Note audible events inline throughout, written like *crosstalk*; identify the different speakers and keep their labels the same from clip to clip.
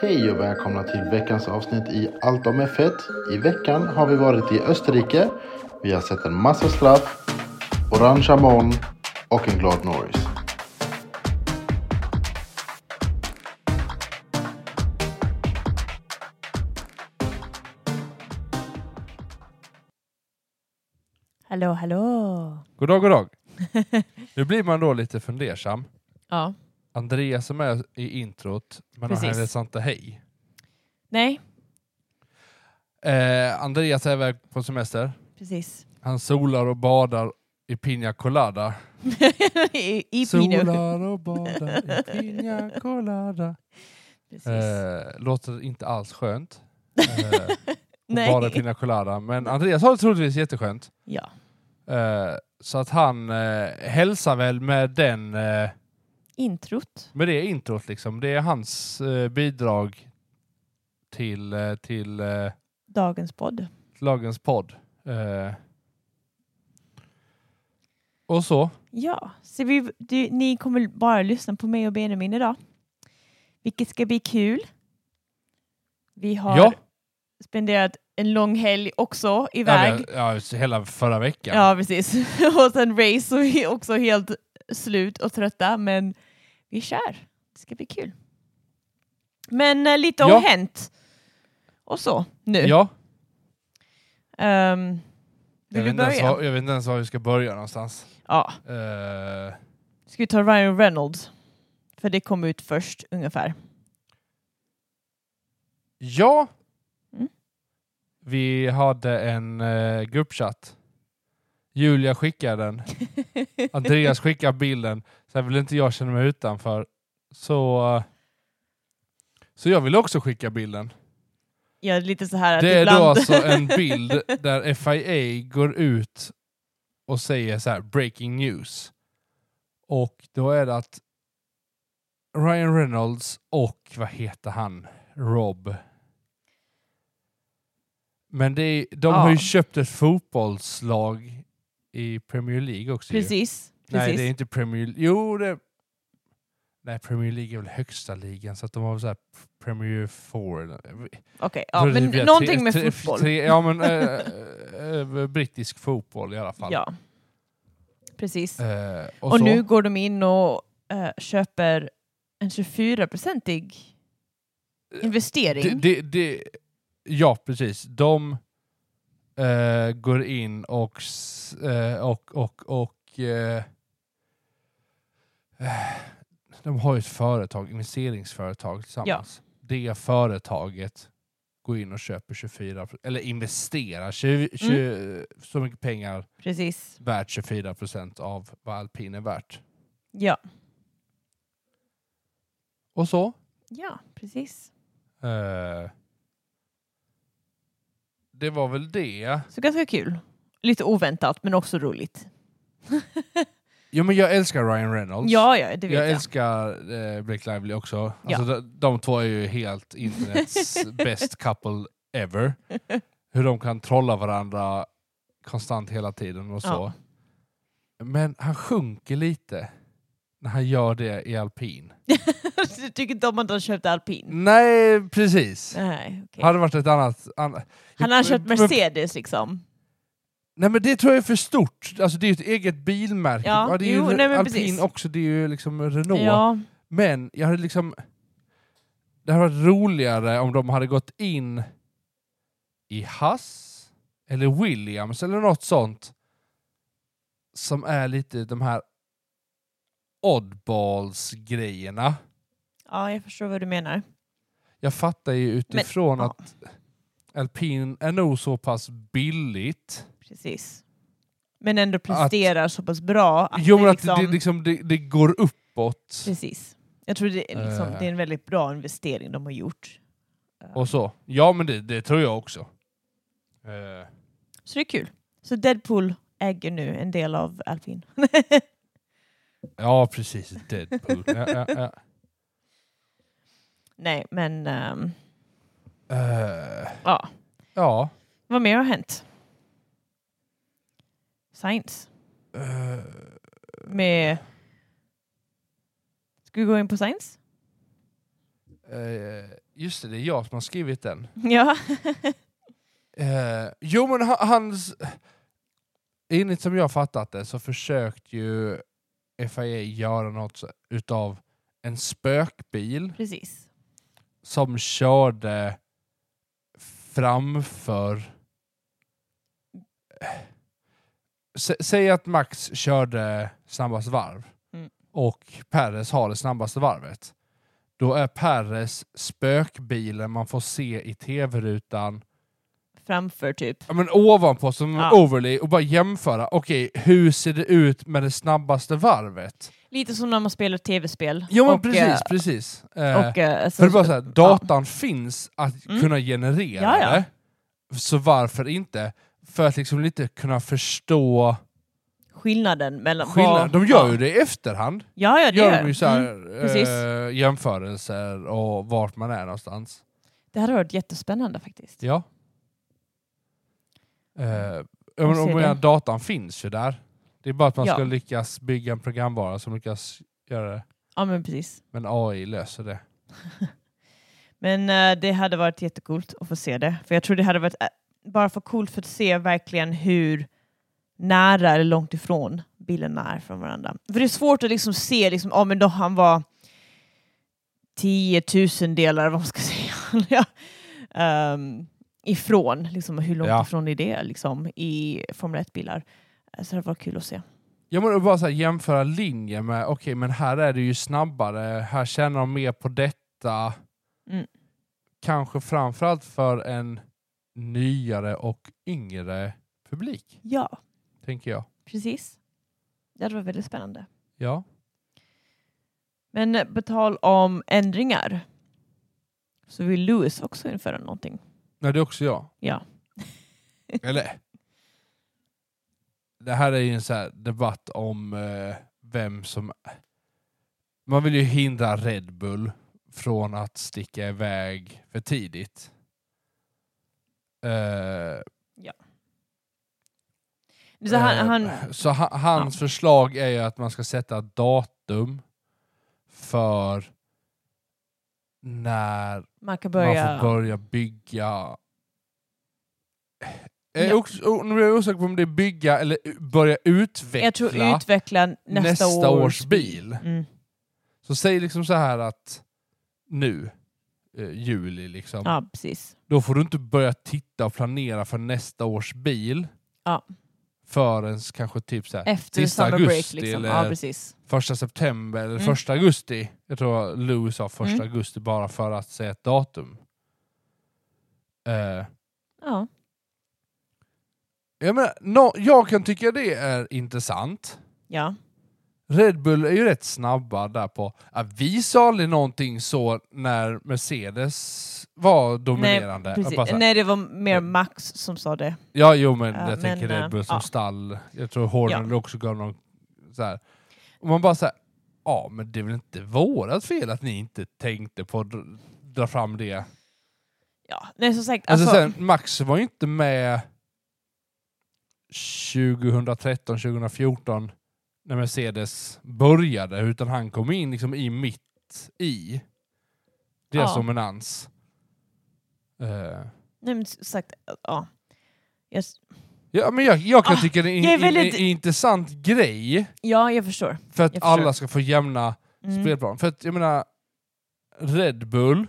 Speaker 1: Hej och välkomna till veckans avsnitt i Allt om F1. I veckan har vi varit i Österrike. Vi har sett en massa slapp, orangea moln och en glad Norris.
Speaker 2: Hallå, hallå.
Speaker 3: God dag, god dag. Nu blir man då lite fundersam.
Speaker 2: Ja.
Speaker 3: Andreas som är i introt, men
Speaker 2: Precis.
Speaker 3: han hälsar inte hej.
Speaker 2: Nej,
Speaker 3: Eh, Andreas är iväg på semester. *laughs*
Speaker 2: precis.
Speaker 3: Han solar och badar i Pina Colada.
Speaker 2: I, i Pino.
Speaker 3: solar och badar i Pina Colada.
Speaker 2: *laughs* Precis.
Speaker 3: Eh, låter inte alls skönt. Eh, och
Speaker 2: Nej.
Speaker 3: Bara i Pina Colada. Men Andreas har det troligtvis jätteskönt.
Speaker 2: Ja.
Speaker 3: Eh, så att han eh, hälsar väl med den eh,
Speaker 2: Introt.
Speaker 3: med det introt liksom. Det är hans eh, bidrag till, eh, till eh,
Speaker 2: Dagens podd.
Speaker 3: lagens podd. Eh. Och så.
Speaker 2: Ja, så vi, du, ni kommer bara lyssna på mig och Benjamin idag. Vilket ska bli kul. Vi har
Speaker 3: Ja,
Speaker 2: spenderat en lång helg också
Speaker 3: ja,
Speaker 2: iväg.
Speaker 3: det- ja, hela förra veckan.
Speaker 2: Ja, precis. *laughs* och sen race så vi är också helt slut och trötta, men vi kör. Det ska bli kul. Men eh, lite
Speaker 3: Ja.
Speaker 2: har hänt. Och så, nu.
Speaker 3: Ja,
Speaker 2: Ehm,
Speaker 3: jag,
Speaker 2: vill
Speaker 3: vet
Speaker 2: du
Speaker 3: inte ens
Speaker 2: börja?
Speaker 3: var, jag vet inte ens var vi ska börja någonstans.
Speaker 2: Ja.
Speaker 3: Eh,
Speaker 2: Ska vi ta Ryan Reynolds? För det kom ut först ungefär.
Speaker 3: ja,
Speaker 2: Mm.
Speaker 3: vi hade en eh, gruppchatt. Julia skickade den. Andreas skickar bilden, sen vill inte jag känna mig utanför. Så, eh, så jag vill också skicka bilden.
Speaker 2: ja, lite så här att
Speaker 3: Det är då
Speaker 2: ibland...
Speaker 3: alltså
Speaker 2: *laughs*
Speaker 3: en bild där FIA går ut och säger så här, breaking news. Och då är det att Ryan Reynolds och, vad heter han, Rob. Men det är, de
Speaker 2: Ja.
Speaker 3: har ju köpt ett fotbollslag i Premier League också. ju.
Speaker 2: precis.
Speaker 3: Nej,
Speaker 2: precis.
Speaker 3: det är inte Premier League. Jo, det... Nej, Premier League är väl högsta ligan, så att de har väl så här Premier 4. eller-
Speaker 2: Okej,
Speaker 3: Jag
Speaker 2: ja,
Speaker 3: tror det
Speaker 2: men
Speaker 3: blir
Speaker 2: någonting med
Speaker 3: tre- tre-
Speaker 2: fotboll.
Speaker 3: tre- ja, men eh, eh, brittisk fotboll i alla fall.
Speaker 2: Ja. Precis.
Speaker 3: Eh, och
Speaker 2: Och,
Speaker 3: så,
Speaker 2: nu går de in och eh, köper en 24-procentig investering.
Speaker 3: Eh, det, det, det, Ja, precis. De eh, går in och, s- eh, och, och, och eh, eh, de har ju ett företag, investeringsföretag tillsammans. Det företaget går in och köper 24, eller investerar 20,
Speaker 2: Mm.
Speaker 3: 20, så mycket pengar
Speaker 2: Precis.
Speaker 3: värt 24 procent av vad alpin är värt.
Speaker 2: Ja.
Speaker 3: Och så.
Speaker 2: ja, precis.
Speaker 3: Eh, det var väl det.
Speaker 2: Så ganska kul. Lite oväntat, men också roligt.
Speaker 3: Jo men jag älskar Ryan Reynolds.
Speaker 2: Ja, ja, det vet
Speaker 3: jag
Speaker 2: jag. *laughs*
Speaker 3: älskar eh, Blake Lively också. Alltså, de, de två är ju
Speaker 2: *laughs*
Speaker 3: helt internets best couple ever. Hur de kan trolla varandra konstant hela tiden och så.
Speaker 2: Ja.
Speaker 3: Men han sjunker lite när han gör det i alpin.
Speaker 2: Mm. du tycker inte om att de köpte alpin?
Speaker 3: Mm. Nej, precis.
Speaker 2: Nej, okej.
Speaker 3: Hade varit ett annat... An...
Speaker 2: Han har köpt
Speaker 3: Men-
Speaker 2: Mercedes liksom.
Speaker 3: Nej men det tror jag är för stort. Alltså det är ju ett eget bilmärke.
Speaker 2: Ja,
Speaker 3: det är
Speaker 2: jo,
Speaker 3: ju
Speaker 2: nej, men
Speaker 3: Alpin
Speaker 2: precis.
Speaker 3: också, det är ju liksom Renault.
Speaker 2: Ja,
Speaker 3: Men jag hade liksom... Det hade varit roligare om de hade gått in i Haas eller Williams eller något sånt som är lite de här oddballs-grejerna.
Speaker 2: ja, jag förstår vad du menar.
Speaker 3: Jag fattar ju utifrån
Speaker 2: ja.
Speaker 3: att alpin är nog så pass billigt
Speaker 2: Precis. Men ändå presterar så pass bra att
Speaker 3: Jo
Speaker 2: det
Speaker 3: men att
Speaker 2: liksom...
Speaker 3: det, liksom, det, det går uppåt
Speaker 2: Precis. Jag tror det är, liksom,
Speaker 3: Eh.
Speaker 2: det är en väldigt bra investering de har gjort.
Speaker 3: och så. Ja men det, det tror jag också. Eh,
Speaker 2: Så det är kul. Så Deadpool äger nu en del av Alpin.
Speaker 3: ja precis, Deadpool. ja, ja, ja.
Speaker 2: Nej, men ehm,
Speaker 3: Eh,
Speaker 2: ja.
Speaker 3: ja.
Speaker 2: Vad mer har hänt? Science.
Speaker 3: Eh, *laughs*
Speaker 2: Med... Ska vi gå in på Science?
Speaker 3: Eh, just det, det är jag som har skrivit den.
Speaker 2: Ja.
Speaker 3: Eh, jo men ha- hans... Enligt som jag fattat det så försökte ju FIA göra något så- utav en spökbil
Speaker 2: *laughs* Precis.
Speaker 3: som körde framför... Eh, sä- Säg att Max körde snabbast varv
Speaker 2: Mm.
Speaker 3: och Perres har det snabbaste varvet. Då är Perres spökbilen man får se i tv-rutan
Speaker 2: Framför typ.
Speaker 3: ja, men ovanpå som en
Speaker 2: Ja.
Speaker 3: overlay och bara jämföra. Okej, hur ser det ut med det snabbaste varvet?
Speaker 2: Lite som när man spelar tv-spel.
Speaker 3: Ja men
Speaker 2: Och,
Speaker 3: precis,
Speaker 2: eh,
Speaker 3: precis.
Speaker 2: Och,
Speaker 3: Eh,
Speaker 2: eh, alltså,
Speaker 3: för det är bara så här, datan finns att
Speaker 2: Mm.
Speaker 3: kunna generera
Speaker 2: Ja, ja.
Speaker 3: det. Så varför inte? För att liksom lite kunna förstå
Speaker 2: skillnaden mellan...
Speaker 3: skillnaden.
Speaker 2: vad-
Speaker 3: De gör
Speaker 2: ja.
Speaker 3: ju det i efterhand.
Speaker 2: Ja, ja det
Speaker 3: Gör de ju så här,
Speaker 2: Mm. precis.
Speaker 3: eh, jämförelser och vart man är någonstans.
Speaker 2: Det hade varit jättespännande faktiskt.
Speaker 3: Ja. Eh, jag
Speaker 2: Mm. Jag
Speaker 3: menar,
Speaker 2: ser
Speaker 3: om jag,
Speaker 2: det.
Speaker 3: datan finns ju där. Det är bara att man
Speaker 2: Ja.
Speaker 3: ska lyckas bygga en programvara som lyckas göra det.
Speaker 2: Ja, men precis.
Speaker 3: Men AI löser det.
Speaker 2: Men eh, det hade varit jättecoolt att få se det. För jag tror det hade varit eh, bara för coolt för att se verkligen hur nära eller långt ifrån bilderna är från varandra. För det är svårt att liksom se liksom, ah, men då han var 10 000 delar, vad man ska *laughs* säga, ja. ehm, ifrån. Liksom, hur långt
Speaker 3: Ja.
Speaker 2: ifrån är det liksom, i Formel 1-bilar? Eh, Så det var kul att se.
Speaker 3: Jag menar bara så här, jämföra linjer med, okej men här är det ju snabbare, här tjänar de mer på detta.
Speaker 2: Mm.
Speaker 3: Kanske framförallt för en nyare och yngre publik,
Speaker 2: Ja,
Speaker 3: tänker jag.
Speaker 2: precis. Det hade varit väldigt spännande.
Speaker 3: Ja.
Speaker 2: Men eh, på tal om ändringar så vill Lewis också införa någonting.
Speaker 3: Nej, det är också jag.
Speaker 2: Ja.
Speaker 3: Eller? Det här är ju en så här debatt om eh, vem som... Man vill ju hindra Red Bull från att sticka iväg för tidigt. Eh,
Speaker 2: Så han,
Speaker 3: eh,
Speaker 2: han,
Speaker 3: så ha- hans förslag är ju att man ska sätta datum för när
Speaker 2: man kan
Speaker 3: man
Speaker 2: börja...
Speaker 3: får börja bygga... Jag är
Speaker 2: Ja.
Speaker 3: också, o- nu är jag osäker på om det är bygga eller u- börja utveckla
Speaker 2: jag tror utveckla nästa,
Speaker 3: nästa
Speaker 2: års,
Speaker 3: års bil.
Speaker 2: Mm.
Speaker 3: Så säg liksom så här att nu, eh, juli liksom,
Speaker 2: Ja, precis.
Speaker 3: då får du inte börja titta och planera för nästa års bil
Speaker 2: Ja. Eh.
Speaker 3: förrän kanske typ så här,
Speaker 2: Efter
Speaker 3: Sista
Speaker 2: summer break
Speaker 3: augusti
Speaker 2: liksom.
Speaker 3: eller-
Speaker 2: Ja, precis.
Speaker 3: första september eller
Speaker 2: Mm.
Speaker 3: första augusti. Jag tror Louis sa första
Speaker 2: Mm.
Speaker 3: augusti bara för att säga ett datum. Eh,
Speaker 2: Ja.
Speaker 3: Jag, menar, nå- jag kan tycka det är intressant. Eh,
Speaker 2: ja.
Speaker 3: Red Bull är ju rätt snabba där på att vi sa aldrig någonting så när Mercedes var dominerande.
Speaker 2: Precis.
Speaker 3: Jag bara så här,
Speaker 2: Nej, det var mer Max som sa det.
Speaker 3: ja, jo men
Speaker 2: Ja,
Speaker 3: jag
Speaker 2: men,
Speaker 3: tänker
Speaker 2: eh,
Speaker 3: Red Bull som
Speaker 2: ja.
Speaker 3: stall. Jag tror Horner också gav någon så här. Och man bara såhär, ja men det är väl inte vårat fel att ni inte tänkte på att dra- dra fram det.
Speaker 2: Ja. Nej, som sagt.
Speaker 3: Alltså,
Speaker 2: Alltså,
Speaker 3: sen, Max var ju inte med 2013, 2014 när Mercedes började, utan han kom in liksom i mitt i deras
Speaker 2: Ja.
Speaker 3: dominans. Eh,
Speaker 2: nej, men som sagt. Ja. Jag,
Speaker 3: ja, men jag, jag kan
Speaker 2: Ah,
Speaker 3: tycka det är en,
Speaker 2: jag är väldigt-
Speaker 3: en, en intressant grej
Speaker 2: ja, jag förstår.
Speaker 3: för att
Speaker 2: Jag förstår.
Speaker 3: alla ska få jämna
Speaker 2: Mm.
Speaker 3: spelplan. För att jag menar, Red Bull,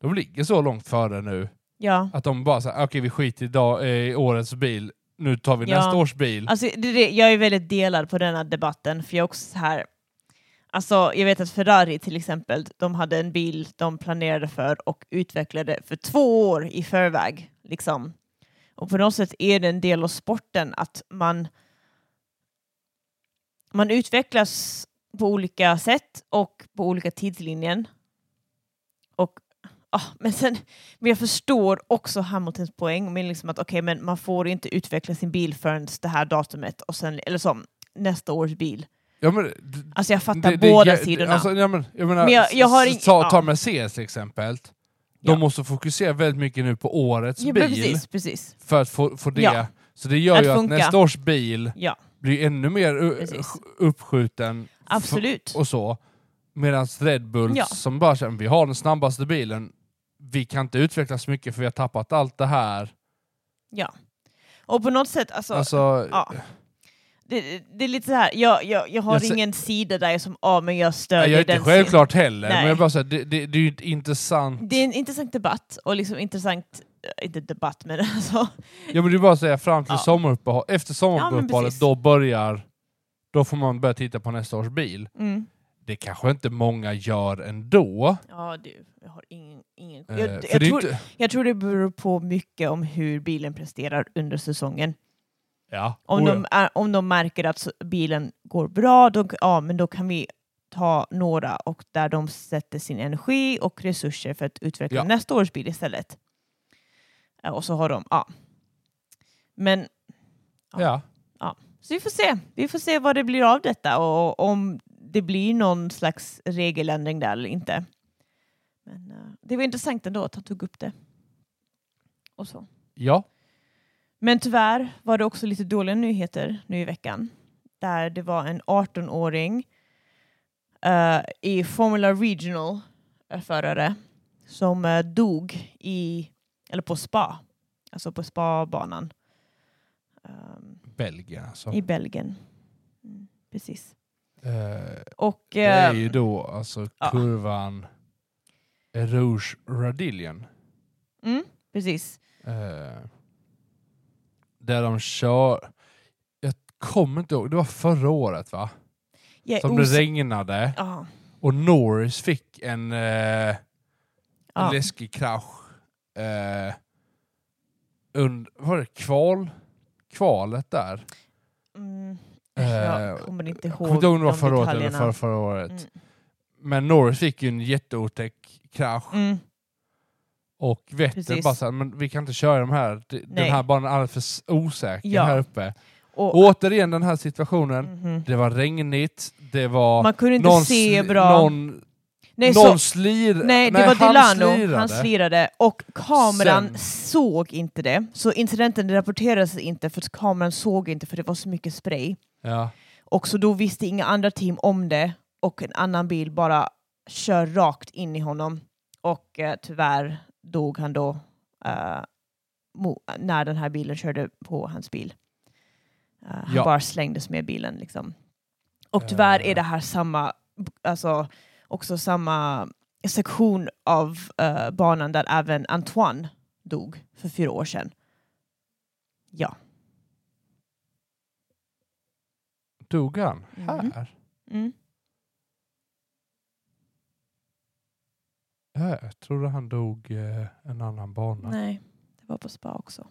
Speaker 3: de ligger så långt före nu.
Speaker 2: Ja.
Speaker 3: Att de bara säger okej vi skiter i, dag, eh, i årets bil, nu tar vi
Speaker 2: Ja.
Speaker 3: nästa års bil.
Speaker 2: Alltså, det, det, jag är väldigt delad på denna debatten, för jag är också så här... Alltså, jag vet att Ferrari till exempel, de hade en bil de planerade för och utvecklade för två år i förväg. Liksom. Och på något sätt är det en del av sporten att man, man utvecklas på olika sätt och på olika tidslinjen. Och, ah, men, sen, men jag förstår också Hamiltons poäng, men liksom att okej, men man får inte utveckla sin bil förrän det här datumet, och sen, eller som nästa års bil.
Speaker 3: Ja, men, d-
Speaker 2: Alltså jag fattar
Speaker 3: det- det-
Speaker 2: båda
Speaker 3: det-
Speaker 2: sidorna.
Speaker 3: Alltså, ja, men, jag menar,
Speaker 2: Men jag- jag har
Speaker 3: s-
Speaker 2: ing-
Speaker 3: ta,
Speaker 2: ja.
Speaker 3: ta Mercedes till exempel. De
Speaker 2: Ja.
Speaker 3: måste fokusera väldigt mycket nu på årets
Speaker 2: ja, men
Speaker 3: bil
Speaker 2: precis, precis.
Speaker 3: för att få, få det.
Speaker 2: Ja.
Speaker 3: Så det gör
Speaker 2: Att
Speaker 3: ju att
Speaker 2: funka.
Speaker 3: nästa års bil
Speaker 2: Ja,
Speaker 3: blir ännu mer u-
Speaker 2: Precis.
Speaker 3: uppskjuten. f-
Speaker 2: absolut.
Speaker 3: Och så. Medan Red Bulls
Speaker 2: Ja.
Speaker 3: som bara känner vi har den snabbaste bilen, vi kan inte utvecklas mycket för vi har tappat allt det här.
Speaker 2: Och på något sätt, alltså,
Speaker 3: alltså,
Speaker 2: ja. Det, det är lite så här, jag, jag, jag har
Speaker 3: Jag ser-
Speaker 2: ingen sida där jag som, ja men jag
Speaker 3: Nej,
Speaker 2: stödjer
Speaker 3: jag är inte
Speaker 2: den
Speaker 3: självklart heller,
Speaker 2: Nej.
Speaker 3: men jag bara säger, det, det, det är ju ett intressant...
Speaker 2: sidan. Det är en intressant debatt, och liksom intressant, eh, inte debatt men *laughs* alltså,
Speaker 3: Ja men det är bara att säga fram till
Speaker 2: Ja.
Speaker 3: sommaruppehållet, efter sommaruppehållet,
Speaker 2: precis.
Speaker 3: då börjar... Då får man börja titta på nästa års bil.
Speaker 2: mm.
Speaker 3: Det kanske inte många gör ändå.
Speaker 2: ja du, jag har ingen, ingen
Speaker 3: eh,
Speaker 2: jag, jag,
Speaker 3: för det är
Speaker 2: tror,
Speaker 3: inte-
Speaker 2: jag tror det beror på mycket om hur bilen presterar under säsongen.
Speaker 3: Ja.
Speaker 2: Om,
Speaker 3: Oh, ja.
Speaker 2: de, är, om de märker att så- bilen går bra, då, ja, men då kan vi ta några och där de sätter sin energi och resurser för att utveckla
Speaker 3: Ja.
Speaker 2: nästa års bil istället. Ja, Och så har de, ja. Men
Speaker 3: ja.
Speaker 2: så vi får se. Vi får se vad det blir av detta och om det blir någon slags regeländring där eller inte. Men eh, det var intressant ändå att han tog upp det. Och så.
Speaker 3: Ja.
Speaker 2: Men tyvärr var det också lite dåliga nyheter nu i veckan. Där det var en 18-åring eh, i Formula Regional eh, förare som eh, dog i, eller på spa, alltså på spabanan ehm,
Speaker 3: Belgien alltså.
Speaker 2: i Belgien. Mm, precis.
Speaker 3: Eh,
Speaker 2: Och
Speaker 3: Det är
Speaker 2: eh,
Speaker 3: ju då alltså
Speaker 2: Ja.
Speaker 3: kurvan Rouge Radillion.
Speaker 2: mm, precis.
Speaker 3: Eh, där de kör... Jag kommer inte ihåg, det var förra året va?
Speaker 2: Jag är
Speaker 3: Som det
Speaker 2: os-
Speaker 3: regnade
Speaker 2: ja,
Speaker 3: och Norris fick en, eh, en
Speaker 2: ja,
Speaker 3: läskig krasch. Eh, und, var det kval? Kvalet där?
Speaker 2: mm,
Speaker 3: Eh,
Speaker 2: jag kommer inte
Speaker 3: Jag kommer
Speaker 2: ihåg
Speaker 3: inte ihåg om det var
Speaker 2: de
Speaker 3: förra året eller
Speaker 2: detaljerna.
Speaker 3: förra, förra året.
Speaker 2: Mm.
Speaker 3: Men Norris fick ju en jätteotäck krasch.
Speaker 2: Mm,
Speaker 3: Och Vettel
Speaker 2: Precis.
Speaker 3: bara såhär, men vi kan inte köra de här. D- Den
Speaker 2: Nej.
Speaker 3: här banan är alldeles för s- osäker
Speaker 2: Ja.
Speaker 3: här uppe.
Speaker 2: och,
Speaker 3: Återigen den här situationen.
Speaker 2: Mhm.
Speaker 3: Det var regnigt, det var...
Speaker 2: Man kunde inte
Speaker 3: någon
Speaker 2: se
Speaker 3: sli-
Speaker 2: bra.
Speaker 3: Någon,
Speaker 2: nej, så,
Speaker 3: någon slir...
Speaker 2: nej, det var
Speaker 3: han
Speaker 2: Delano.
Speaker 3: slirade.
Speaker 2: Han slirade och kameran
Speaker 3: Sen-
Speaker 2: såg inte det. Så incidenten rapporterades inte för att kameran såg inte för det var så mycket spray.
Speaker 3: Ja.
Speaker 2: Och så då visste inga andra team om det och en annan bil bara kör rakt in i honom. Och eh, tyvärr dog han då eh, mo- när den här bilen körde på hans bil. Eh, han
Speaker 3: Ja.
Speaker 2: bara slängdes med bilen liksom. Och tyvärr
Speaker 3: Eh.
Speaker 2: är det här samma, alltså också samma sektion av eh, banan där även Antoine dog för fyra år sedan. Ja.
Speaker 3: Dog han?
Speaker 2: Mhm.
Speaker 3: Här?
Speaker 2: Mm.
Speaker 3: Ja, jag trodde han dog eh, en annan bana.
Speaker 2: Nej, det var på spa också.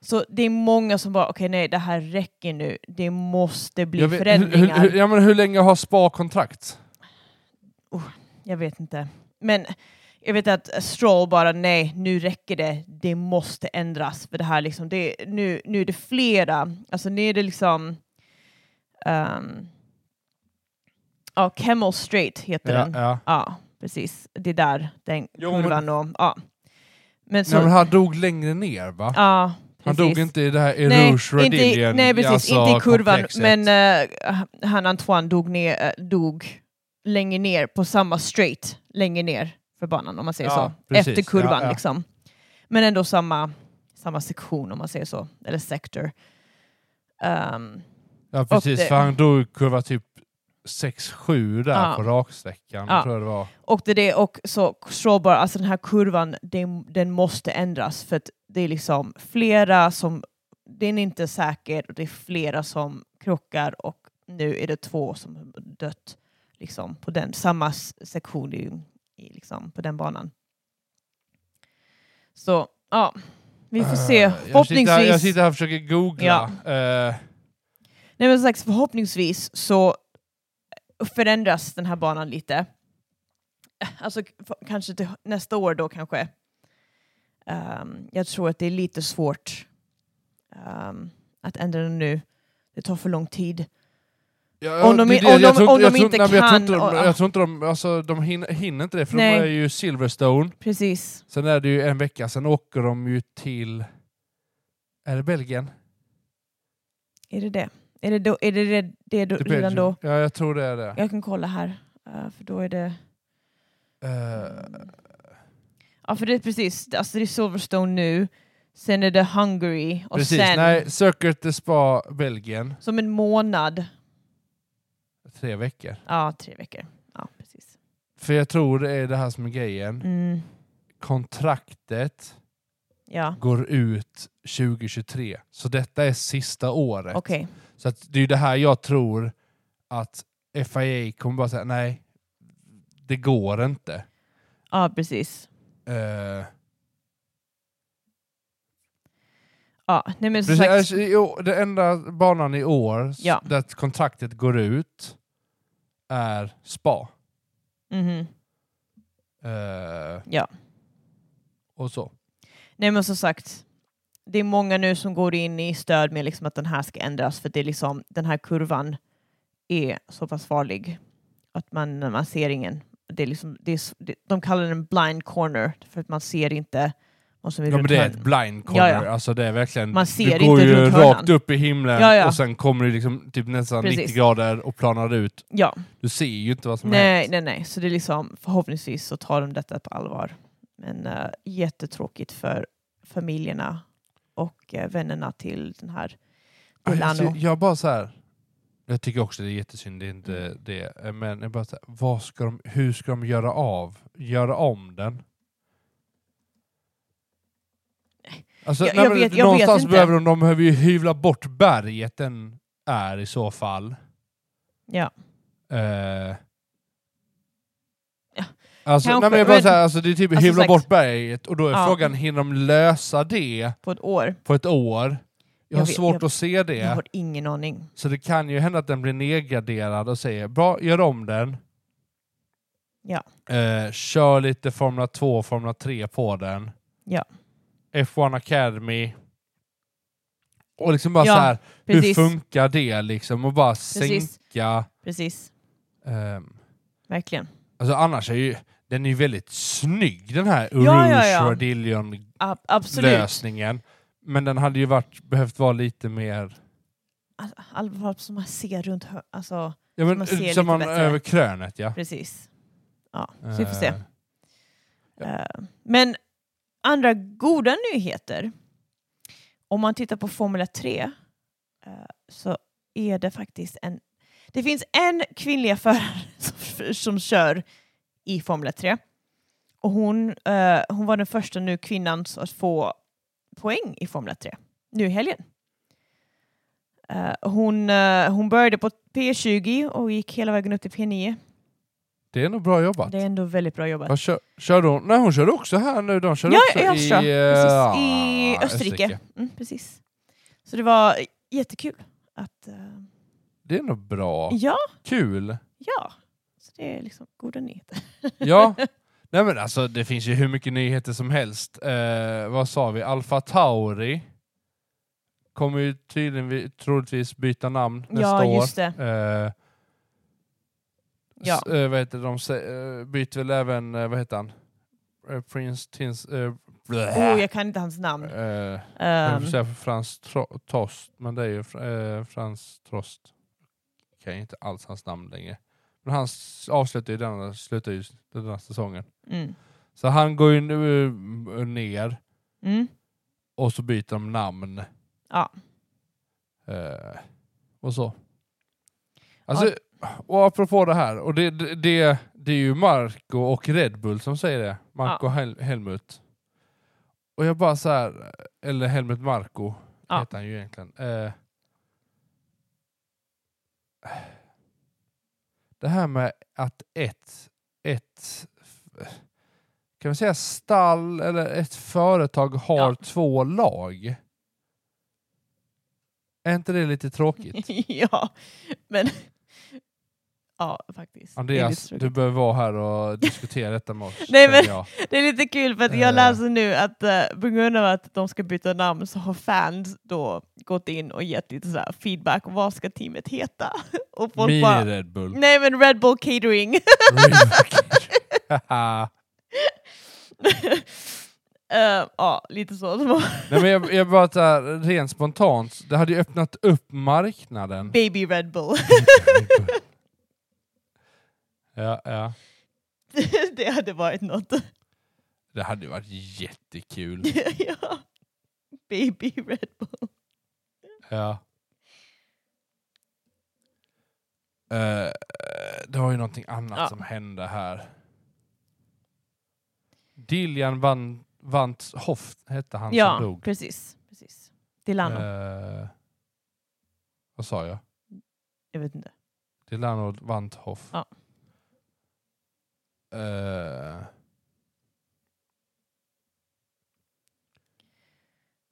Speaker 2: Så det är många som bara, okej nej det här räcker nu, det måste bli
Speaker 3: Jag vet- Hur,
Speaker 2: förändringar.
Speaker 3: hur, hur, ja, men hur länge har Spa kontrakt?
Speaker 2: Jag vet inte. Men jag vet att Stroll bara, nej nu räcker det, det måste ändras. För det här liksom, det, nu, nu är det flera, alltså nu är det liksom ehm, Ja, Camel Straight heter
Speaker 3: Ja,
Speaker 2: den. Ja.
Speaker 3: ja.
Speaker 2: precis. Det är där den
Speaker 3: Jo, men-
Speaker 2: kurvan och... Ja. Men så...
Speaker 3: Nej, men han dog längre ner va?
Speaker 2: ja, precis.
Speaker 3: Han dog inte i det här
Speaker 2: Nej,
Speaker 3: Erouge
Speaker 2: inte i,
Speaker 3: Radillion.
Speaker 2: nej, precis.
Speaker 3: alltså,
Speaker 2: inte i kurvan,
Speaker 3: komplexet.
Speaker 2: men eh, han Antoine dog, ner, eh, dog längre ner på samma straight, längre ner för banan om man säger
Speaker 3: Ja,
Speaker 2: så.
Speaker 3: precis.
Speaker 2: Efter kurvan
Speaker 3: Ja, ja.
Speaker 2: liksom. Men ändå samma, samma sektion om man säger så, eller sektor. Ehm,
Speaker 3: Ja precis,
Speaker 2: det-
Speaker 3: för han drog ju kurva typ 6-7 där
Speaker 2: Ja.
Speaker 3: på raksträckan.
Speaker 2: Ja.
Speaker 3: Tror jag det var.
Speaker 2: Och det är det och så Stroll bara, alltså den här kurvan, den, den måste ändras för att det är liksom flera som, den är inte säker och det är flera som krockar och nu är det två som har dött liksom på den, samma s- sektion i, i liksom på den banan. Så ja, vi får se.
Speaker 3: Eh, Jag sitter, här, jag
Speaker 2: Förhoppningsvis.
Speaker 3: sitter här och försöker googla. Eh,
Speaker 2: Nej men som sagt, förhoppningsvis så förändras den här banan lite. Alltså k- f- kanske till nästa år då kanske. Ehm, jag tror att det är lite svårt ehm, att ändra den nu. Det tar för lång tid.
Speaker 3: ja,
Speaker 2: Om de
Speaker 3: det
Speaker 2: i-
Speaker 3: är det.
Speaker 2: om
Speaker 3: Jag
Speaker 2: de-
Speaker 3: tror
Speaker 2: om
Speaker 3: jag
Speaker 2: de
Speaker 3: tror-
Speaker 2: inte
Speaker 3: nej, men Jag tror
Speaker 2: kan
Speaker 3: inte de-
Speaker 2: och-
Speaker 3: jag tror inte de, alltså, de hinner, hinner inte det, för
Speaker 2: Nej.
Speaker 3: de är ju Silverstone.
Speaker 2: Precis.
Speaker 3: Sen är det ju en vecka, sen åker de ju till... Är det Belgien?
Speaker 2: Är det det? Är det då, är det, det, det då,
Speaker 3: Till
Speaker 2: redan
Speaker 3: Belgien.
Speaker 2: då?
Speaker 3: Ja, jag tror det är det.
Speaker 2: Jag kan kolla här. Eh, för då är det...
Speaker 3: Eh,
Speaker 2: Ja, för det är precis. Alltså det är Silverstone nu, sen är det Hungary och
Speaker 3: precis,
Speaker 2: sen
Speaker 3: nej, Circuit de Spa Belgien,
Speaker 2: som en månad,
Speaker 3: tre veckor.
Speaker 2: ja tre veckor. Ja, precis.
Speaker 3: För jag tror det är det här som är grejen.
Speaker 2: Mm,
Speaker 3: Kontraktet
Speaker 2: ja,
Speaker 3: går ut 2023, så detta är sista året.
Speaker 2: okej.
Speaker 3: Så att det är ju det här jag tror att FIA kommer bara säga nej, det går inte.
Speaker 2: Ja, precis.
Speaker 3: Eh,
Speaker 2: Ja, nej men som
Speaker 3: precis,
Speaker 2: sagt,
Speaker 3: alltså, i år- den enda banan i år s-
Speaker 2: Ja.
Speaker 3: där kontraktet går ut är spa.
Speaker 2: mhm.
Speaker 3: Eh,
Speaker 2: Ja.
Speaker 3: Och så.
Speaker 2: nej men som sagt, det är många nu som går in i stöd med liksom att den här ska ändras för det är liksom den här kurvan är så pass farlig att man, man ser ingen. Det är liksom, det är, s- det, de kallar den blind corner för att man ser inte vad som är
Speaker 3: Ja, men
Speaker 2: runt
Speaker 3: det är
Speaker 2: hörn.
Speaker 3: ett blind corner.
Speaker 2: Ja, ja.
Speaker 3: Alltså, det är verkligen,
Speaker 2: Man ser
Speaker 3: du går
Speaker 2: inte
Speaker 3: ju
Speaker 2: runt hörnan.
Speaker 3: rakt upp i himlen
Speaker 2: Ja, ja.
Speaker 3: och sen kommer du liksom typ nästan
Speaker 2: Precis.
Speaker 3: 90 grader och planar ut.
Speaker 2: Ja,
Speaker 3: Du ser ju inte vad som har
Speaker 2: Nej,
Speaker 3: hänt.
Speaker 2: nej, nej. Så det är liksom, förhoppningsvis så tar de detta på allvar. Men eh, jättetråkigt för familjerna och eh, vännerna till den här
Speaker 3: Alltså,
Speaker 2: Milano.
Speaker 3: jag, jag bara så här. Jag tycker också det är jättesynd, det är inte det. Men jag bara så här, vad ska de, hur ska de göra av, göra om den? Alltså,
Speaker 2: Jag-
Speaker 3: nej,
Speaker 2: jag
Speaker 3: men
Speaker 2: vet- jag vet
Speaker 3: någonstans
Speaker 2: inte.
Speaker 3: behöver de, de behöver ju hyvla bort berget den är i så fall.
Speaker 2: Ja.
Speaker 3: Eh.
Speaker 2: Ja,
Speaker 3: Alltså, nej,
Speaker 2: kanske,
Speaker 3: men jag bara
Speaker 2: men-
Speaker 3: så här, alltså, det är typ
Speaker 2: Alltså,
Speaker 3: hyvla
Speaker 2: sagt-
Speaker 3: bort berget och då är
Speaker 2: Ja.
Speaker 3: frågan, hinner de lösa det
Speaker 2: På ett år.
Speaker 3: på ett år? Jag,
Speaker 2: Jag
Speaker 3: har
Speaker 2: vet-
Speaker 3: svårt
Speaker 2: jag-
Speaker 3: att se det.
Speaker 2: Jag har ingen aning.
Speaker 3: Så det kan ju hända att den blir nedgraderad och säger bra, gör om den.
Speaker 2: Ja.
Speaker 3: Eh, kör lite Formula 2 och Formula 3 på den.
Speaker 2: Ja.
Speaker 3: F1 Academy. Och liksom bara
Speaker 2: Ja,
Speaker 3: så här, hur
Speaker 2: Precis.
Speaker 3: funkar det liksom? Och bara
Speaker 2: Precis.
Speaker 3: sänka.
Speaker 2: Precis.
Speaker 3: ehm,
Speaker 2: Verkligen.
Speaker 3: alltså annars är ju, den är ju väldigt snygg den här Urush
Speaker 2: Ja, ja, ja. A- absolut.
Speaker 3: Radillion-lösningen. Men den hade ju varit, behövt vara lite mer...
Speaker 2: Alltså, Allvar som man ser runt hör- Alltså,
Speaker 3: Ja, men,
Speaker 2: man ser lite
Speaker 3: som man
Speaker 2: bättre.
Speaker 3: över krönet ja.
Speaker 2: precis. Ja, så vi får se.
Speaker 3: Eh, Ja.
Speaker 2: Eh, Men andra goda nyheter. Om man tittar på Formula 3 eh, så är det faktiskt en... Det finns en kvinnliga förare *laughs* som, som kör i Formula 3. Och hon, eh, hon var den första nu kvinnan att få poäng i Formula 3 nu i helgen. Eh, hon, eh, hon började på P20 och gick hela vägen upp till P9.
Speaker 3: Det är nog bra jobbat.
Speaker 2: Det är ändå väldigt bra jobbat.
Speaker 3: Vad kör, kör hon? Nej, hon körde också här nu. De körde
Speaker 2: Ja,
Speaker 3: också
Speaker 2: i Östra. Precis,
Speaker 3: eh,
Speaker 2: i Österrike. Mm, precis. Så det var jättekul att... eh,
Speaker 3: Det är nog bra.
Speaker 2: ja, *laughs*
Speaker 3: Kul.
Speaker 2: ja. Så det är liksom goda nyheter.
Speaker 3: Ja. Nej men alltså det finns ju hur mycket nyheter som helst. Eh, vad sa vi? Alfa Tauri kommer ju tydligen troligtvis byta namn nästa
Speaker 2: ja, just det.
Speaker 3: år. Eh,
Speaker 2: Ja.
Speaker 3: s- eh, vad heter det? de? sä- eh, byter väl även, eh, vad heter han? Eh, Prince Tins... Eh,
Speaker 2: Oh, jag kan inte hans namn.
Speaker 3: eh, Jag
Speaker 2: Ehm,
Speaker 3: vill säga Frans Tro- Tost, men det är ju fr- eh, Frans Trost. Jag kan ju inte alls hans namn längre. Men han s- avslutar ju denna, slutar ju denna säsongen.
Speaker 2: mm.
Speaker 3: Så han går ju nu eh, ner
Speaker 2: Mm.
Speaker 3: och så byter de namn.
Speaker 2: Ja.
Speaker 3: Eh, och så. Alltså, och apropå det här, och det, det, det, det är ju Marco och Red Bull som säger det. Marco Hel- Helmut. Och jag bara så här, eller Helmut Marco
Speaker 2: Ja.
Speaker 3: heter han ju egentligen. Eh, det här med att ett, ett kan vi säga stall eller ett företag har
Speaker 2: Ja.
Speaker 3: två lag? Är inte det lite
Speaker 2: *laughs*
Speaker 3: tråkigt?
Speaker 2: ja, men... *laughs* ja, faktiskt.
Speaker 3: Andreas,
Speaker 2: det, är lite
Speaker 3: du behöver vara här och diskutera detta med oss.
Speaker 2: *laughs* Nej,
Speaker 3: känner
Speaker 2: men-
Speaker 3: jag.
Speaker 2: tråkigt. det är lite kul för att jag
Speaker 3: Eh.
Speaker 2: läser nu att eh, på grund av att de ska byta namn så har fans då gått in och gett lite så här feedback. Vad ska teamet heta? *laughs* och folk bara...
Speaker 3: Mini Red
Speaker 2: *laughs*
Speaker 3: Bull. *laughs*
Speaker 2: Mm. Nej men Red Bull Catering.
Speaker 3: Haha.
Speaker 2: *laughs* Eh, Ja, lite så. Det var
Speaker 3: Nej, men jag, jag bara så här, rent spontant, det hade ju öppnat upp marknaden.
Speaker 2: Baby Red Bull.
Speaker 3: Ja, ja.
Speaker 2: *laughs* det hade varit något.
Speaker 3: Det hade ju varit
Speaker 2: *laughs*
Speaker 3: jättekul.
Speaker 2: ja. Baby Red Bull.
Speaker 3: Ja. Eh, det var ju någonting annat
Speaker 2: Ja.
Speaker 3: som hände här. Dillian Van, Vants Hoff hette han
Speaker 2: ja,
Speaker 3: som Alltså dog.
Speaker 2: precis. precis. Delano.
Speaker 3: Eh, vad sa jag?
Speaker 2: Jag vet inte.
Speaker 3: Delano Vanthoff.
Speaker 2: Ja.
Speaker 3: Eh,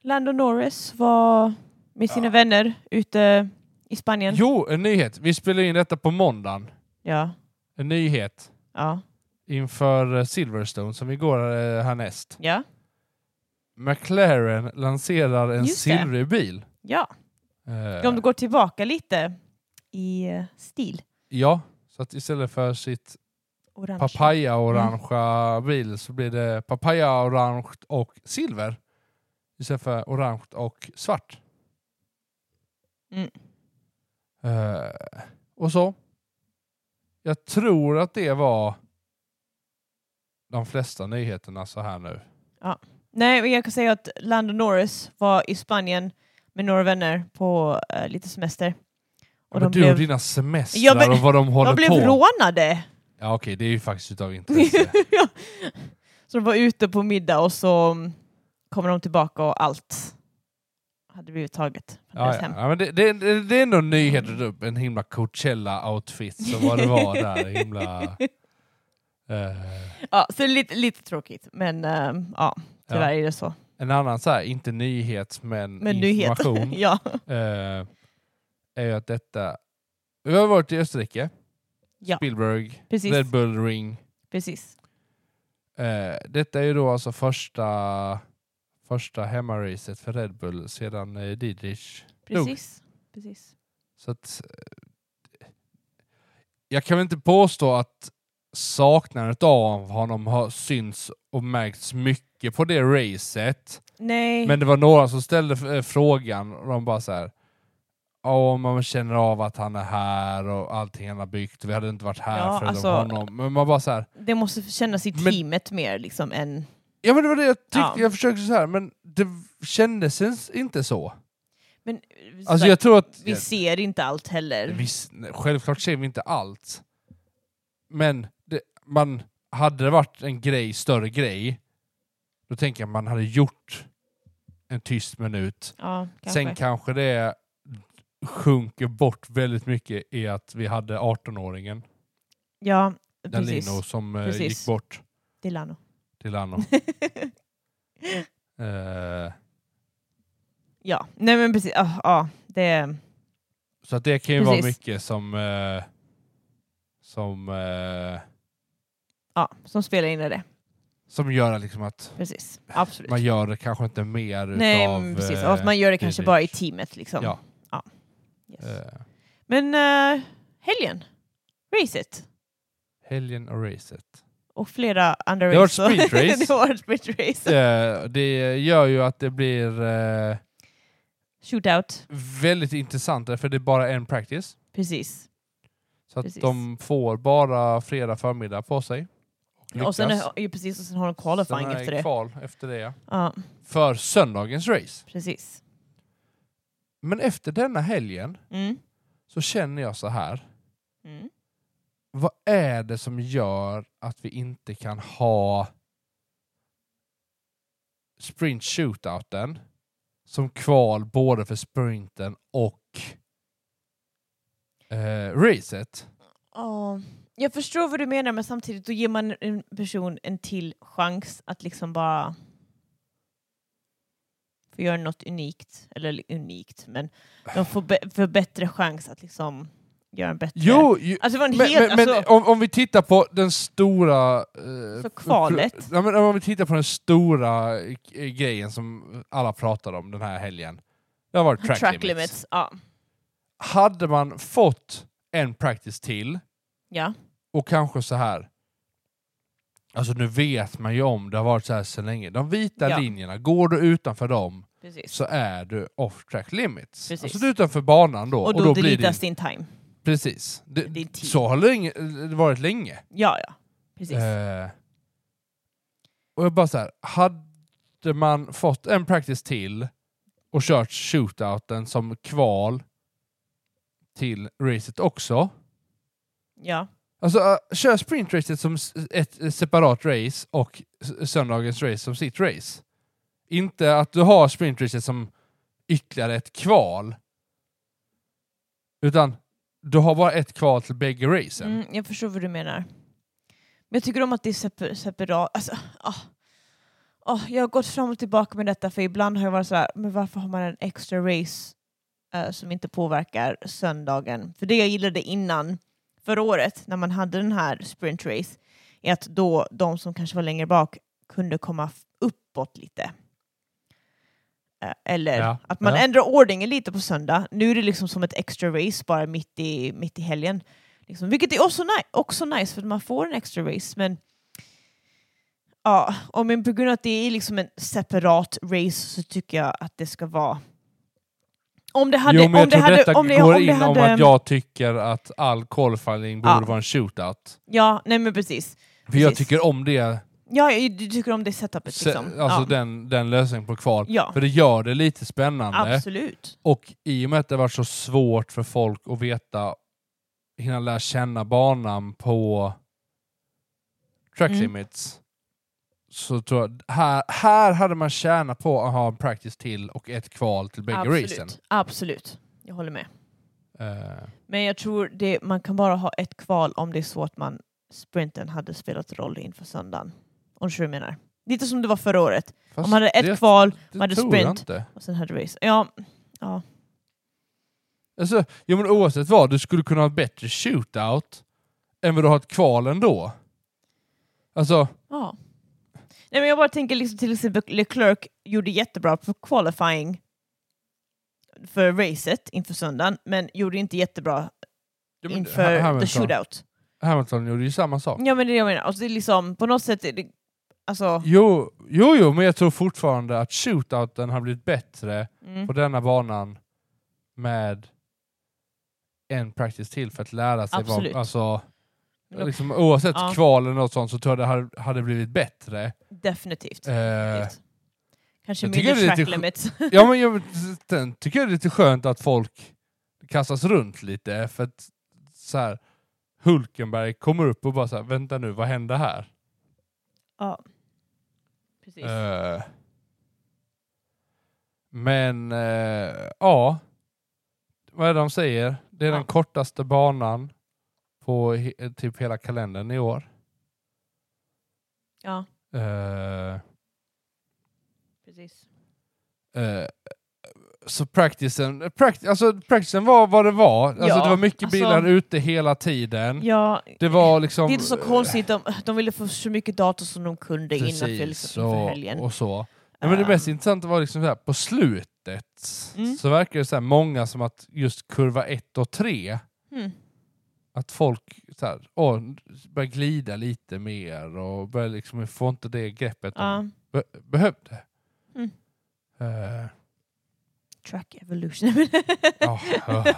Speaker 2: Lando Norris var med sina
Speaker 3: Ja.
Speaker 2: vänner ute i Spanien.
Speaker 3: jo, en nyhet. Vi spelar in detta på måndagen.
Speaker 2: Ja.
Speaker 3: En nyhet
Speaker 2: Ja.
Speaker 3: inför eh, Silverstone som vi går eh, härnäst.
Speaker 2: Ja.
Speaker 3: McLaren lanserar en
Speaker 2: Just det.
Speaker 3: silvrig bil.
Speaker 2: ja.
Speaker 3: Eh,
Speaker 2: Om du går tillbaka lite i eh, stil.
Speaker 3: Ja, så att istället för sitt
Speaker 2: Orange.
Speaker 3: papaya-orangea bil eh, så blir det papaya-orange och silver. Istället för orange och svart.
Speaker 2: Mm.
Speaker 3: Eh, och så. Jag tror att det var de flesta nyheterna så här nu.
Speaker 2: Nej, men jag kan säga att Lando Norris var i Spanien med några vänner på eh, lite semester. Och
Speaker 3: men
Speaker 2: de
Speaker 3: du
Speaker 2: blev-
Speaker 3: och dina semestrar
Speaker 2: Ja, men-
Speaker 3: och vad de håller
Speaker 2: De blev
Speaker 3: på.
Speaker 2: rånade!
Speaker 3: Ja okej, det är ju faktiskt
Speaker 2: *laughs*
Speaker 3: utav intresse.
Speaker 2: Ja. så de var ute på middag och så mm, kommer de tillbaka och allt hade blivit taget från
Speaker 3: Ja,
Speaker 2: deras
Speaker 3: ja.
Speaker 2: hem.
Speaker 3: Ja, men det, det, det, det är ändå en nyhet att dra upp en himla Coachella-outfit som vad det var där. Himla, eh,
Speaker 2: *laughs* Ja, så lite, lite tråkigt, men eh, ja, tyvärr är det så.
Speaker 3: en annan så här, inte nyhet men,
Speaker 2: Men
Speaker 3: information.
Speaker 2: nyhet. *laughs* ja.
Speaker 3: eh, är ju att detta... Vi har varit i Österrike,
Speaker 2: ja,
Speaker 3: Spielberg,
Speaker 2: Precis.
Speaker 3: Red Bull Ring.
Speaker 2: precis.
Speaker 3: Eh, detta är ju då alltså första, första hemmaracet för Red Bull sedan eh, Didrich Dog.
Speaker 2: Precis. precis.
Speaker 3: Så att, eh, jag kan väl inte påstå att saknadet av honom har synts och märkts mycket på det racet.
Speaker 2: Nej.
Speaker 3: Men det var några som ställde f- eh, frågan och de bara så här. "Ja, Om man känner av att han är här och allting han har byggt. Vi hade inte varit här
Speaker 2: Ja,
Speaker 3: förutom
Speaker 2: alltså-
Speaker 3: honom. Men man bara så här.
Speaker 2: Det måste kännas i
Speaker 3: Men-
Speaker 2: teamet mer liksom än...
Speaker 3: Ja men det var det jag tyckte.
Speaker 2: Ja.
Speaker 3: Jag försökte så här, men det kändes ens inte så.
Speaker 2: Men,
Speaker 3: Alltså jag tror att...
Speaker 2: Vi ser inte allt heller.
Speaker 3: Visst, nej, självklart ser vi inte allt. Men det, man, hade det varit en grej, större grej, då tänker jag man hade gjort en tyst minut.
Speaker 2: ja, kanske.
Speaker 3: Sen kanske det sjunker bort väldigt mycket i att vi hade 18-åringen
Speaker 2: ja, precis.
Speaker 3: Dalino som eh,
Speaker 2: Precis.
Speaker 3: gick bort
Speaker 2: Delano.
Speaker 3: till Anno. Eh,
Speaker 2: *laughs* Ja, nej men precis. Ja, ja, det...
Speaker 3: så att det kan ju vara
Speaker 2: Precis.
Speaker 3: mycket som eh, som, eh,
Speaker 2: Ja, som spelar in i det.
Speaker 3: som gör liksom att
Speaker 2: Precis. Absolut.
Speaker 3: Man gör det kanske inte mer
Speaker 2: nej,
Speaker 3: utav...
Speaker 2: men precis.
Speaker 3: eh,
Speaker 2: Och att man gör det kanske
Speaker 3: Didrik.
Speaker 2: bara i teamet liksom.
Speaker 3: Ja.
Speaker 2: Yes.
Speaker 3: eh,
Speaker 2: Men eh, helgen, racet
Speaker 3: helgen och racet.
Speaker 2: och flera andra
Speaker 3: Det har
Speaker 2: race.
Speaker 3: varit
Speaker 2: *laughs*
Speaker 3: sprintrace.
Speaker 2: det har varit sprintrace.
Speaker 3: Eh, det gör ju att det blir eh,
Speaker 2: Shootout,
Speaker 3: väldigt intressant för det är bara en practice.
Speaker 2: precis.
Speaker 3: Så att
Speaker 2: Precis.
Speaker 3: de får bara fredag förmiddag på sig.
Speaker 2: Och sen,
Speaker 3: lyckas.
Speaker 2: ju, precis. och sen har de qualifying
Speaker 3: Sen är
Speaker 2: efter det.
Speaker 3: Kval efter det ja.
Speaker 2: Ja,
Speaker 3: För söndagens race.
Speaker 2: precis.
Speaker 3: Men efter denna helgen
Speaker 2: Mm.
Speaker 3: så känner jag så här.
Speaker 2: Mm.
Speaker 3: Vad är det som gör att vi inte kan ha sprint shootouten som kval både för sprinten och eh, racet?
Speaker 2: Ja, jag förstår vad du menar men samtidigt då ger man en person en till chans att liksom bara få göra något unikt, eller li- unikt, men de får, be- får bättre chans att liksom göra en bättre...
Speaker 3: Jo, ju,
Speaker 2: Alltså det var en
Speaker 3: men,
Speaker 2: helt...
Speaker 3: men, men
Speaker 2: alltså,
Speaker 3: om, om vi tittar på den stora... Eh,
Speaker 2: Så kvalet.
Speaker 3: Ja, men om vi tittar på den stora eh, grejen som alla pratar om den här helgen. Det har varit track,
Speaker 2: track
Speaker 3: limits.
Speaker 2: limits. Ja.
Speaker 3: Hade man fått en practice till
Speaker 2: ja.
Speaker 3: Och kanske så här. Alltså nu vet man ju om, det har varit så här så länge. De vita
Speaker 2: Ja.
Speaker 3: linjerna, går du utanför dem
Speaker 2: Precis.
Speaker 3: så är du off track limits.
Speaker 2: Precis.
Speaker 3: Alltså du är utanför banan då.
Speaker 2: och då, deletas din time.
Speaker 3: Precis. Det,
Speaker 2: Din tid.
Speaker 3: så har det länge- det varit länge.
Speaker 2: Ja, ja. Precis.
Speaker 3: Eh, och jag bara så här, hade man fått en practice till och kört shootouten som kval till racet också.
Speaker 2: Ja.
Speaker 3: Alltså eh, kör sprintracet som s- ett eh, separat race och s- söndagens race som sitt race. Inte att du har sprintracet som ytterligare ett kval. Utan du har bara ett kval till bägge racen.
Speaker 2: Mm, jag förstår vad du menar. Men jag tycker om att det är separ- separat. Alltså, ah. Ah, jag har gått fram och tillbaka med detta för ibland har jag varit så här, men varför har man en extra race eh, som inte påverkar söndagen? För det jag gillade innan, förra året, när man hade den här sprint race, är att då de som kanske var längre bak kunde komma f- uppåt lite. Eh, Eller
Speaker 3: Ja,
Speaker 2: att man
Speaker 3: ja.
Speaker 2: ändrar ordningen lite på söndag. Nu är det liksom som ett extra race bara mitt i, mitt i helgen. Liksom, vilket är också, ni- också nice för att man får en extra race. Men ja, och men på grund av att det är liksom en separat race så tycker jag att det ska vara... Om det hade...
Speaker 3: jo, men jag
Speaker 2: om det
Speaker 3: tror
Speaker 2: hade,
Speaker 3: detta
Speaker 2: om det,
Speaker 3: går
Speaker 2: om det
Speaker 3: in om
Speaker 2: hade-
Speaker 3: att jag tycker att all qualifying borde
Speaker 2: Ja.
Speaker 3: vara en shootout.
Speaker 2: Ja, nej men precis.
Speaker 3: För jag
Speaker 2: Precis.
Speaker 3: tycker om det,
Speaker 2: Ja, du tycker om det setupet
Speaker 3: se-
Speaker 2: liksom.
Speaker 3: alltså
Speaker 2: ja.
Speaker 3: den, den lösningen på kval.
Speaker 2: ja,
Speaker 3: För eh, det gör det lite spännande.
Speaker 2: absolut.
Speaker 3: Och i och med att det har varit så svårt för folk att veta, hinna lära känna banan på track
Speaker 2: Mm.
Speaker 3: limits. Så tror jag, här, här hade man tjänat på att ha en practice till och ett kval till bägge racen.
Speaker 2: Absolut. absolut. Jag håller med.
Speaker 3: Eh,
Speaker 2: Men jag tror det, man kan bara ha ett kval om det är så att man sprinten hade spelat roll inför söndagen. Om du menar. Lite som det var förra året.
Speaker 3: fast
Speaker 2: om man hade ett
Speaker 3: det-
Speaker 2: kval
Speaker 3: det
Speaker 2: man hade
Speaker 3: tror jag
Speaker 2: sprint.
Speaker 3: inte.
Speaker 2: och sen hade race. Ja,
Speaker 3: Alltså, ja, men oavsett vad, du skulle kunna ha ett bättre shootout än vad du har ett kval ändå. Alltså,
Speaker 2: Ja. Nej, men jag bara tänker liksom till exempel Leclerc gjorde jättebra på qualifying för racet inför söndagen, men gjorde inte jättebra
Speaker 3: ja, men
Speaker 2: inför the
Speaker 3: Hamilton-
Speaker 2: shootout.
Speaker 3: Hamilton gjorde ju samma sak.
Speaker 2: Ja, men det är det jag menar. Alltså, det är liksom, på något sätt är det... Alltså,
Speaker 3: Jo, jo, jo, men jag tror fortfarande att shootouten har blivit bättre
Speaker 2: mm,
Speaker 3: på denna banan med en practice till för att lära sig.
Speaker 2: Absolut.
Speaker 3: Vad, alltså,
Speaker 2: Men-
Speaker 3: liksom, oavsett
Speaker 2: Ja.
Speaker 3: kval eller något sånt så tror jag det hade, hade blivit bättre.
Speaker 2: definitivt.
Speaker 3: Eh,
Speaker 2: definitivt. Kanske
Speaker 3: jag
Speaker 2: mindre
Speaker 3: tycker det är
Speaker 2: track
Speaker 3: lite sj-
Speaker 2: limits. *laughs*
Speaker 3: ja, men jag den tycker jag det är lite skönt att folk kastas runt lite för att så här, Hulkenberg kommer upp och bara så här, vänta nu, vad hände här?
Speaker 2: ja. Precis.
Speaker 3: Eh, men eh, ja, vad är det de säger? Det är
Speaker 2: Ja.
Speaker 3: den kortaste banan på he- typ hela kalendern i år.
Speaker 2: ja,
Speaker 3: Eh,
Speaker 2: precis.
Speaker 3: eh, så practicen, pract, alltså practicen var vad det var. Alltså
Speaker 2: Ja,
Speaker 3: det var mycket
Speaker 2: alltså-
Speaker 3: bilar ute hela tiden.
Speaker 2: Ja,
Speaker 3: Det var liksom...
Speaker 2: det är inte så konstigt. De, de ville få så mycket data som de kunde innan för,
Speaker 3: Precis,
Speaker 2: liksom, inför helgen.
Speaker 3: och, och så. Ja, men det
Speaker 2: Ehm.
Speaker 3: mest intressanta var liksom så här, på slutet
Speaker 2: Mm.
Speaker 3: så verkar det så här, många som att just kurva 1 och 3,
Speaker 2: Mm.
Speaker 3: att folk så här, åh, börjar glida lite mer och börjar liksom, får inte det greppet
Speaker 2: Ja.
Speaker 3: de be behövde.
Speaker 2: Mm.
Speaker 3: Eh,
Speaker 2: Track Evolution. *laughs*
Speaker 3: ja, Ah, ja.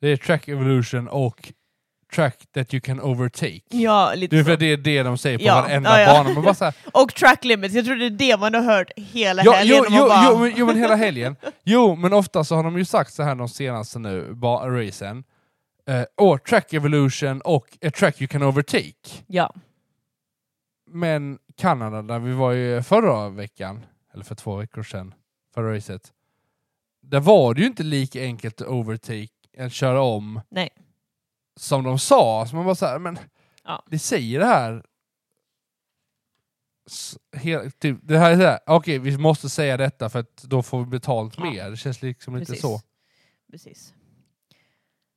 Speaker 3: det är track evolution och track that you can overtake.
Speaker 2: ja, lite
Speaker 3: Det är, för
Speaker 2: så.
Speaker 3: det är det de säger på
Speaker 2: Ja, ja,
Speaker 3: varenda
Speaker 2: ja.
Speaker 3: bana. Man bara
Speaker 2: *laughs*
Speaker 3: så här,
Speaker 2: Och track limits, jag tror det är det man har hört hela
Speaker 3: Ja,
Speaker 2: helgen.
Speaker 3: jo,
Speaker 2: och man
Speaker 3: jo,
Speaker 2: bara,
Speaker 3: jo, men, jo, men hela helgen. Jo, men ofta så har de ju sagt så här de senaste nu, ba- racen. Eh, åh, track evolution och a track you can overtake.
Speaker 2: ja.
Speaker 3: Men Kanada, där vi var ju förra veckan, eller för två veckor sedan, förra racet. Där var det ju inte lika enkelt att overtake, att köra om,
Speaker 2: Nej.
Speaker 3: som de sa. Så man bara så här, men
Speaker 2: Ja.
Speaker 3: det säger det här. S- Hela, typ, det här är så här, okej vi måste säga detta för att då får vi betalt
Speaker 2: Ja.
Speaker 3: mer. Det känns liksom lite
Speaker 2: Precis.
Speaker 3: så.
Speaker 2: Precis.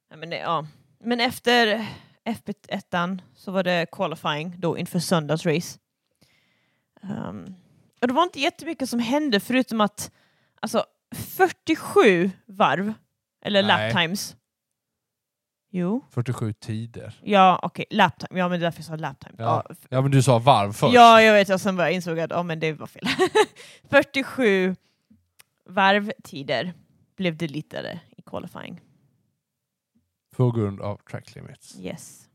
Speaker 2: Ja, men, det- ja. men efter FP1 så var det qualifying då inför söndags race. Ehm, och det var inte jättemycket som hände förutom att alltså 47 varv, eller
Speaker 3: Nej.
Speaker 2: lap times. Jo,
Speaker 3: 47 tider.
Speaker 2: ja okej, lap time. Ja men det är därför jag sa lap time.
Speaker 3: Ja.
Speaker 2: Ja,
Speaker 3: Ja men du sa varv först.
Speaker 2: Ja, jag vet. Och sen bara insåg jag att oh, men det var fel. *laughs* 47 varvtider blev det litare i qualifying.
Speaker 3: på grund av track limits.
Speaker 2: Yes.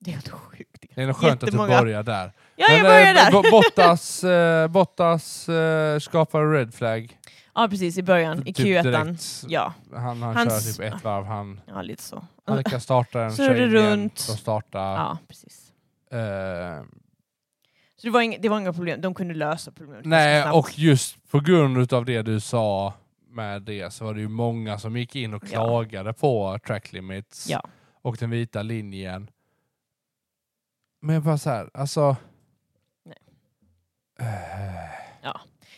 Speaker 2: Det är helt sjukt.
Speaker 3: Det är nog skönt att du
Speaker 2: Jättemånga.
Speaker 3: börjar där.
Speaker 2: Ja, jag
Speaker 3: eh,
Speaker 2: börjar där.
Speaker 3: Bo- Bottas, eh, Bottas eh, skapar red flag.
Speaker 2: *laughs* Ja, precis. I början. I
Speaker 3: Typ
Speaker 2: Q1.
Speaker 3: direkt.
Speaker 2: Ja,
Speaker 3: Han, han
Speaker 2: Hans-
Speaker 3: kör typ ett varv. Han,
Speaker 2: ja, lite så.
Speaker 3: han lyckas starta en
Speaker 2: Så är det
Speaker 3: tjej igen,
Speaker 2: runt.
Speaker 3: De startar.
Speaker 2: Ja, precis.
Speaker 3: Eh,
Speaker 2: Så det var, inga, det var inga problem. De kunde lösa problemet ganska
Speaker 3: nej,
Speaker 2: snabbt.
Speaker 3: och just på grund av det du sa med det så var det ju många som gick in och
Speaker 2: Ja.
Speaker 3: klagade på track limits
Speaker 2: Ja.
Speaker 3: och den vita linjen. Men bara så här, alltså...
Speaker 2: Nej.
Speaker 3: Eh,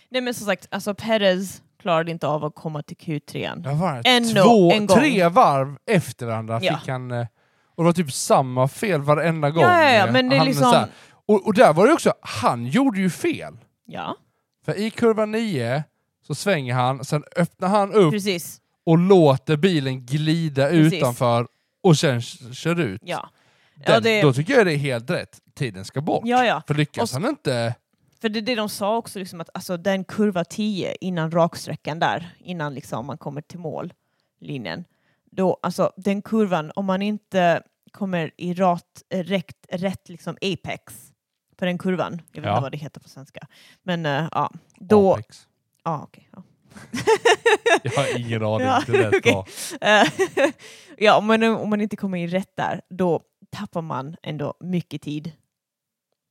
Speaker 2: Nej, men som sagt, alltså Perez klarade inte av att komma till Q3.
Speaker 3: Det var
Speaker 2: En no,
Speaker 3: två,
Speaker 2: en gång.
Speaker 3: tre varv efter varandra
Speaker 2: Ja.
Speaker 3: fick han... eh, Och det var typ samma fel varenda gång.
Speaker 2: Ja, ja, ja, men det är
Speaker 3: Han
Speaker 2: liksom-
Speaker 3: så här- och, och där var det också, han gjorde ju fel.
Speaker 2: Ja,
Speaker 3: För i kurva 9 så svänger han, sen öppnar han upp
Speaker 2: precis.
Speaker 3: och låter bilen glida
Speaker 2: Precis.
Speaker 3: utanför och sen k- kör ut.
Speaker 2: Ja.
Speaker 3: Den,
Speaker 2: Ja, det-
Speaker 3: Då tycker jag det är helt rätt. Tiden ska bort.
Speaker 2: Ja, ja.
Speaker 3: För lyckas
Speaker 2: Och
Speaker 3: han inte...
Speaker 2: För det är det de sa också, liksom att alltså, den kurva 10 innan raksträckan där, innan liksom man kommer till mållinjen, då, alltså den kurvan, om man inte kommer i rat, eh, rätt, rätt liksom apex på den kurvan, jag vet inte
Speaker 3: Ja.
Speaker 2: vad det heter på svenska, men eh, ja, då... *laughs*
Speaker 3: Apex.
Speaker 2: Ja, okej, ja.
Speaker 3: *laughs* Jag har ingen aning.
Speaker 2: Ja,
Speaker 3: det lät
Speaker 2: okej.
Speaker 3: bra.
Speaker 2: *laughs* Eh, ja, men om man inte kommer in rätt där, då tappar man ändå mycket tid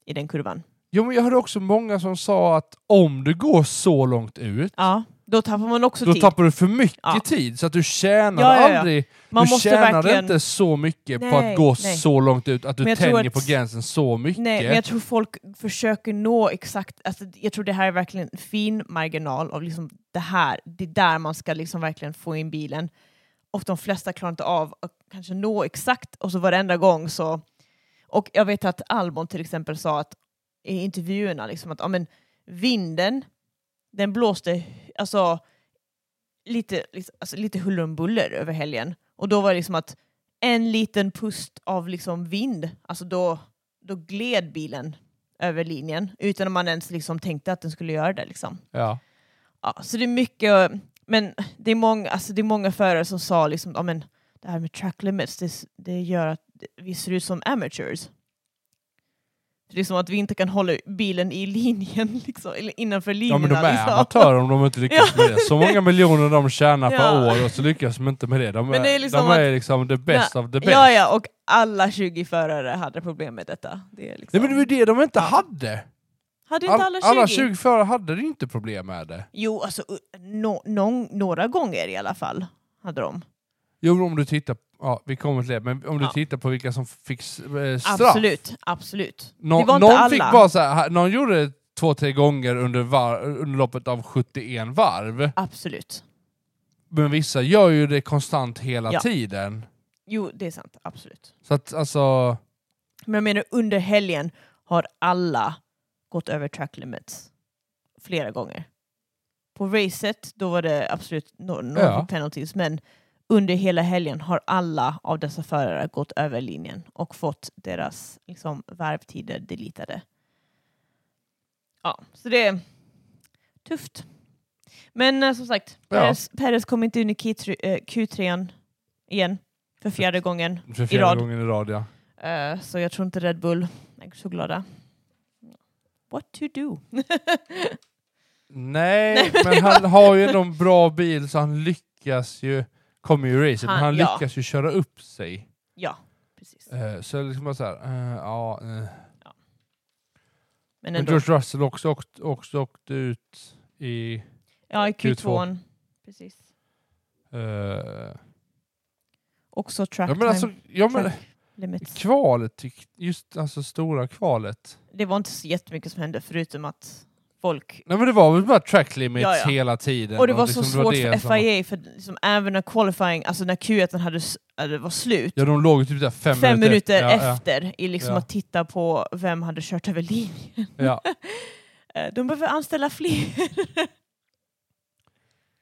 Speaker 2: i den kurvan.
Speaker 3: Jo, men jag hörde också många som sa att om du går så långt ut
Speaker 2: Ja, då tappar man också
Speaker 3: Då
Speaker 2: tid.
Speaker 3: tappar du för mycket
Speaker 2: typ. Ja.
Speaker 3: tid, så att du tjänar
Speaker 2: Ja, ja, ja.
Speaker 3: aldrig...
Speaker 2: Man
Speaker 3: du
Speaker 2: måste
Speaker 3: tjänar
Speaker 2: verkligen...
Speaker 3: inte så mycket på
Speaker 2: Nej,
Speaker 3: att gå
Speaker 2: nej.
Speaker 3: så långt ut, att
Speaker 2: Men
Speaker 3: du
Speaker 2: jag tror
Speaker 3: tänjer
Speaker 2: att-
Speaker 3: på gränsen så mycket.
Speaker 2: Nej, men jag tror folk försöker nå exakt, alltså, jag tror det här är verkligen en fin marginal av liksom det här, det är där man ska liksom verkligen få in bilen. Och de flesta klarar inte av att kanske nå exakt, och så varenda gång så... Och jag vet att Albon till exempel sa att i intervjuerna liksom att ja, men, vinden, den blåste alltså, lite, liksom, alltså, lite huller om buller över helgen. Och då var det liksom att en liten pust av liksom vind, alltså då, då gled bilen över linjen utan att man ens liksom tänkte att den skulle göra det. Liksom.
Speaker 3: Ja.
Speaker 2: Ja, så det är mycket, men det är många, alltså det är många förare som sa liksom, ja, men det här med track limits, det, s- det gör att vi ser ut som amateurs. Det är som att vi inte kan hålla bilen i linjen, *laughs* liksom, eller innanför
Speaker 3: ja,
Speaker 2: linjerna.
Speaker 3: men de är
Speaker 2: liksom. *laughs*
Speaker 3: amatörer om de inte lyckas
Speaker 2: Ja.
Speaker 3: med det. Så många miljoner de tjänar
Speaker 2: Ja.
Speaker 3: per år och så lyckas de inte med det. De är,
Speaker 2: Men det är liksom
Speaker 3: de är liksom the best of the best.
Speaker 2: Ja, ja, och alla 20 förare hade problem med detta. Det är liksom...
Speaker 3: Nej, men det var ju det de inte hade.
Speaker 2: Hade
Speaker 3: All,
Speaker 2: inte alla 20?
Speaker 3: alla 20 förare hade det inte problem med det.
Speaker 2: Jo, alltså u- nå- någon- några gånger i alla fall hade de.
Speaker 3: Jo, om du tittar... Ja, vi kommer till det, men om du
Speaker 2: Ja.
Speaker 3: tittar på vilka som fick s- eh, straff.
Speaker 2: Absolut, absolut.
Speaker 3: Nå,
Speaker 2: det var inte
Speaker 3: någon
Speaker 2: alla.
Speaker 3: fick bara så här, någon gjorde det två, tre gånger under, var, under loppet av 71 varv.
Speaker 2: Absolut.
Speaker 3: Men vissa gör ju det konstant hela
Speaker 2: Ja.
Speaker 3: tiden.
Speaker 2: Jo, det är sant. Absolut.
Speaker 3: Så att alltså...
Speaker 2: Men jag menar, under helgen har alla gått över track limits flera gånger. På racet, då var det absolut no- några
Speaker 3: Ja.
Speaker 2: fick penalties, men under hela helgen har alla av dessa förare gått över linjen och fått deras liksom, varvtider deletade. Ja, så det är tufft. Men eh, som sagt,
Speaker 3: Ja.
Speaker 2: Perez, Perez kom inte in i Q3, eh, Q3 igen för fjärde gången.
Speaker 3: För fjärde
Speaker 2: rad.
Speaker 3: gången i rad, ja.
Speaker 2: Eh, så jag tror inte Red Bull är så glada. What to do? *laughs*
Speaker 3: Nej, men han har ju ändå en bra bil så han lyckas ju... Kommer ju i racet, men
Speaker 2: Han-
Speaker 3: han
Speaker 2: ja.
Speaker 3: lyckas ju köra upp sig.
Speaker 2: ja, precis.
Speaker 3: Eh, Så liksom bara så här, eh, ja... eh.
Speaker 2: Men
Speaker 3: Men
Speaker 2: ändå.
Speaker 3: George Russell också åkt- också åkte ut i... eh,
Speaker 2: Ja, i Q2.
Speaker 3: Q2.
Speaker 2: Precis.
Speaker 3: eh,
Speaker 2: Också track
Speaker 3: Ja men
Speaker 2: time
Speaker 3: alltså, ja, men,
Speaker 2: track limits.
Speaker 3: Kvalet, tyck- just alltså stora kvalet.
Speaker 2: Det var inte så jättemycket som hände förutom att folk...
Speaker 3: Nej men det var väl bara track limits
Speaker 2: Ja, ja.
Speaker 3: hela tiden.
Speaker 2: Och det var
Speaker 3: liksom,
Speaker 2: så svårt
Speaker 3: det
Speaker 2: för
Speaker 3: som var-
Speaker 2: FIA, för liksom, även när qualifying, alltså när Q1 hade, s- hade var slut,
Speaker 3: Ja de låg ju typ där fem,
Speaker 2: fem, minuter
Speaker 3: Ja, ja,
Speaker 2: efter, i liksom
Speaker 3: Ja.
Speaker 2: att titta på vem hade kört över linjen.
Speaker 3: Ja,
Speaker 2: Eh, De behöver anställa fler.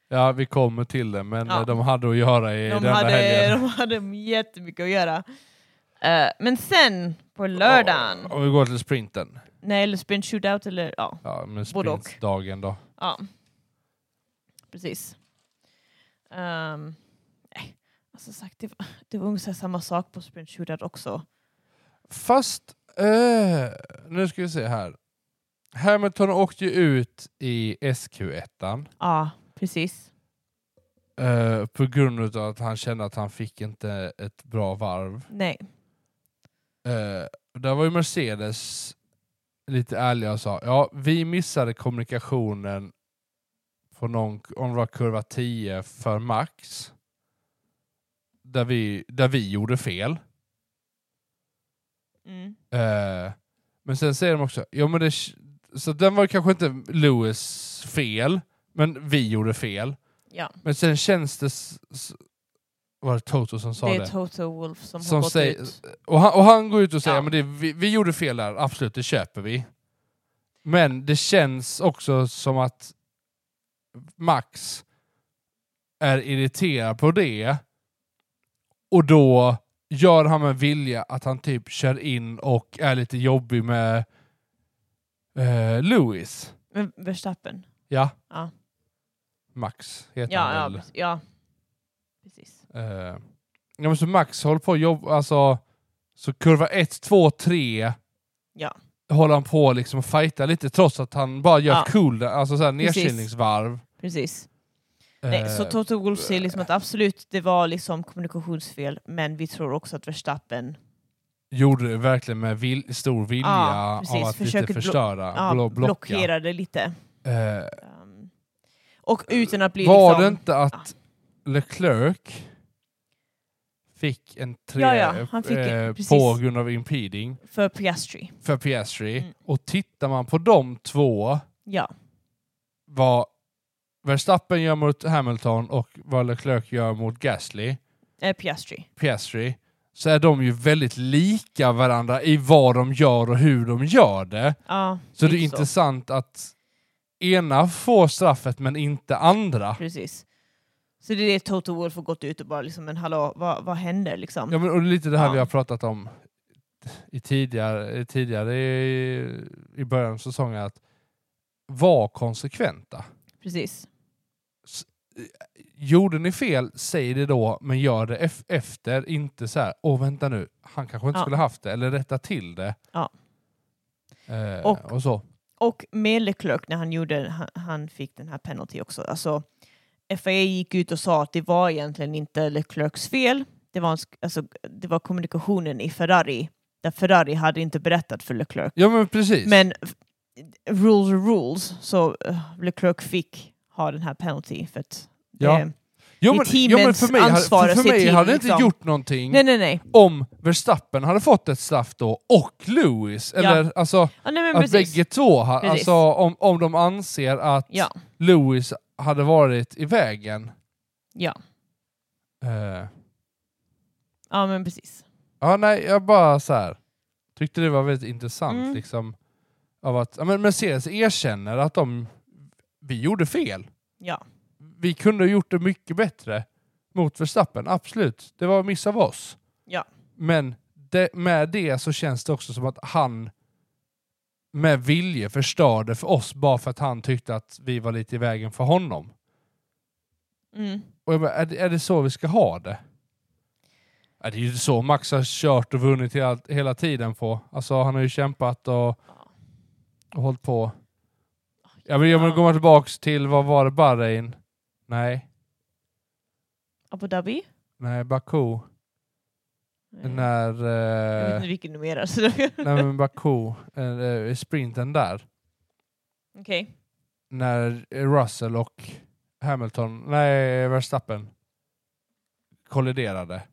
Speaker 3: ja vi kommer till det men
Speaker 2: Ja.
Speaker 3: eh, de hade att göra i
Speaker 2: De
Speaker 3: denna
Speaker 2: hade,
Speaker 3: helgen.
Speaker 2: de hade jättemycket att göra. Eh, men sen på lördagen,
Speaker 3: Om vi går till sprinten.
Speaker 2: nej eller sprint shootout eller ja,
Speaker 3: Ja men
Speaker 2: Både och.
Speaker 3: sprintdagen då.
Speaker 2: ja. precis. Ehm, nej. Alltså sagt, det, var, det var ungefär samma sak på Sprint Shootout också.
Speaker 3: Fast, eh, nu ska vi se här. Hamilton åkte ju ut i SQ1
Speaker 2: Ja, precis.
Speaker 3: eh, på grund av att han kände att han fick inte ett bra varv.
Speaker 2: Nej.
Speaker 3: Eh, där var ju Mercedes lite ärliga och sa ja, vi missade kommunikationen på någon, om det var kurva 10 för max. Där vi, där vi gjorde fel.
Speaker 2: Mm.
Speaker 3: Eh, men sen säger de också, ja men det, så den var kanske inte Lewis fel, men vi gjorde fel.
Speaker 2: Ja,
Speaker 3: Men sen känns det, s- s- var det Toto som sa
Speaker 2: det
Speaker 3: det?
Speaker 2: är Toto Wolf som,
Speaker 3: Som
Speaker 2: har gått
Speaker 3: säger-
Speaker 2: ut.
Speaker 3: Och han, och han går ut och säger
Speaker 2: Ja.
Speaker 3: men det, vi, vi gjorde fel där, absolut, det köper vi. Men det känns också som att Max är irriterad på det och då gör han med vilja att han typ kör in och är lite jobbig med eh, Lewis.
Speaker 2: Men Verstappen.
Speaker 3: Ja.
Speaker 2: Ja.
Speaker 3: Max heter
Speaker 2: Ja, ja,
Speaker 3: han väl.
Speaker 2: precis. ja. precis.
Speaker 3: Eh, ja, men så Max håller på och jobb, alltså så kurva 1, 2, 3
Speaker 2: Ja.
Speaker 3: håller han på liksom och fightar lite trots att han bara gör
Speaker 2: Ja.
Speaker 3: ja. cool, alltså såhär
Speaker 2: Precis.
Speaker 3: nedkylningsvarv.
Speaker 2: precis.
Speaker 3: Eh,
Speaker 2: Nej, så Toto Wolf säger liksom att absolut, det var liksom kommunikationsfel, men vi tror också att Verstappen
Speaker 3: gjorde det verkligen med vil, stor vilja
Speaker 2: Ja, precis.
Speaker 3: av att
Speaker 2: Försöker
Speaker 3: lite
Speaker 2: blo-
Speaker 3: förstöra,
Speaker 2: ja,
Speaker 3: blo- blocka.
Speaker 2: blockerade lite.
Speaker 3: Eh,
Speaker 2: Um, och utan att bli
Speaker 3: var det
Speaker 2: liksom...
Speaker 3: inte att Leclerc fick en tre
Speaker 2: Ja, ja, han fick-
Speaker 3: eh,
Speaker 2: precis.
Speaker 3: på grund av impeding
Speaker 2: För Piastri.
Speaker 3: för Piastri?
Speaker 2: Mm.
Speaker 3: Och tittar man på de två
Speaker 2: Ja,
Speaker 3: vad Verstappen gör mot Hamilton och vad Leclerc gör mot Gasly,
Speaker 2: eh, Piastri.
Speaker 3: Piastri, så är de ju väldigt lika varandra i vad de gör och hur de gör det.
Speaker 2: Ja, liksom.
Speaker 3: Så det är
Speaker 2: lite
Speaker 3: intressant att ena får straffet men inte andra.
Speaker 2: Precis. Så det är det Toto Wolf har gått ut och bara liksom, men hallå, vad, vad händer liksom?
Speaker 3: Ja, men, och lite det här
Speaker 2: Ja.
Speaker 3: vi har pratat om i tidigare, i tidigare i, i början av säsongen, att var konsekventa.
Speaker 2: Precis.
Speaker 3: gjorde ni fel, säg det då, men gör det ef- efter. Inte så här, åh vänta nu, han kanske inte
Speaker 2: Ja.
Speaker 3: skulle haft det, eller rätta till det.
Speaker 2: Ja.
Speaker 3: Eh,
Speaker 2: Och-
Speaker 3: och, så.
Speaker 2: Och med Leclerc när han, gjorde, han, han fick den här penalty också. Alltså, FAE gick ut och sa att det var egentligen inte Leclercs fel. Det var, en, sk- alltså, det var kommunikationen i Ferrari, där Ferrari hade inte berättat för Leclerc.
Speaker 3: Ja men precis.
Speaker 2: Men f- rules are rules, så eh, Leclerc fick ha den här penalty för att
Speaker 3: Ja.
Speaker 2: det,
Speaker 3: jo,
Speaker 2: det är
Speaker 3: men, jo, men
Speaker 2: teamens
Speaker 3: för mig, hade-
Speaker 2: ansvar
Speaker 3: för,
Speaker 2: att
Speaker 3: för
Speaker 2: se
Speaker 3: mig
Speaker 2: till,
Speaker 3: hade det inte
Speaker 2: liksom.
Speaker 3: gjort någonting
Speaker 2: Nej, nej, nej.
Speaker 3: om Verstappen hade fått ett straff då, och Lewis. Eller alltså,
Speaker 2: Ja, nej men
Speaker 3: att
Speaker 2: precis.
Speaker 3: bägge två hade...
Speaker 2: Precis.
Speaker 3: Alltså om, om de anser att
Speaker 2: Ja,
Speaker 3: Lewis hade varit i vägen.
Speaker 2: ja.
Speaker 3: Eh,
Speaker 2: ja, men precis.
Speaker 3: Ja, nej, jag bara så här. tyckte det var väldigt intressant
Speaker 2: Mm.
Speaker 3: liksom. Av att, ja, men Mercedes erkänner att de, vi gjorde fel.
Speaker 2: Ja.
Speaker 3: Vi kunde ha gjort det mycket bättre mot Verstappen, absolut. Det var en miss av oss.
Speaker 2: Ja.
Speaker 3: Men det, med det så känns det också som att han med vilje förstörde för oss bara för att han tyckte att vi var lite i vägen för honom.
Speaker 2: Mm.
Speaker 3: Och jag bara, är, det, är det så vi ska ha det? Ja, det är ju så Max har kört och vunnit hela, hela tiden på. Alltså han har ju kämpat och, och hållit på. Ja, men, ja. men
Speaker 2: Ja.
Speaker 3: går man tillbaks till, vad var det, Bahrain? Nej,
Speaker 2: Abu Dhabi?
Speaker 3: nej, Baku. När,
Speaker 2: Jag vet
Speaker 3: eh,
Speaker 2: inte vilken du menar. så- Okej. *laughs*
Speaker 3: nej men Baku, eh, eh, sprinten där. När Russell och Hamilton, nej Verstappen kolliderade.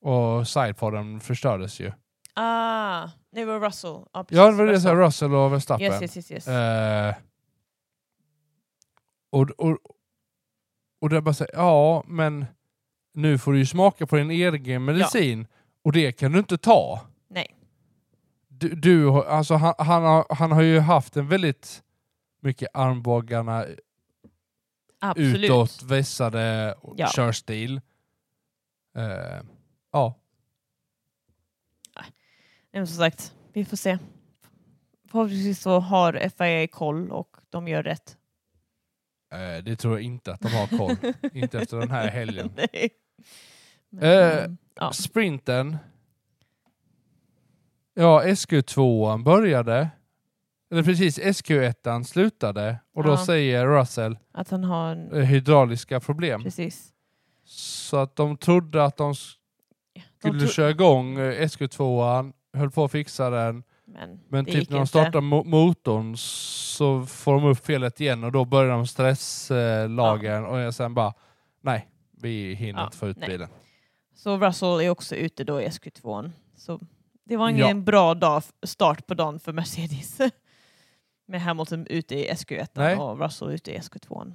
Speaker 3: Och sidepodden förstördes ju.
Speaker 2: Ah, nej, det var Russell. Ja, precis, alltså.
Speaker 3: Ja, det var det jag sa, Russell och Verstappen.
Speaker 2: Yes, yes, yes. yes.
Speaker 3: Eh, och, och, och där bara säger ja men nu får du ju smaka på din egen medicin och det kan du inte ta.
Speaker 2: Nej.
Speaker 3: Du, du har- alltså han, han, har, han har ju haft en väldigt mycket armbågarna
Speaker 2: Absolut.
Speaker 3: utåt, vässade och
Speaker 2: Ja.
Speaker 3: körstil. Eh, ja,
Speaker 2: Nej, Men som sagt, vi får se. Förhoppningsvis så har FIA koll och de gör rätt. *laughs*
Speaker 3: eh, det tror jag inte att de har koll. inte efter den här helgen.
Speaker 2: Nej. Men,
Speaker 3: Eh,
Speaker 2: ja.
Speaker 3: Sprinten. Ja, SQ2 började. Eller precis, SQ1 slutade. Och då
Speaker 2: Ja.
Speaker 3: säger Russell
Speaker 2: Att han har en...
Speaker 3: eh, hydrauliska problem.
Speaker 2: Precis.
Speaker 3: Så att de trodde att de
Speaker 2: De
Speaker 3: skulle
Speaker 2: tro-
Speaker 3: köra igång eh, SQ2, höll på att fixa den.
Speaker 2: Men,
Speaker 3: Men
Speaker 2: det
Speaker 3: typ
Speaker 2: gick
Speaker 3: när de
Speaker 2: inte.
Speaker 3: startar mo- motorn så får de upp felet igen och då börjar de stresslagren och jag sen bara nej, vi hinner
Speaker 2: Ja,
Speaker 3: inte få ut
Speaker 2: nej.
Speaker 3: bilen.
Speaker 2: Så Russell är också ute då i SQ2. Så det var ingen
Speaker 3: Ja.
Speaker 2: bra dag, start på dagen för Mercedes. *laughs* Med Hamilton ute i SQ1
Speaker 3: Nej.
Speaker 2: och Russell ute i SQ2.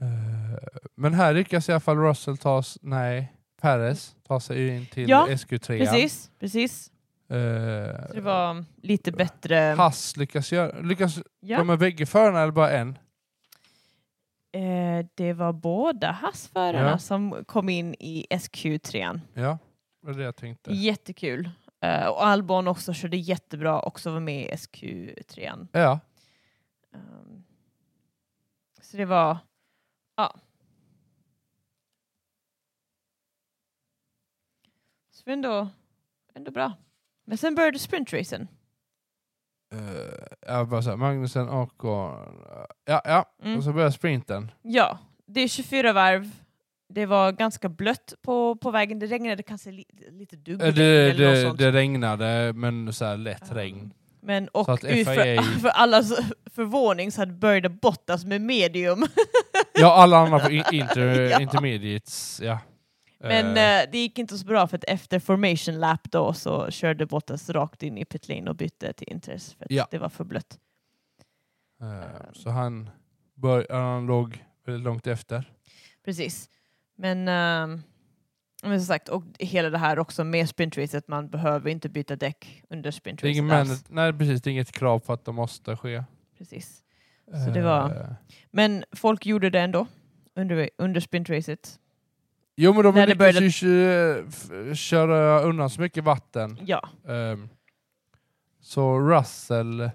Speaker 3: Eh, Men här lyckas i alla fall Russell ta s- nej, Perez ta sig in till
Speaker 2: Ja,
Speaker 3: SQ3.
Speaker 2: Precis, precis. Så det
Speaker 3: Eh,
Speaker 2: var lite bättre.
Speaker 3: Haas lyckas göra, lyckas
Speaker 2: Ja.
Speaker 3: de med bägge förarna eller bara en?
Speaker 2: Eh, det var båda hassförarna
Speaker 3: Ja.
Speaker 2: som kom in i SQ3.
Speaker 3: Ja, det var det jag tänkte.
Speaker 2: Jättekul. Eh, och Albon också körde jättebra, också var med i SQ3.
Speaker 3: Ja,
Speaker 2: Um, så det var... Ja. Så det var ändå, ändå bra. Men sen började sprintracen.
Speaker 3: eh, jag bara så här, Magnusen och... ja, ja.
Speaker 2: Mm.
Speaker 3: och så börjar sprinten.
Speaker 2: Ja, det är 24 varv. Det var ganska blött på, på vägen. Det regnade kanske li, lite dugg.
Speaker 3: Eh, Det,
Speaker 2: eller något
Speaker 3: det,
Speaker 2: sånt.
Speaker 3: det regnade, men så här lätt regn.
Speaker 2: Men
Speaker 3: Så
Speaker 2: och
Speaker 3: att
Speaker 2: ut *laughs*
Speaker 3: FIA
Speaker 2: för, för allas förvåning så hade började Bottas med medium. *laughs*
Speaker 3: Ja, alla andra på in- inter,
Speaker 2: Ja.
Speaker 3: intermediates, ja.
Speaker 2: Men
Speaker 3: Eh,
Speaker 2: eh, det gick inte så bra för att efter formation lap då så körde Bottas rakt in i pitlane och bytte till Inters för att
Speaker 3: Ja.
Speaker 2: det var för blött.
Speaker 3: eh, så han, bör, han låg väldigt långt efter.
Speaker 2: Precis. Men, eh, men som sagt, och hela det här också med sprintracet, man behöver inte byta däck under
Speaker 3: Det är
Speaker 2: sprintracet
Speaker 3: ingen
Speaker 2: alls.
Speaker 3: man, nej, precis, det är inget krav på att de måste ske.
Speaker 2: Precis. Så det var-
Speaker 3: Eh,
Speaker 2: Men folk gjorde det ändå under, under sprintracet.
Speaker 3: Jo, men de
Speaker 2: När det
Speaker 3: lyckades ju kö- f- köra undan så mycket vatten.
Speaker 2: Ja.
Speaker 3: Ehm, så Russell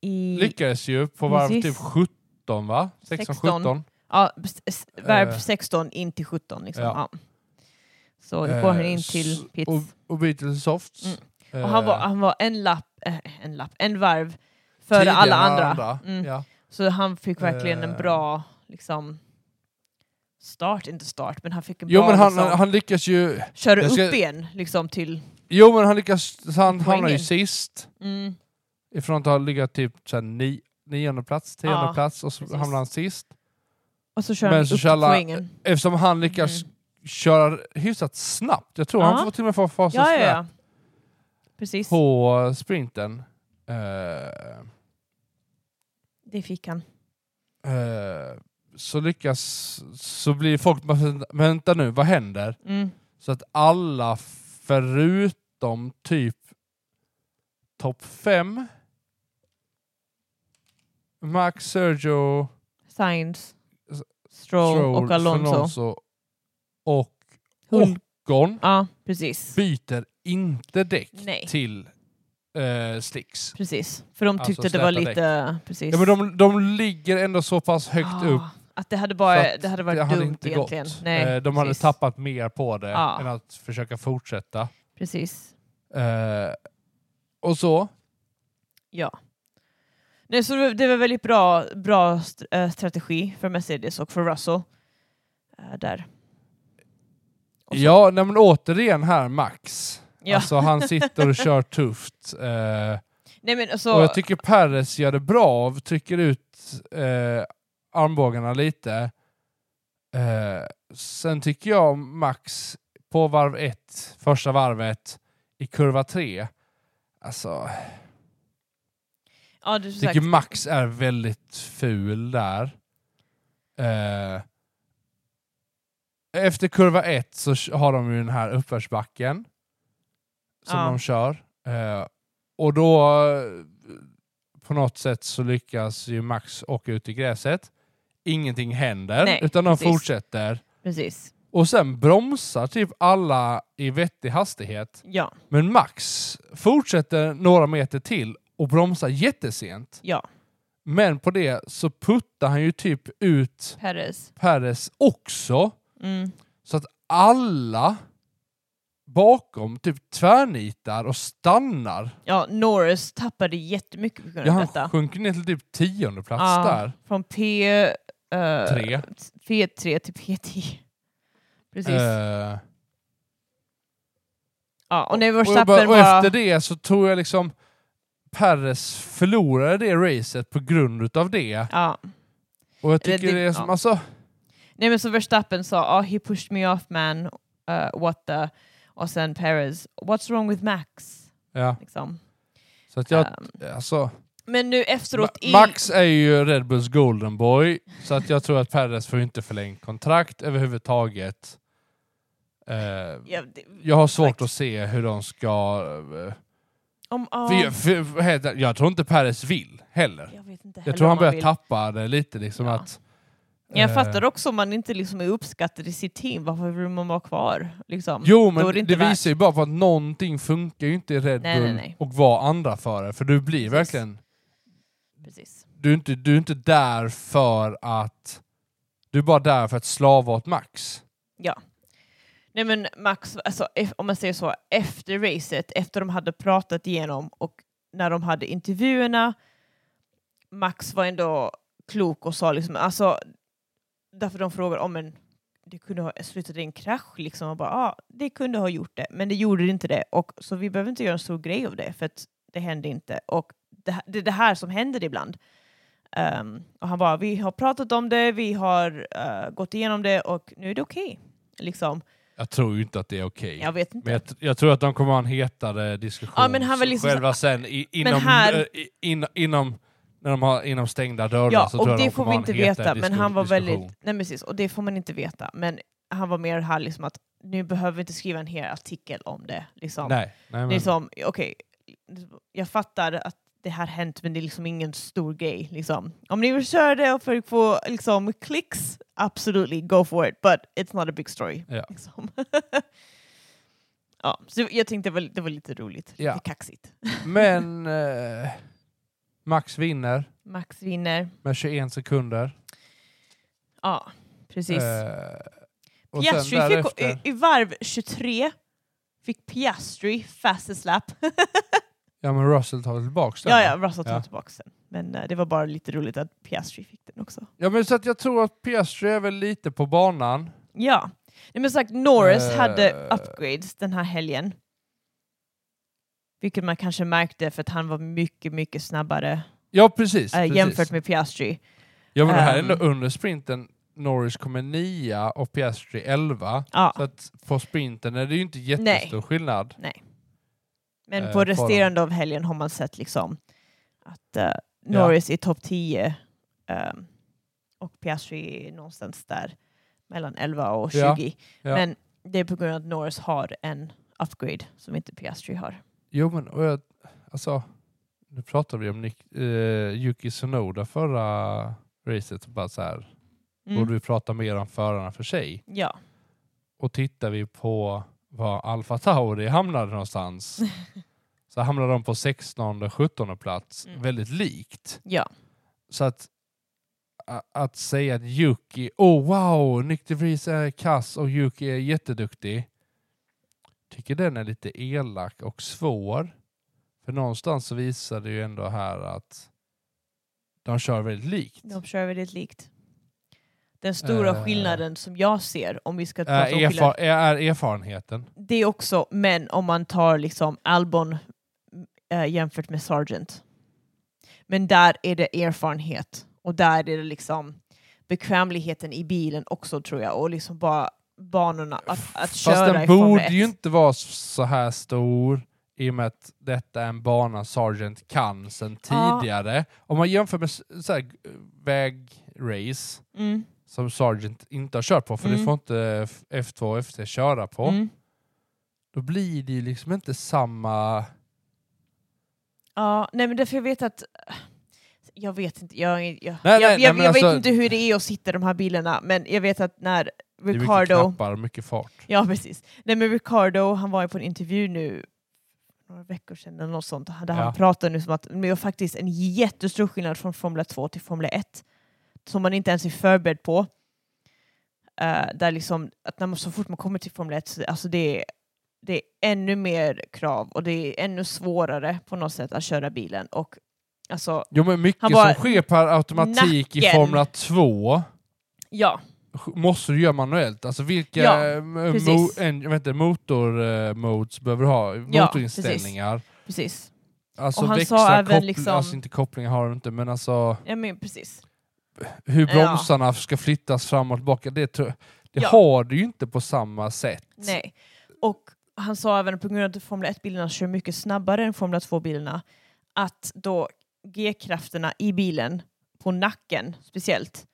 Speaker 2: I,
Speaker 3: lyckades ju på varv
Speaker 2: Mm. Precis.
Speaker 3: typ 17, va? 16,
Speaker 2: 16.
Speaker 3: 17.
Speaker 2: ja, s- s- varv
Speaker 3: Eh.
Speaker 2: 16 in till 17 liksom.
Speaker 3: Ja.
Speaker 2: Ja. Så då går han
Speaker 3: Eh,
Speaker 2: in
Speaker 3: s-
Speaker 2: till pits.
Speaker 3: Och, och byter till softs.
Speaker 2: Mm. Och han, var,
Speaker 3: Eh,
Speaker 2: han var en lapp, eh, en lapp, en varv före
Speaker 3: tidigare
Speaker 2: alla
Speaker 3: än
Speaker 2: andra.
Speaker 3: Mm.
Speaker 2: Mm.
Speaker 3: Ja.
Speaker 2: Så han fick verkligen en
Speaker 3: Eh.
Speaker 2: bra liksom, start, inte start, men han fick en
Speaker 3: Jo
Speaker 2: bra
Speaker 3: men han,
Speaker 2: liksom,
Speaker 3: han lyckas ju...
Speaker 2: köra
Speaker 3: jag ska-
Speaker 2: upp igen liksom, till...
Speaker 3: Jo men han lyckas... Han hamnar ju
Speaker 2: Poängen.
Speaker 3: sist.
Speaker 2: Mm,
Speaker 3: Ifrån att ha legat typ så här ni, nionde plats, tionde
Speaker 2: Ja,
Speaker 3: plats och så
Speaker 2: precis.
Speaker 3: hamnar han sist.
Speaker 2: och så kör
Speaker 3: Men
Speaker 2: han
Speaker 3: så
Speaker 2: upp
Speaker 3: kör
Speaker 2: till
Speaker 3: alla-
Speaker 2: poängen.
Speaker 3: Eftersom han lyckas
Speaker 2: Mm.
Speaker 3: köra hyfsat snabbt. Jag tror han
Speaker 2: Ja.
Speaker 3: får till och med få fasa
Speaker 2: Ja, ja,
Speaker 3: snabbt
Speaker 2: ja. Precis,
Speaker 3: på sprinten. Eh,
Speaker 2: det fick han.
Speaker 3: eh, så lyckas... Så blir folk bara "Vänta- vänta nu, vad händer?
Speaker 2: Mm.
Speaker 3: Så att alla förutom typ topp fem Max, Sergio,
Speaker 2: Sainz,
Speaker 3: S-
Speaker 2: Stroll,
Speaker 3: Stroll,
Speaker 2: och Alonso.
Speaker 3: Alonso och
Speaker 2: Hul-
Speaker 3: Ocon
Speaker 2: Ja, precis.
Speaker 3: byter inte däck
Speaker 2: Nej.
Speaker 3: till eh, slicks.
Speaker 2: Precis, för de
Speaker 3: Alltså,
Speaker 2: tyckte det var
Speaker 3: släta däck.
Speaker 2: lite... eh, Precis.
Speaker 3: Ja, men de, de ligger ändå så pass högt
Speaker 2: Ah,
Speaker 3: upp
Speaker 2: Att det hade,
Speaker 3: så
Speaker 2: bara,
Speaker 3: att
Speaker 2: det hade varit
Speaker 3: det hade
Speaker 2: dumt
Speaker 3: inte
Speaker 2: egentligen.
Speaker 3: gått.
Speaker 2: Nej,
Speaker 3: Eh, de hade
Speaker 2: precis.
Speaker 3: tappat mer på det
Speaker 2: Ja.
Speaker 3: än att försöka fortsätta.
Speaker 2: Precis.
Speaker 3: Eh, och så,
Speaker 2: Ja. Nej, så det var väldigt bra, bra st- eh, strategi för Mercedes och för Russell. Eh, där. Och så-
Speaker 3: Ja, nej, men återigen här Max.
Speaker 2: Ja.
Speaker 3: Alltså han sitter och kör tufft.
Speaker 2: *laughs*
Speaker 3: Eh,
Speaker 2: Nej, men alltså,
Speaker 3: och jag tycker Perez gör det bra, av, trycker ut eh, armbågarna lite. Eh, sen tycker jag Max på varv ett, första varvet, i kurva tre, alltså,
Speaker 2: ja, det är så
Speaker 3: jag
Speaker 2: sagt,
Speaker 3: tycker Max är väldigt ful där. Eh, efter kurva ett så k- har de ju den här uppförsbacken som
Speaker 2: Ja.
Speaker 3: de kör. Eh, och då eh, på något sätt så lyckas ju Max åka ut i gräset. Ingenting händer,
Speaker 2: Nej,
Speaker 3: utan de
Speaker 2: precis.
Speaker 3: fortsätter.
Speaker 2: precis.
Speaker 3: Och sen bromsar typ alla i vettig hastighet.
Speaker 2: Ja,
Speaker 3: Men Max fortsätter några meter till och bromsar jättesent.
Speaker 2: ja,
Speaker 3: Men på det så puttar han ju typ ut
Speaker 2: Perez.
Speaker 3: Perez också.
Speaker 2: Mm.
Speaker 3: Så att alla bakom typ tvärnitar och stannar.
Speaker 2: Ja, Norris tappade jättemycket på grund
Speaker 3: Ja,
Speaker 2: av
Speaker 3: han
Speaker 2: detta.
Speaker 3: sjunker ner till typ tionde plats
Speaker 2: Ja,
Speaker 3: där.
Speaker 2: Från P... eh,
Speaker 3: Tre.
Speaker 2: P3 till P10. *laughs* Precis.
Speaker 3: Eh,
Speaker 2: ja, och när
Speaker 3: och, jag
Speaker 2: Verstappen
Speaker 3: bara, och
Speaker 2: bara...
Speaker 3: efter det så tror jag liksom Perez förlorade det racet på grund utav det.
Speaker 2: Ja.
Speaker 3: Och jag
Speaker 2: Det-
Speaker 3: tycker det,
Speaker 2: det-
Speaker 3: är som,
Speaker 2: ja.
Speaker 3: alltså,
Speaker 2: Nej men så Verstappen sa oh, “He pushed me off man, eh, what the...” och sen Perez “What's wrong with Max?”
Speaker 3: ja,
Speaker 2: liksom.
Speaker 3: så att jag,
Speaker 2: Ehm,
Speaker 3: alltså,
Speaker 2: men nu efteråt...
Speaker 3: Ma-
Speaker 2: i-
Speaker 3: Max är ju Red Bulls golden boy, så att jag tror att Perez får inte förlängt kontrakt överhuvudtaget. Eh,
Speaker 2: Ja, det,
Speaker 3: jag har svårt
Speaker 2: Max.
Speaker 3: att se hur de ska... eh,
Speaker 2: om, ja,
Speaker 3: för, för, för, helt- jag tror inte Perez vill heller.
Speaker 2: jag vet inte
Speaker 3: Jag
Speaker 2: heller
Speaker 3: tror
Speaker 2: om
Speaker 3: han börjar
Speaker 2: vill.
Speaker 3: tappa det lite. Liksom
Speaker 2: Ja.
Speaker 3: att,
Speaker 2: Men Jag
Speaker 3: eh,
Speaker 2: fattar också om man inte liksom är uppskattad i sitt team, varför vill man vara kvar? Liksom.
Speaker 3: Jo,
Speaker 2: Då
Speaker 3: men
Speaker 2: är
Speaker 3: det,
Speaker 2: inte värt.
Speaker 3: visar ju bara på att någonting funkar ju inte i Red
Speaker 2: Nej,
Speaker 3: Bull
Speaker 2: nej, nej.
Speaker 3: och vara andra förare. För du blir verkligen...
Speaker 2: Precis.
Speaker 3: Du är, inte, du är inte där för att... Du är bara där för att slava åt Max.
Speaker 2: Nej men Max, alltså, eff- om man säger så, efter racet, efter de hade pratat igenom och när de hade intervjuerna, Max var ändå klok och sa liksom, alltså, därför de frågar om en det kunde ha slutat i en krasch, liksom, och bara, ah, det kunde ha gjort det, men det gjorde det inte det, och, så vi behöver inte göra en stor grej av det, för att det hände inte, och det, här- det är det här som händer ibland. Ehm, och han bara, vi har pratat om det, vi har eh, gått igenom det, och nu är det okej. Liksom.
Speaker 3: Jag tror ju inte att det är okej.
Speaker 2: Jag vet inte.
Speaker 3: Men jag, tr- jag tror att de kommer ha en hetare diskussion
Speaker 2: Ja, men han var liksom
Speaker 3: själva sen i,
Speaker 2: Men
Speaker 3: inom,
Speaker 2: här-
Speaker 3: eh, i- in, inom, när de har inom stängda dörrar.
Speaker 2: Ja,
Speaker 3: så tror
Speaker 2: och
Speaker 3: jag
Speaker 2: det
Speaker 3: de
Speaker 2: får
Speaker 3: kommer
Speaker 2: vi
Speaker 3: ha en
Speaker 2: inte
Speaker 3: hetare
Speaker 2: veta. Men
Speaker 3: disku-
Speaker 2: han var väldigt...
Speaker 3: diskussion.
Speaker 2: Nej, precis. Och det får man inte veta. Men han var mer här liksom att nu behöver vi inte skriva en hel artikel om det. Liksom.
Speaker 3: Nej, nej men,
Speaker 2: Det är som, okej, jag fattar att det här hänt men det är liksom ingen stor grej. Liksom. Om ni vill köra det och för att få liksom, klicks, absolutely, go for it. But it's not a big story.
Speaker 3: Ja.
Speaker 2: Liksom. *laughs* ja, så jag tänkte det var, det var lite roligt,
Speaker 3: Ja.
Speaker 2: lite kaxigt.
Speaker 3: men eh, Max vinner
Speaker 2: *laughs* Max vinner.
Speaker 3: med 21 sekunder.
Speaker 2: Ja, precis.
Speaker 3: Eh, och sen
Speaker 2: Piastri fick,
Speaker 3: därefter,
Speaker 2: i, i varv 23 fick Piastri fastest lap. *laughs*
Speaker 3: ja men Russell tar väl tillbaka den?
Speaker 2: ja,
Speaker 3: va?
Speaker 2: ja, Russell tog
Speaker 3: Ja.
Speaker 2: tillbaka den. Men eh, det var bara lite roligt att Piastri fick den också.
Speaker 3: ja men så att jag tror att Piastri är väl lite på banan.
Speaker 2: Ja. Nej, men sagt, Norris
Speaker 3: Eh.
Speaker 2: hade upgrades den här helgen. Vilket man kanske märkte för att han var mycket, mycket snabbare
Speaker 3: Ja precis.
Speaker 2: eh,
Speaker 3: precis.
Speaker 2: jämfört med Piastri.
Speaker 3: Ja men det här är ändå
Speaker 2: Ehm.
Speaker 3: under sprinten. Norris kommer nia och Piastri elva. Så
Speaker 2: Ja.
Speaker 3: att på sprinten är det ju inte jättestor skillnad.
Speaker 2: Men
Speaker 3: eh,
Speaker 2: på
Speaker 3: faran.
Speaker 2: resterande av helgen har man sett liksom att eh, Norris är topp 10 ehm, och Piastri är någonstans där mellan 11 och 20.
Speaker 3: Ja, ja.
Speaker 2: Men det är på grund av att Norris har en upgrade som inte Piastri har.
Speaker 3: Jo men och jag, alltså, nu pratade vi om Nick, eh, Yuki Sonoda förra racet. och Bara så här,
Speaker 2: Mm.
Speaker 3: Borde vi prata mer om förarna för sig?
Speaker 2: Ja,
Speaker 3: Och tittar vi på var Alfa Tauri
Speaker 2: *laughs*
Speaker 3: hamnade någonstans så hamnade de på 16 17 plats.
Speaker 2: Mm.
Speaker 3: Väldigt likt.
Speaker 2: ja,
Speaker 3: Så att, a- att säga att Yuki, oh wow, Nick de Vries är kass och Yuki är jätteduktig. Tycker den är lite elak och svår. För någonstans så visar det ju ändå här att de kör väldigt likt.
Speaker 2: de kör väldigt likt. Den stora
Speaker 3: Eh.
Speaker 2: skillnaden som jag ser, om vi ska prata
Speaker 3: Är,
Speaker 2: om skillnaden,
Speaker 3: erfar- är, är erfarenheten.
Speaker 2: det är också, men om man tar liksom Albon eh, jämfört med Sargent. Men där är det erfarenhet och där är det liksom bekvämligheten i bilen också tror jag och liksom bara banorna att, att
Speaker 3: Fast
Speaker 2: köra i
Speaker 3: den
Speaker 2: Formel
Speaker 3: borde
Speaker 2: 1.
Speaker 3: ju inte vara s- så här stor i och med att detta är en bana Sargent kan sedan
Speaker 2: Ja.
Speaker 3: tidigare. Om man jämför med s- så här, g- vägrace
Speaker 2: Mm,
Speaker 3: som Sargent inte har kört på, för det
Speaker 2: Mm.
Speaker 3: får inte F- F2 och F3 köra på,
Speaker 2: mm.
Speaker 3: då blir det ju liksom inte samma...
Speaker 2: Ja, nej men därför jag vet att jag vet inte, jag, jag, jag,
Speaker 3: nej,
Speaker 2: jag,
Speaker 3: nej,
Speaker 2: jag
Speaker 3: men
Speaker 2: vet
Speaker 3: alltså-
Speaker 2: inte hur det är att sitta i de här bilarna men jag vet att när
Speaker 3: Det är mycket
Speaker 2: Ricardo
Speaker 3: knappar och mycket fart.
Speaker 2: *laughs* Ja, precis. Nej, men Ricardo, han var ju på en intervju nu några veckor sedan eller något sånt, där
Speaker 3: Ja.
Speaker 2: han pratade nu som att det var faktiskt en jättestor skillnad från Formel 2 till Formel 1 som man inte ens är förberedd på. Eh, där liksom, att när man, så fort man kommer till Formel 1, så- alltså det, är, det är ännu mer krav och det är ännu svårare på något sätt att köra bilen. Och alltså,
Speaker 3: Jo men mycket
Speaker 2: Han bara-
Speaker 3: som sker per automatik i
Speaker 2: Nacken.
Speaker 3: Formel 2
Speaker 2: ja,
Speaker 3: sj- måste du göra manuellt. Alltså vilka
Speaker 2: Ja,
Speaker 3: eh, mo-
Speaker 2: precis.
Speaker 3: en- jag vet inte, motor, eh, modes behöver du ha?
Speaker 2: Ja,
Speaker 3: Motorinställningar.
Speaker 2: precis.
Speaker 3: Alltså
Speaker 2: Och han
Speaker 3: växla,
Speaker 2: sa även
Speaker 3: koppling,
Speaker 2: liksom-
Speaker 3: alltså inte kopplingar har de inte men alltså
Speaker 2: Ja, men precis.
Speaker 3: hur
Speaker 2: Ja.
Speaker 3: bromsarna ska flyttas fram och tillbaka, det, tror jag- det
Speaker 2: Ja.
Speaker 3: har du ju inte på samma sätt.
Speaker 2: Nej. Och han sa även att på grund av att Formel 1-bilarna kör mycket snabbare än Formel 2-bilarna, att då G-krafterna i bilen, på nacken speciellt,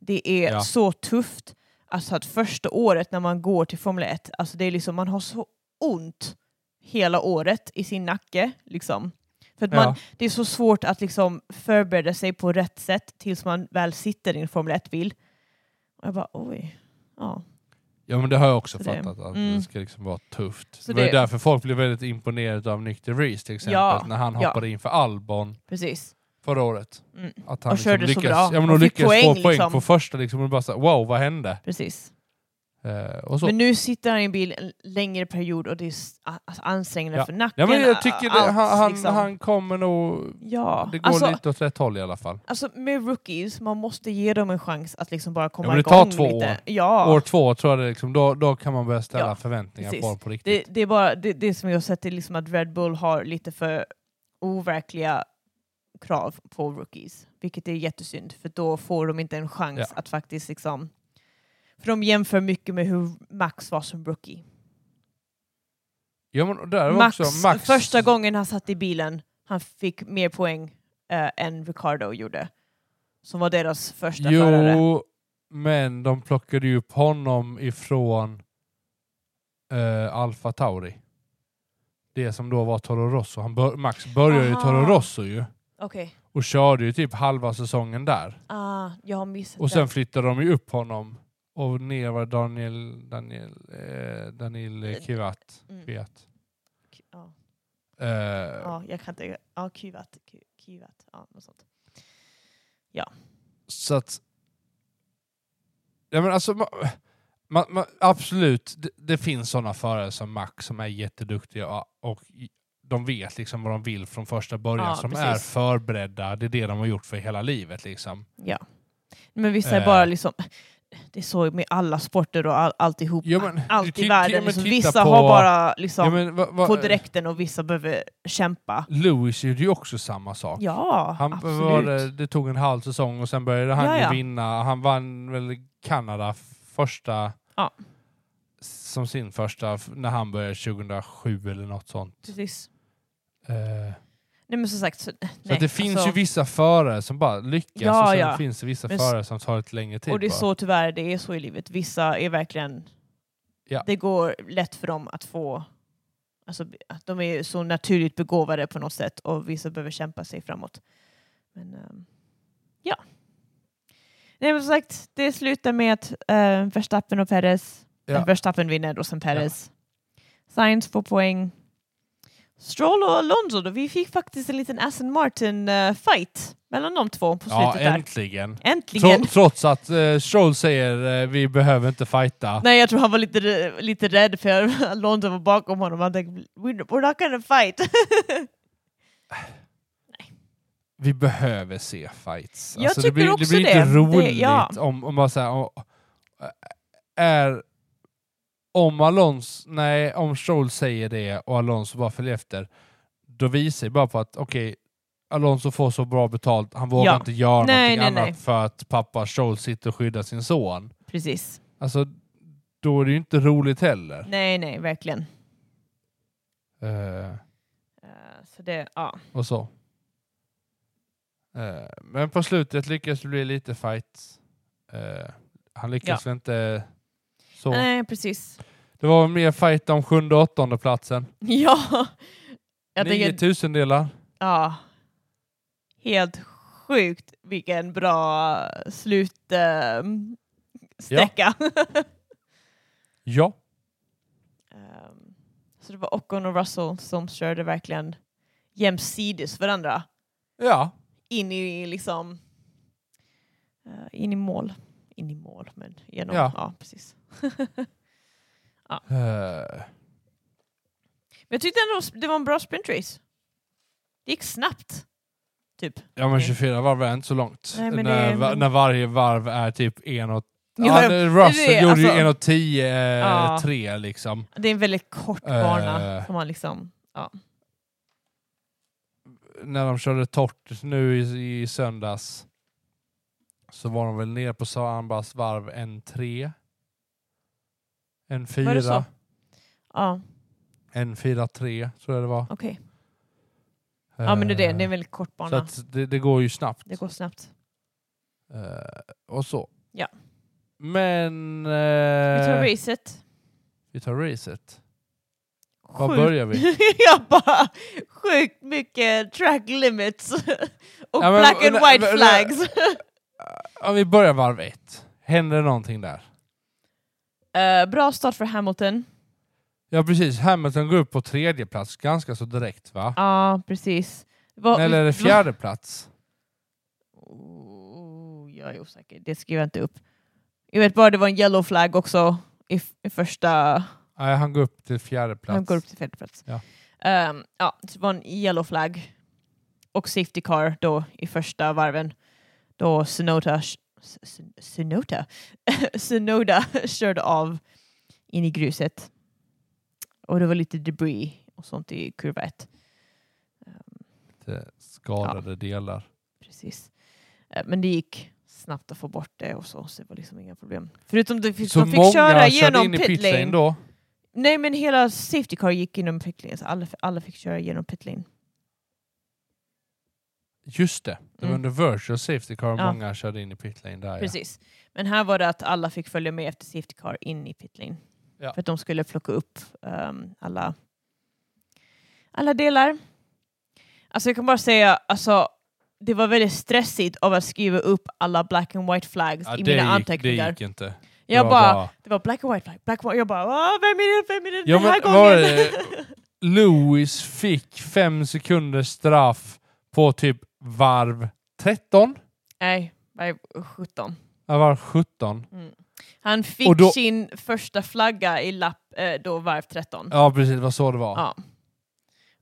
Speaker 2: det är
Speaker 3: Ja.
Speaker 2: så tufft. Alltså att första året när man går till Formel 1, alltså det är liksom, man har så ont hela året i sin nacke. Liksom. För att man,
Speaker 3: Ja.
Speaker 2: det är så svårt att liksom förbereda sig på rätt sätt tills man väl sitter i en Formel 1-bil. Och jag bara oj. Ja.
Speaker 3: ja men det har jag också
Speaker 2: Så det-
Speaker 3: fattat, att
Speaker 2: mm.
Speaker 3: det ska liksom vara tufft.
Speaker 2: Så
Speaker 3: det var ju
Speaker 2: det-
Speaker 3: därför folk blev väldigt imponerade av Nick DeVries till exempel,
Speaker 2: Ja,
Speaker 3: när han
Speaker 2: ja.
Speaker 3: hoppade in för Albon
Speaker 2: Precis.
Speaker 3: förra året.
Speaker 2: Mm.
Speaker 3: Att han
Speaker 2: Och körde så
Speaker 3: lyckas,
Speaker 2: bra.
Speaker 3: Ja, men
Speaker 2: Och
Speaker 3: och
Speaker 2: fick
Speaker 3: lyckas få
Speaker 2: poäng,
Speaker 3: poäng
Speaker 2: liksom.
Speaker 3: på första liksom, och bara så här, wow, vad hände?
Speaker 2: Precis.
Speaker 3: Eh, och så.
Speaker 2: Men nu sitter han i en bil en längre period och det är s- a- alltså ansträngande
Speaker 3: Ja.
Speaker 2: för nacken.
Speaker 3: ja, men
Speaker 2: a-
Speaker 3: jag tycker det,
Speaker 2: allt,
Speaker 3: han, han,
Speaker 2: liksom.
Speaker 3: han kommer nog...
Speaker 2: ja.
Speaker 3: Det går
Speaker 2: alltså,
Speaker 3: lite åt rätt håll i alla fall.
Speaker 2: alltså med rookies, man måste ge dem en chans att liksom bara komma
Speaker 3: men det
Speaker 2: igång
Speaker 3: tar två
Speaker 2: lite.
Speaker 3: år.
Speaker 2: Ja,
Speaker 3: År två tror jag det liksom, då, då kan man börja ställa
Speaker 2: Ja,
Speaker 3: förväntningar
Speaker 2: precis.
Speaker 3: på honom på riktigt.
Speaker 2: det, det är bara det, det som jag har sett är liksom att Red Bull har lite för overkliga krav på rookies, vilket är jättesynd för då får de inte en chans
Speaker 3: Ja.
Speaker 2: att faktiskt liksom för de jämför mycket med hur Max var som rookie.
Speaker 3: Ja, men och där var
Speaker 2: Max,
Speaker 3: också, Max
Speaker 2: första gången han satt i bilen, han fick mer poäng eh, än Ricardo gjorde. Som var deras första förare.
Speaker 3: Jo, men de plockade ju upp honom ifrån eh, Alfa Tauri. Det som då var Toro Rosso. Han bör, Max började ju i
Speaker 2: Aha.
Speaker 3: Toro Rosso ju
Speaker 2: Okej,
Speaker 3: och körde ju typ halva säsongen där.
Speaker 2: ah, jag har missat
Speaker 3: Och
Speaker 2: den.
Speaker 3: sen flyttade de ju upp honom och ner var Daniel, Daniel, eh, Daniel Kivat.
Speaker 2: Mm.
Speaker 3: Kivat.
Speaker 2: K- Ja,
Speaker 3: Eh,
Speaker 2: ja, jag kan inte... Ja, kuvat. ku- Kuvat. Ja, något sånt.
Speaker 3: Så att... Ja, men alltså, ma- ma- ma- absolut, det, det finns sådana förare som Max som är jätteduktiga och, och i- de vet liksom vad de vill från första början,
Speaker 2: Ja,
Speaker 3: som
Speaker 2: precis.
Speaker 3: är förberedda. Det är det de har gjort för hela livet. Liksom.
Speaker 2: Ja. Men vissa är
Speaker 3: Eh.
Speaker 2: bara liksom... Det är så med alla sporter och all, alltihop.
Speaker 3: Ja, men,
Speaker 2: allt
Speaker 3: ti-
Speaker 2: i
Speaker 3: ti-
Speaker 2: världen.
Speaker 3: ja, men
Speaker 2: liksom,
Speaker 3: titta
Speaker 2: vissa
Speaker 3: på-
Speaker 2: har bara liksom
Speaker 3: Ja, men, va, va,
Speaker 2: på direkten och vissa behöver kämpa.
Speaker 3: Lewis gjorde ju också samma sak.
Speaker 2: Ja,
Speaker 3: Han
Speaker 2: absolut.
Speaker 3: var, det- det tog en halv säsong och sen började han
Speaker 2: Ja,
Speaker 3: ju
Speaker 2: ja.
Speaker 3: vinna. Han vann väl Kanada första...
Speaker 2: Ja.
Speaker 3: Som sin första, f- när han började 2007 eller något sånt.
Speaker 2: Precis.
Speaker 3: Eh,
Speaker 2: Nej, men som sagt... Så,
Speaker 3: Så
Speaker 2: nej,
Speaker 3: att det finns
Speaker 2: alltså-
Speaker 3: ju vissa förare som bara lyckas
Speaker 2: Ja,
Speaker 3: och sen
Speaker 2: ja.
Speaker 3: finns det vissa
Speaker 2: Men s-
Speaker 3: förare som tar lite längre tid.
Speaker 2: Och det är
Speaker 3: bara.
Speaker 2: så tyvärr det är så i livet. Vissa är verkligen...
Speaker 3: Ja.
Speaker 2: Det går lätt för dem att få... Alltså, att de är så naturligt begåvade på något sätt och vissa behöver kämpa sig framåt. Men ehm, ja. Nej men som sagt, det slutar med att eh, Verstappen och Perez...
Speaker 3: Ja.
Speaker 2: eh, Verstappen vinner och sen Perez. Sainz får poäng. Stroll och Alonso då, vi fick faktiskt en liten Aston Martin-fight mellan de två på
Speaker 3: Ja,
Speaker 2: slutet där.
Speaker 3: äntligen.
Speaker 2: Äntligen!
Speaker 3: Tro, trots att eh, Stroll säger eh, vi behöver inte fighta.
Speaker 2: Nej, jag tror han var lite, lite rädd för *laughs* Alonso var bakom honom. Han tänkte "We- we're not gonna fight. *laughs*
Speaker 3: Vi behöver se fights. Alltså,
Speaker 2: Jag tycker
Speaker 3: det blir,
Speaker 2: också
Speaker 3: det. Blir
Speaker 2: det.
Speaker 3: inte
Speaker 2: Det-
Speaker 3: roligt
Speaker 2: ja.
Speaker 3: om, om bara så här, om, äh, är om Alonso, nej, om Stroll säger det och Alonso bara följer efter, då visar det bara på att okej, Alonso får så bra betalt, han vågar
Speaker 2: Ja.
Speaker 3: inte göra
Speaker 2: Nej,
Speaker 3: någonting
Speaker 2: nej,
Speaker 3: annat
Speaker 2: nej.
Speaker 3: för att pappa Stroll sitter och skyddar sin son.
Speaker 2: Precis.
Speaker 3: Alltså, då är det ju inte roligt heller.
Speaker 2: Nej, nej, verkligen.
Speaker 3: Eh,
Speaker 2: Eh, så det, ja.
Speaker 3: och så. Eh, men på slutet lyckas det bli lite fight. Eh, han lyckas väl inte så.
Speaker 2: Nej, precis. *laughs*
Speaker 3: Det var mer fight om sjunde och åttonde platsen.
Speaker 2: Ja. Jag
Speaker 3: Nio
Speaker 2: tänker,
Speaker 3: tusendelar.
Speaker 2: ja. Helt sjukt vilken bra ehm, slutsträcka.
Speaker 3: Ja.
Speaker 2: *laughs* Ehm, så det var Ocon och Russell som körde verkligen jämsides varandra.
Speaker 3: Ja.
Speaker 2: in i liksom eh, in i mål. In in i mål. Men genom, ja.
Speaker 3: Ja.
Speaker 2: precis.
Speaker 3: Eh,
Speaker 2: Men jag tyckte ändå det var en bra sprintrace. Det gick snabbt. Typ.
Speaker 3: ja men
Speaker 2: Okej.
Speaker 3: 24 varv är inte så långt.
Speaker 2: Nej, men
Speaker 3: när,
Speaker 2: det-
Speaker 3: va- när varje varv är typ en och...
Speaker 2: Ja,
Speaker 3: Ja,
Speaker 2: det-
Speaker 3: Russell
Speaker 2: det är-
Speaker 3: gjorde ju
Speaker 2: alltså-
Speaker 3: en och tio, eh,
Speaker 2: Ja.
Speaker 3: tre liksom.
Speaker 2: Det är en väldigt kort bana.
Speaker 3: Eh.
Speaker 2: som man liksom, ja.
Speaker 3: När de körde torrt nu i, i söndags så var de väl nere på Sambas varv en tre. En
Speaker 2: Var det så?
Speaker 3: fyra.
Speaker 2: Ja,
Speaker 3: En fyra tre tror jag det var.
Speaker 2: okej. Ja, men det är det. Det är en väldigt kort
Speaker 3: Eh. Så
Speaker 2: bana.
Speaker 3: att det, det går ju snabbt.
Speaker 2: Det går snabbt.
Speaker 3: Eh, och så.
Speaker 2: Ja.
Speaker 3: Men...
Speaker 2: Vi tar
Speaker 3: eh,
Speaker 2: racet.
Speaker 3: vi tar racet. Var
Speaker 2: Sjukt-
Speaker 3: börjar vi?
Speaker 2: *laughs* jag bara, sjukt mycket track limits *laughs* och
Speaker 3: Ja, men-
Speaker 2: black and
Speaker 3: men-
Speaker 2: white
Speaker 3: men-
Speaker 2: flags. *laughs*
Speaker 3: Om vi börjar varv ett. Händer det någonting där?
Speaker 2: Eh, bra start för Hamilton.
Speaker 3: Ja precis, Hamilton går upp på tredje plats ganska så direkt va?
Speaker 2: Ja, precis. Vad-
Speaker 3: Eller är det fjärde plats?
Speaker 2: Oh, jag är osäker, det skriver jag inte upp. Jag vet bara det var en yellow flag också i, f- i första...
Speaker 3: Nej, han går upp till fjärde plats.
Speaker 2: Han går upp till fjärde plats.
Speaker 3: Ja.
Speaker 2: Ehm, ja, så det var en yellow flag och safety car då i första varven. Då Sunoda, Sunoda, *laughs* Sunoda *laughs* körde av in i gruset. Och det var lite debris och sånt i kurva ett. Ehm,
Speaker 3: Lite Skadade delar.
Speaker 2: precis. Eh, men det gick snabbt att få bort det och så, så det var liksom inga problem. Förutom att de fick,
Speaker 3: Så
Speaker 2: de
Speaker 3: många
Speaker 2: fick köra
Speaker 3: körde
Speaker 2: genom
Speaker 3: in i pit
Speaker 2: pitlane.
Speaker 3: lane då.
Speaker 2: Nej men hela Safety Car gick genom pitlane, så alla, alla fick köra genom pitlane.
Speaker 3: Just det, det var
Speaker 2: Mm.
Speaker 3: under virtual safety car
Speaker 2: Ja.
Speaker 3: många körde in i pit lane där. Ja.
Speaker 2: Precis. Men här var det att alla fick följa med efter Safety Car in i pitlane.
Speaker 3: Ja.
Speaker 2: För att de skulle plocka upp ehm, alla, alla delar. Alltså jag kan bara säga, alltså, det var väldigt stressigt av att skriva upp alla black and white flags
Speaker 3: Ja,
Speaker 2: i
Speaker 3: det,
Speaker 2: mina
Speaker 3: gick, det
Speaker 2: anteckningar.
Speaker 3: gick inte. Det
Speaker 2: Jag
Speaker 3: var
Speaker 2: bara, det var black and white flag, black and white. Jag bara, "Ah, vem är det, vem är det
Speaker 3: Ja,
Speaker 2: den här
Speaker 3: men var
Speaker 2: gången?
Speaker 3: Lewis fick fem sekunders straff på typ varv 13?
Speaker 2: *laughs* Nej, Nej, 17.
Speaker 3: Ja,
Speaker 2: Mm.
Speaker 3: varv 17.
Speaker 2: Han fick
Speaker 3: Och då-
Speaker 2: sin första flagga i lapp eh, då varv 13. Ja.
Speaker 3: Ja precis, det var så det var.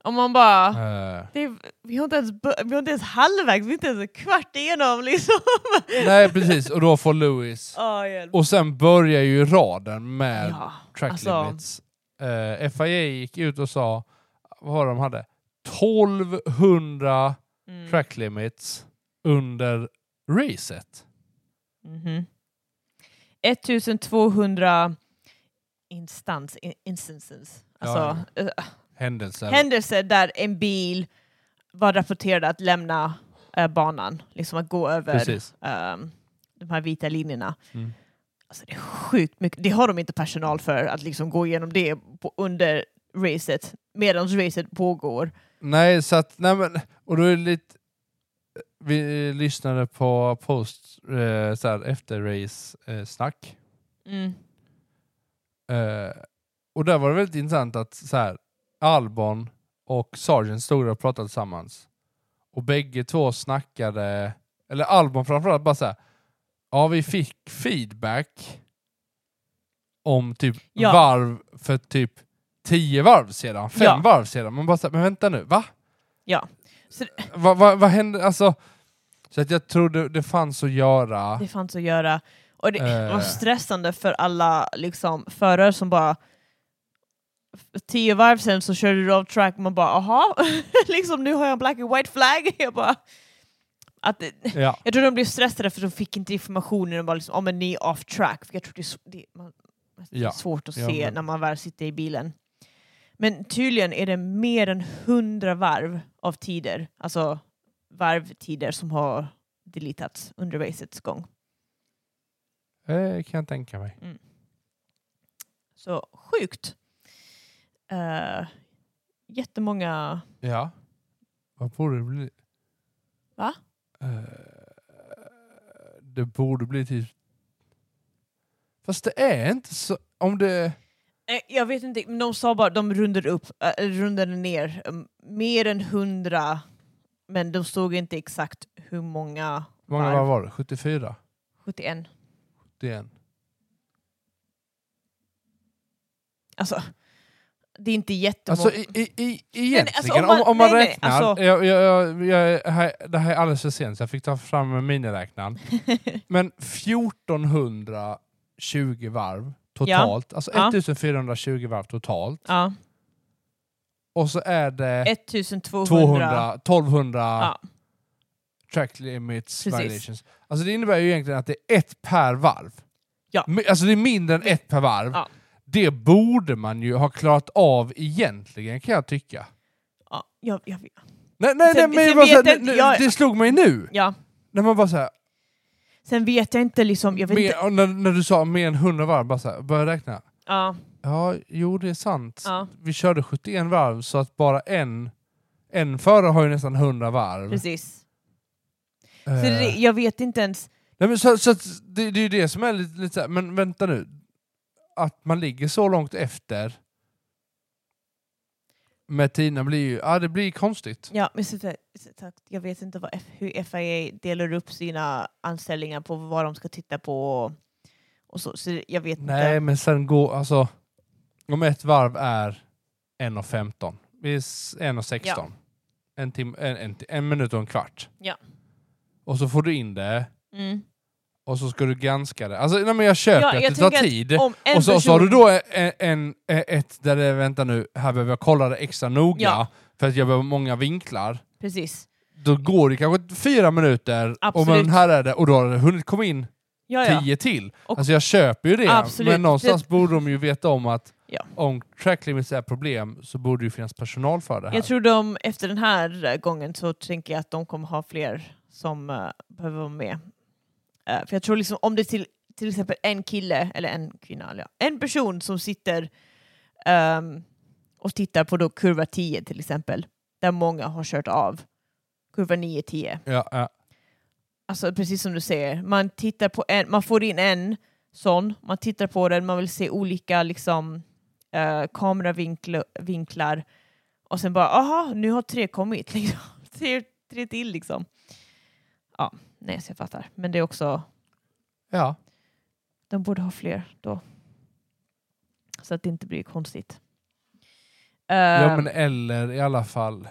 Speaker 2: Om man bara...
Speaker 3: Eh,
Speaker 2: Det är, vi, har inte ens, bör- vi har inte ens halvvägs, vi är inte ens en kvart igenom *laughs* liksom. *laughs*
Speaker 3: nej precis, och då får Lewis.
Speaker 2: Ja, hjälp.
Speaker 3: Och sen börjar ju raden med
Speaker 2: ja.
Speaker 3: track
Speaker 2: alltså-
Speaker 3: limits. Eh, FIA gick ut och sa, vad var det de hade? 1200
Speaker 2: Mm.
Speaker 3: track limits under racet.
Speaker 2: Mhm. 1200 instans, in, instances. Alltså, eh,
Speaker 3: Händelser.
Speaker 2: händelser där en bil var rapporterad att lämna eh, banan, liksom att gå över
Speaker 3: Precis.
Speaker 2: ehm, de här vita linjerna.
Speaker 3: Mm.
Speaker 2: Alltså det är sjukt mycket, det har de inte personal för att liksom gå igenom det på, under racet, medan racet pågår.
Speaker 3: Nej, så att, nej men, och då är det lite, vi lyssnade på post, eh, så här, efter race eh, snack.
Speaker 2: Mm.
Speaker 3: Eh, och där var det väldigt intressant att så här, Albon och Sargent stod där och pratade tillsammans. Och bägge två snackade, eller Albon framförallt bara så här. ja vi fick feedback om typ
Speaker 2: Ja.
Speaker 3: varv för typ tio varv sedan, fem
Speaker 2: Ja.
Speaker 3: varv sedan. Man bara såhär, men vänta nu, va?
Speaker 2: Ja. Så-
Speaker 3: Vad va, vad hände? Alltså, så att jag trodde det fanns att göra.
Speaker 2: Det fanns att göra. Och det
Speaker 3: Ah. Eh.
Speaker 2: var stressande för alla liksom, förare som bara f- tio varv sen så körde du av track och man bara aha, *laughs* liksom, nu har jag en black and white flag. *laughs* Jag, bara, att det,
Speaker 3: Ja.
Speaker 2: jag tror de blev stressade för de fick inte informationen och bara liksom, oh, men ni är off track. För jag tror det är, sv- det, man, det är
Speaker 3: Ja.
Speaker 2: svårt att
Speaker 3: Ja,
Speaker 2: se
Speaker 3: men-
Speaker 2: när man väl sitter i bilen. Men tydligen är det mer än hundra varv av tider, alltså varvtider som har deletats under racets gång.
Speaker 3: Eh, kan jag tänka mig.
Speaker 2: Så sjukt. Uh, jättemånga...
Speaker 3: Ja. Vad borde det bli?
Speaker 2: Va?
Speaker 3: Eh, det borde bli typ... Fast det är inte så... Om det...
Speaker 2: Eh, Jag vet inte, men de sa bara de rundade upp, eh, eller rundade ner um, mer än hundra, men de såg inte exakt hur många.
Speaker 3: Hur många
Speaker 2: Varv.
Speaker 3: varv var det? 74?
Speaker 2: 71.
Speaker 3: gjort igen.
Speaker 2: Alltså, det är inte jättemånga.
Speaker 3: Alltså, i, i, i, egentligen,
Speaker 2: alltså,
Speaker 3: om man, om man
Speaker 2: nej, nej,
Speaker 3: räknar...
Speaker 2: alltså-
Speaker 3: jag, jag, jag, jag, här- det här är alldeles för sent, så jag fick ta
Speaker 2: *laughs*
Speaker 3: fram miniräknaren. Men 1420 varv totalt, alltså
Speaker 2: Ja.
Speaker 3: 1420 varv totalt.
Speaker 2: ja,
Speaker 3: Och så är det
Speaker 2: 1200.
Speaker 3: 200, 1200
Speaker 2: Ja.
Speaker 3: track limits
Speaker 2: Precis.
Speaker 3: violations. Alltså det innebär ju egentligen att det är ett per varv.
Speaker 2: Ja.
Speaker 3: Mi- Alltså det är mindre än ett per varv.
Speaker 2: Ja.
Speaker 3: Det borde man ju ha klarat av egentligen kan jag tycka.
Speaker 2: Ja, jag, jag,
Speaker 3: Nej, nej, nej,
Speaker 2: Sen-
Speaker 3: men jag
Speaker 2: sen
Speaker 3: bara så här,
Speaker 2: vet jag
Speaker 3: nu-
Speaker 2: inte, jag-
Speaker 3: det slog mig nu.
Speaker 2: ja.
Speaker 3: När man bara så här,
Speaker 2: Sen vet jag inte liksom, jag vet
Speaker 3: mer,
Speaker 2: inte.
Speaker 3: och när, när du sa mer än 100 varv, bara så här, börja räkna.
Speaker 2: Ja,
Speaker 3: Ja, jo det är sant.
Speaker 2: ja,
Speaker 3: Vi körde 71 varv så att bara en, en förare har ju nästan 100 varv.
Speaker 2: precis.
Speaker 3: Eh,
Speaker 2: Så det, jag vet inte ens.
Speaker 3: nej, men så, så att, det, det är ju det som är lite, lite så här, men vänta nu. Att man ligger så långt efter med tiderna blir ju, ja det blir konstigt.
Speaker 2: Ja, men så, så, så, jag vet inte vad, F- hur FIA delar upp sina anställningar på vad de ska titta på och, och så. Så jag vet
Speaker 3: Nej
Speaker 2: inte.
Speaker 3: men sen går, alltså om ett varv är 1.15, vi är s- 1.16, en, tim, en, en, ti- en minut och en kvart.
Speaker 2: Ja.
Speaker 3: Och så får du in det
Speaker 2: Mm.
Speaker 3: och så ska du granska det. Alltså nej, men jag köper
Speaker 2: Ja,
Speaker 3: att
Speaker 2: jag
Speaker 3: det tar
Speaker 2: tänker att
Speaker 3: tid.
Speaker 2: Om en
Speaker 3: Och så, så
Speaker 2: person-
Speaker 3: har du då en, en, ett där det är, vänta nu, här behöver jag kolla det extra noga
Speaker 2: Ja.
Speaker 3: för att jag behöver många vinklar.
Speaker 2: Precis.
Speaker 3: Då går det kanske fyra minuter
Speaker 2: Absolut.
Speaker 3: och men här är det och då har det hunnit komma in
Speaker 2: Ja, ja.
Speaker 3: tio till.
Speaker 2: Och-
Speaker 3: alltså jag köper ju det,
Speaker 2: Absolut.
Speaker 3: men någonstans borde de ju veta om att
Speaker 2: Ja.
Speaker 3: om track limits är problem så borde det ju finnas personal för det här.
Speaker 2: Jag tror de, efter den här eh, gången så tänker jag att de kommer ha fler som eh, behöver vara med. Eh, för jag tror liksom om det är till, till exempel en kille, eller en kvinna, eller ja, en person som sitter ehm, och tittar på då kurva 10 till exempel, där många har kört av. Kurva 9, 10.
Speaker 3: ja, ja.
Speaker 2: Alltså precis som du säger, man tittar på en, man får in en sån, man tittar på den, man vill se olika liksom eh, kameravinklar och sen bara aha, nu har tre kommit *laughs* liksom. tre, tre till liksom. Ja, nej så jag fattar. Men det är också,
Speaker 3: ja.
Speaker 2: de borde ha fler då. Så att det inte blir konstigt. Eh,
Speaker 3: Ja, men eller i alla fall.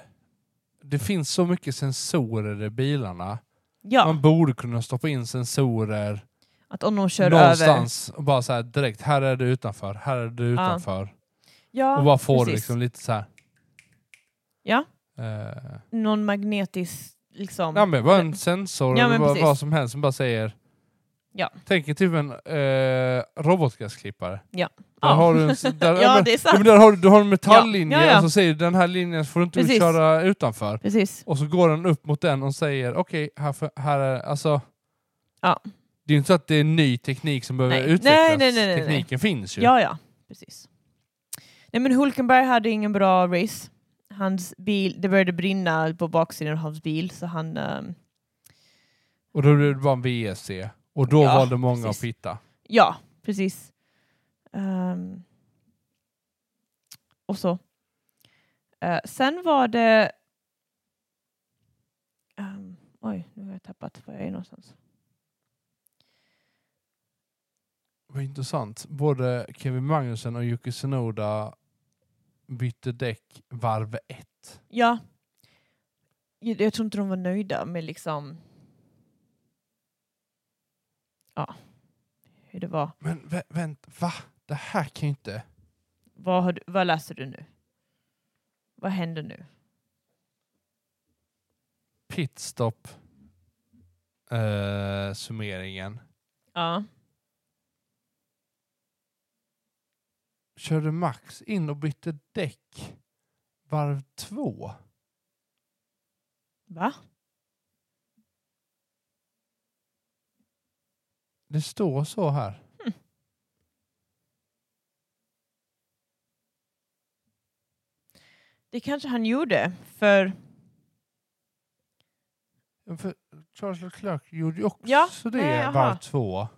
Speaker 3: Det finns så mycket sensorer i bilarna.
Speaker 2: ja,
Speaker 3: Man borde kunna stoppa in sensorer
Speaker 2: att om de kör över.
Speaker 3: någonstans och bara så här direkt, här är du utanför, här är du
Speaker 2: Ja.
Speaker 3: utanför.
Speaker 2: Ja,
Speaker 3: och bara få det
Speaker 2: precis.
Speaker 3: liksom lite så här.
Speaker 2: Ja.
Speaker 3: eh,
Speaker 2: Någon magnetisk liksom.
Speaker 3: ja men bara en sensor
Speaker 2: Ja,
Speaker 3: eller
Speaker 2: men
Speaker 3: vad,
Speaker 2: precis.
Speaker 3: vad som helst som bara säger
Speaker 2: Ja.
Speaker 3: Tänk er typ en eh, robotgräsklippare.
Speaker 2: Ja.
Speaker 3: Där
Speaker 2: Ja.
Speaker 3: har du en, s- där,
Speaker 2: *laughs* Ja,
Speaker 3: men-
Speaker 2: det är
Speaker 3: ja,
Speaker 2: sant.
Speaker 3: men där har du, du har en metalllinje
Speaker 2: Ja, ja, ja.
Speaker 3: och så säger du, den här linjen får du inte
Speaker 2: Precis.
Speaker 3: köra utanför.
Speaker 2: Precis.
Speaker 3: Och så går den upp mot den och säger okej, här, får- här är alltså...
Speaker 2: Ja.
Speaker 3: Det är ju inte så att det är ny teknik som behöver
Speaker 2: Nej.
Speaker 3: utvecklas.
Speaker 2: Nej, nej, nej, nej, nej.
Speaker 3: Tekniken finns ju.
Speaker 2: Ja, ja, precis. Nej, men Hulkenberg hade ingen bra race. Hans bil, det började brinna på baksidan av hans bil, så han... ehm,
Speaker 3: Och då blev det bara en VSC. Och då
Speaker 2: Ja,
Speaker 3: valde många
Speaker 2: precis.
Speaker 3: att pitta.
Speaker 2: ja, precis. Ehm, och så. Eh, sen var det... Ehm, oj, nu har jag tappat var jag är någonstans.
Speaker 3: Vad intressant. Både Kevin Magnusson och Yuki Tsunoda bytte däck varv ett.
Speaker 2: Ja. Jag, jag tror inte de var nöjda med liksom... Ja, hur det var.
Speaker 3: Men vä vänta, va? Det här kan ju inte...
Speaker 2: Vad, har du, vad läser du nu? Vad händer nu?
Speaker 3: Pitstop. Eh, summeringen.
Speaker 2: Ja.
Speaker 3: körde Max in och bytte däck varv två.
Speaker 2: Va?
Speaker 3: Det står så här.
Speaker 2: Hmm. Det kanske han gjorde, för...
Speaker 3: För Charles Leclerc gjorde ju också
Speaker 2: Ja,
Speaker 3: det
Speaker 2: nej, jaha.
Speaker 3: varv två.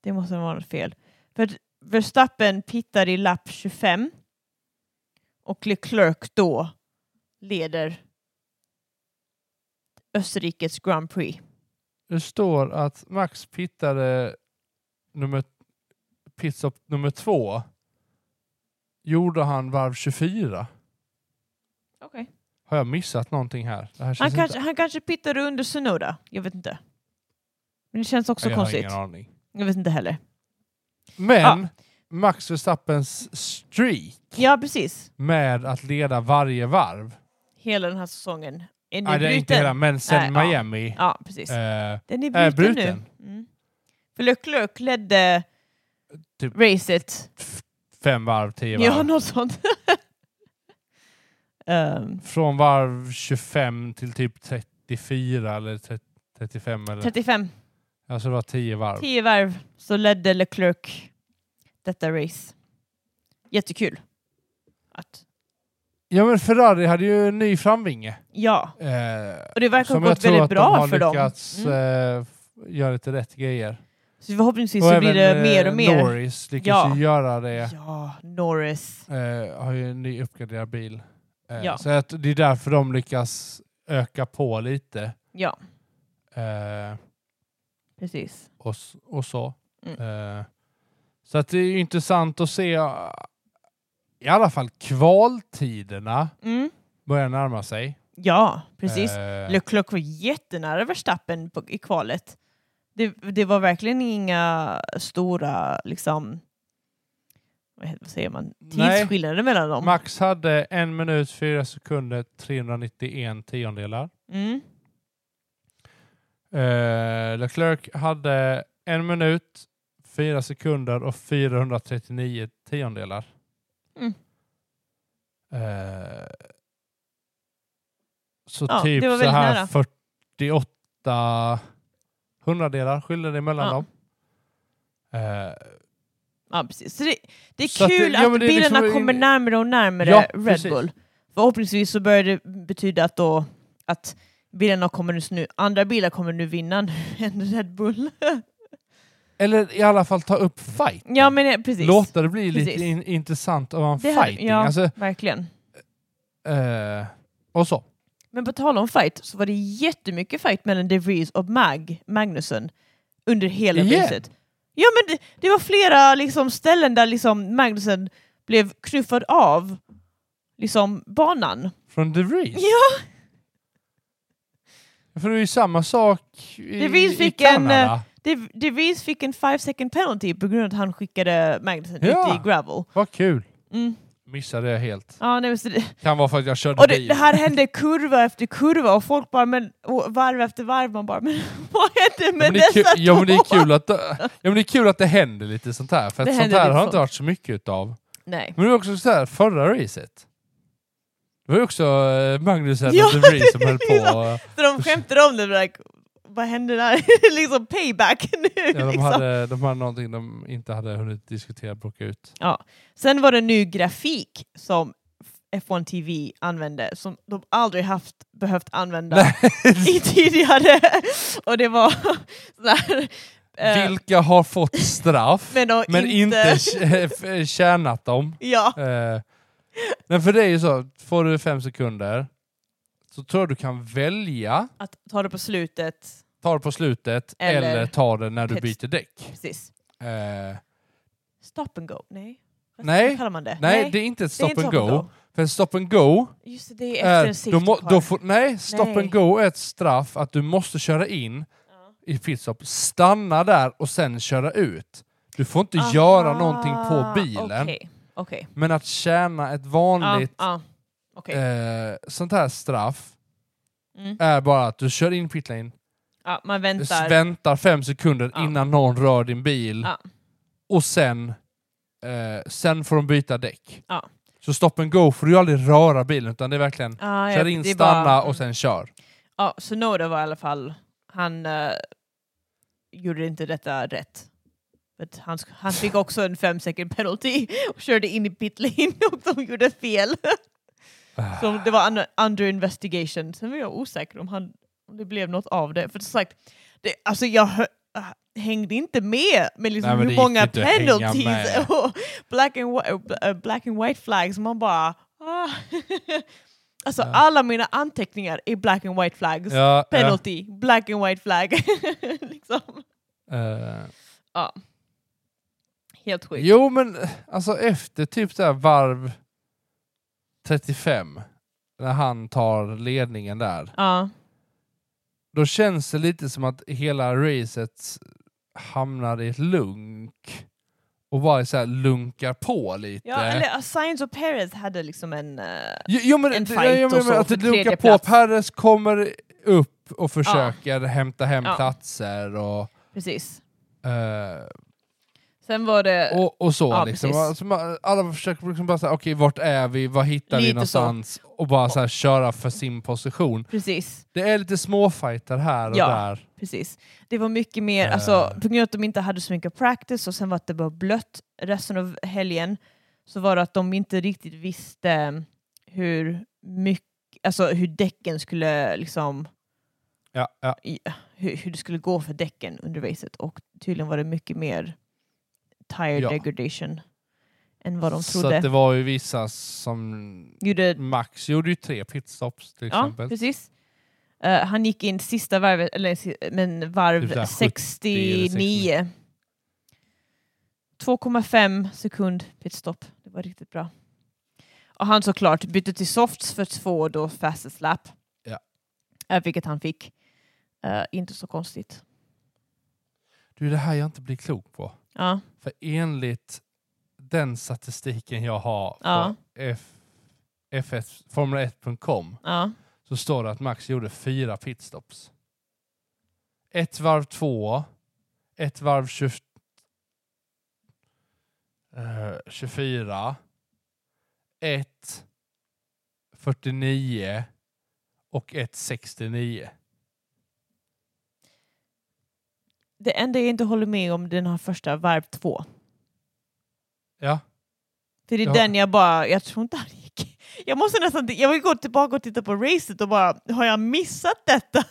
Speaker 2: Det måste vara något fel. För att Verstappen pittar i lapp 25 och Leclerc då leder Österrikes Grand Prix.
Speaker 3: Det står att Max pittade nummer, pitstop nummer två gjorde han varv 24.
Speaker 2: Okej.
Speaker 3: Har jag missat någonting här? Det här
Speaker 2: Han,
Speaker 3: känns
Speaker 2: kanske, han kanske pittade under Sunoda. Jag vet inte. Men det känns också
Speaker 3: jag
Speaker 2: konstigt.
Speaker 3: har ingen aning.
Speaker 2: Jag vet inte heller.
Speaker 3: Men Max Verstappens streak
Speaker 2: Ja, precis.
Speaker 3: med att leda varje varv.
Speaker 2: Hela den här säsongen. Är nu
Speaker 3: Nej, det är inte
Speaker 2: bruten?
Speaker 3: hela, men sen
Speaker 2: Nej, ja.
Speaker 3: Miami.
Speaker 2: Ja, precis.
Speaker 3: eh,
Speaker 2: Den är bruten,
Speaker 3: är bruten.
Speaker 2: nu. Mm. För Leclerc ledde
Speaker 3: Typ
Speaker 2: racet.
Speaker 3: fem varv, tio varv.
Speaker 2: Ja, något sånt. *laughs* Ehm,
Speaker 3: Från varv 25 till typ 34 eller 30, 35 eller...
Speaker 2: 35,
Speaker 3: Alltså det var 10 varv.
Speaker 2: 10 varv så ledde Leclerc detta race. Jättekul. Att,
Speaker 3: Ja men Ferrari hade ju en ny framvinge.
Speaker 2: ja,
Speaker 3: Eh,
Speaker 2: och det verkar ha
Speaker 3: som jag
Speaker 2: gått
Speaker 3: tror att
Speaker 2: väldigt
Speaker 3: de har
Speaker 2: bra för dem.
Speaker 3: lyckats
Speaker 2: Mm.
Speaker 3: eh, f- göra lite rätt grejer.
Speaker 2: Så förhoppningsvis så blir det
Speaker 3: eh,
Speaker 2: mer och mer.
Speaker 3: Norris lyckas
Speaker 2: Ja.
Speaker 3: ju göra det.
Speaker 2: Ja, Norris.
Speaker 3: Eh, har ju en ny uppgraderad bil. Eh,
Speaker 2: Ja.
Speaker 3: Så att det är därför de lyckas öka på lite.
Speaker 2: Ja,
Speaker 3: Eh,
Speaker 2: precis.
Speaker 3: och, s- och så.
Speaker 2: Mm.
Speaker 3: Eh, så att det är ju intressant att se eh, i alla fall kvaltiderna
Speaker 2: Mm.
Speaker 3: börjar närma sig.
Speaker 2: Ja, precis.
Speaker 3: Eh,
Speaker 2: Leclerc var jättenära Verstappen på, i kvalet. Det, det var verkligen inga stora liksom, vad heter- vad säger man,
Speaker 3: Nej.
Speaker 2: tidsskillnader mellan dem.
Speaker 3: Max hade en minut, fyra sekunder, 391 tiondelar.
Speaker 2: Mm.
Speaker 3: Eh, Leclerc hade en minut, fyra sekunder och 439 tiondelar.
Speaker 2: Mm.
Speaker 3: Eh, så
Speaker 2: Ja,
Speaker 3: typ
Speaker 2: det var
Speaker 3: så
Speaker 2: väldigt
Speaker 3: här
Speaker 2: nära.
Speaker 3: 48 hundradelar skiljer det mellan
Speaker 2: Ja.
Speaker 3: dem. Eh,
Speaker 2: Ja, precis. Så det, det är
Speaker 3: Så att det-
Speaker 2: kul
Speaker 3: ja,
Speaker 2: att
Speaker 3: men det är
Speaker 2: bilarna
Speaker 3: liksom-
Speaker 2: kommer närmare och närmare
Speaker 3: Ja,
Speaker 2: Red
Speaker 3: precis.
Speaker 2: Bull. Förhoppningsvis så börjar det betyda att, då, att bilarna kommer nu, snu- andra bilar kommer nu vinna *laughs* nu än Red Bull.
Speaker 3: eller i alla fall ta upp fight.
Speaker 2: ja, men eh, precis.
Speaker 3: Låta det bli
Speaker 2: Precis.
Speaker 3: lite in, intressant av en
Speaker 2: Det hade-
Speaker 3: fighting.
Speaker 2: ja.
Speaker 3: Alltså,
Speaker 2: Verkligen.
Speaker 3: eh, och så.
Speaker 2: Men på tal om fight så var det jättemycket fight mellan De Vries och Mag, Magnussen under hela
Speaker 3: Igen?
Speaker 2: racet. Ja men det, det var flera liksom, ställen där liksom, Magnussen blev knuffad av liksom, banan.
Speaker 3: Från De Vries.
Speaker 2: Ja,
Speaker 3: För det är ju samma sak i,
Speaker 2: De Vries
Speaker 3: i
Speaker 2: fick en,
Speaker 3: Kanada.
Speaker 2: De, De Vries fick en 5 second penalty på grund av att han skickade Magnussen ut
Speaker 3: Ja.
Speaker 2: i gravel.
Speaker 3: Vad kul.
Speaker 2: Mm.
Speaker 3: Missade jag helt.
Speaker 2: Ja, nej, men så det,
Speaker 3: Kan vara för att jag körde
Speaker 2: och det,
Speaker 3: bil.
Speaker 2: det här hände kurva efter kurva och folk bara men, och varv efter varv. Man bara men *laughs* vad hände
Speaker 3: Ja,
Speaker 2: med
Speaker 3: men det är
Speaker 2: dessa
Speaker 3: kul, ja, men det är
Speaker 2: två?
Speaker 3: kul att det, ja, men det är kul att det händer lite sånt här. För
Speaker 2: Det
Speaker 3: att sånt
Speaker 2: händer
Speaker 3: här
Speaker 2: lite
Speaker 3: har inte
Speaker 2: sånt.
Speaker 3: varit så mycket utav.
Speaker 2: Nej.
Speaker 3: Men det var också så här, förra racet. Det var ju också eh, Magnusen
Speaker 2: Ja,
Speaker 3: och De Vries som
Speaker 2: det *laughs*
Speaker 3: höll
Speaker 2: är
Speaker 3: på. eh,
Speaker 2: Så de skämtade om det, like, vad hände där? *laughs* liksom payback nu.
Speaker 3: Ja, de,
Speaker 2: liksom.
Speaker 3: hade, de hade någonting de inte hade hunnit diskutera och plocka ut.
Speaker 2: Sen var det nu grafik som F1 TV använde som de aldrig haft behövt använda *laughs* i tidigare. Och det var *laughs* sådär... eh,
Speaker 3: Vilka har fått straff
Speaker 2: men, då
Speaker 3: men
Speaker 2: *laughs*
Speaker 3: inte *laughs* tj- tjänat dem?
Speaker 2: Ja,
Speaker 3: Eh, nej, för det är ju så, får du fem sekunder så tror jag du kan välja,
Speaker 2: att ta det på slutet.
Speaker 3: ta det på slutet eller,
Speaker 2: Eller
Speaker 3: ta det när du
Speaker 2: pit-
Speaker 3: byter däck.
Speaker 2: Precis.
Speaker 3: Eh, nej,
Speaker 2: Stop and go? Nej. Vad
Speaker 3: Nej.
Speaker 2: kallar man det?
Speaker 3: det är inte ett
Speaker 2: det
Speaker 3: stop,
Speaker 2: är inte
Speaker 3: and go. För stop and go,
Speaker 2: Just det, det är efter en
Speaker 3: är,
Speaker 2: safety
Speaker 3: då må,
Speaker 2: car.
Speaker 3: då får, nej, stop
Speaker 2: Nej.
Speaker 3: and go är ett straff att du måste köra in
Speaker 2: Ja.
Speaker 3: i pitstop, stanna där och sen köra ut. Du får inte
Speaker 2: Aha,
Speaker 3: göra någonting på bilen.
Speaker 2: Ah, Okej, okej.
Speaker 3: Men att tjäna ett vanligt
Speaker 2: Ja, ja. Okej.
Speaker 3: eh, sånt här straff
Speaker 2: Mm.
Speaker 3: är bara att du kör in pitlane,
Speaker 2: Ja, man
Speaker 3: Du
Speaker 2: väntar.
Speaker 3: väntar fem sekunder
Speaker 2: Ja.
Speaker 3: innan någon rör din bil
Speaker 2: Ja.
Speaker 3: och sen, eh, sen får de byta däck.
Speaker 2: Ja.
Speaker 3: Så stop and go får du ju aldrig röra bilen utan det är verkligen
Speaker 2: Ah,
Speaker 3: kör
Speaker 2: ja,
Speaker 3: in,
Speaker 2: det är
Speaker 3: stanna
Speaker 2: bara-
Speaker 3: och sen kör.
Speaker 2: Ja, Sonoda var i alla fall... Han eh, gjorde inte detta rätt. But han, sk- han fick också en fem second penalty och körde in i pit lane *laughs* och de gjorde fel.
Speaker 3: Ah.
Speaker 2: Så det var un- under investigation. Sen var jag osäker om, han, om det blev något av det. För som sagt, det, alltså jag hö- äh, hängde inte med med liksom
Speaker 3: Nej, men det
Speaker 2: hur
Speaker 3: gick
Speaker 2: många
Speaker 3: inte att hänga
Speaker 2: penalties
Speaker 3: med.
Speaker 2: *laughs* och black and, whi- äh, bl- äh, black and white flags. Man bara... Ah. *laughs* alltså alla mina anteckningar är black and white flags
Speaker 3: Ja,
Speaker 2: *laughs* penalty, black and white flag. liksom.
Speaker 3: ja, eh,
Speaker 2: ja. Helt sjukt.
Speaker 3: Jo men alltså efter typ så här varv 35, när han tar ledningen där,
Speaker 2: Ja.
Speaker 3: då känns det lite som att hela racet hamnar i ett lunk och bara så här lunkar på lite.
Speaker 2: Ja, eller uh, Science och Perez hade liksom en... eh,
Speaker 3: Jo, jo men,
Speaker 2: en
Speaker 3: det-
Speaker 2: fight
Speaker 3: jag
Speaker 2: och
Speaker 3: menar
Speaker 2: så
Speaker 3: att det
Speaker 2: för
Speaker 3: lunkar
Speaker 2: tredje
Speaker 3: på.
Speaker 2: plats.
Speaker 3: Perez kommer upp och försöker hämta hem
Speaker 2: Ja.
Speaker 3: platser och,
Speaker 2: precis.
Speaker 3: eh,
Speaker 2: Sen var det...
Speaker 3: och, och så.
Speaker 2: Ja,
Speaker 3: liksom.
Speaker 2: precis.
Speaker 3: alltså, man, alla försöker liksom bara säga okej vart är vi, vad hittar vi
Speaker 2: Lite så.
Speaker 3: någonstans? Och bara så här, köra för sin position.
Speaker 2: Precis.
Speaker 3: Det är lite småfighter här och
Speaker 2: Ja.
Speaker 3: där.
Speaker 2: Precis. Det var mycket mer,
Speaker 3: Eh.
Speaker 2: alltså, på grund av att de inte hade så mycket practice och sen var att det var blött resten av helgen så var det att de inte riktigt visste hur mycket, alltså hur däcken skulle liksom,
Speaker 3: Ja, ja.
Speaker 2: hur, hur det skulle gå för däcken under racet och tydligen var det mycket mer tire
Speaker 3: Ja.
Speaker 2: degradation än vad de
Speaker 3: Så att
Speaker 2: trodde.
Speaker 3: det var ju vissa som...
Speaker 2: Gjorde
Speaker 3: Max gjorde ju tre pitstops till
Speaker 2: Ja,
Speaker 3: exempel.
Speaker 2: precis. Eh, han gick in sista varvet, eller si- men varv
Speaker 3: Typ såhär 70 eller
Speaker 2: 69. 2,5 sekund pitstop. Det var riktigt bra. Och han såklart bytte till softs för två då fastest lap.
Speaker 3: Ja.
Speaker 2: Eh, vilket han fick. Eh, inte så konstigt.
Speaker 3: Du, det här jag inte blir klok på.
Speaker 2: Ja.
Speaker 3: För enligt den statistiken jag har
Speaker 2: Ja.
Speaker 3: från F, FS, formel1.com
Speaker 2: ja.
Speaker 3: så står det att Max gjorde fyra pitstops. Ett varv två, ett varv 20, eh, 24, ett 49 och ett 69.
Speaker 2: Det enda jag inte håller med om den här första varv två.
Speaker 3: Ja,
Speaker 2: För det är
Speaker 3: Ja.
Speaker 2: den jag bara, jag tror inte han gick. Jag måste nästan, jag vill gå tillbaka och titta på racet och bara, har jag missat detta?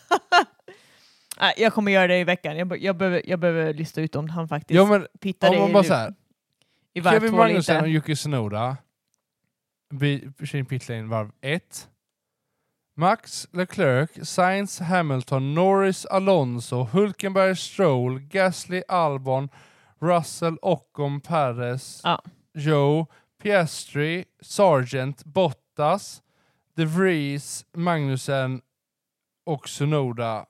Speaker 2: *laughs* Nej, jag kommer göra det i veckan, jag, be- jag, behöver, jag behöver lista ut om han faktiskt
Speaker 3: ja men
Speaker 2: pittade
Speaker 3: om man
Speaker 2: i-
Speaker 3: bara så här,
Speaker 2: i varv
Speaker 3: Kevin
Speaker 2: två eller
Speaker 3: Magnusson och
Speaker 2: inte.
Speaker 3: Yuki Tsunoda. Bi- Shane Pitlane varv 1. Max Leclerc, Sainz, Hamilton, Norris, Alonso, Hulkenberg, Stroll, Gasly, Albon, Russell, Ocon, Perez,
Speaker 2: Ja.
Speaker 3: Joe, Piastri, Sargent, Bottas, De Vries, Magnussen och Tsunoda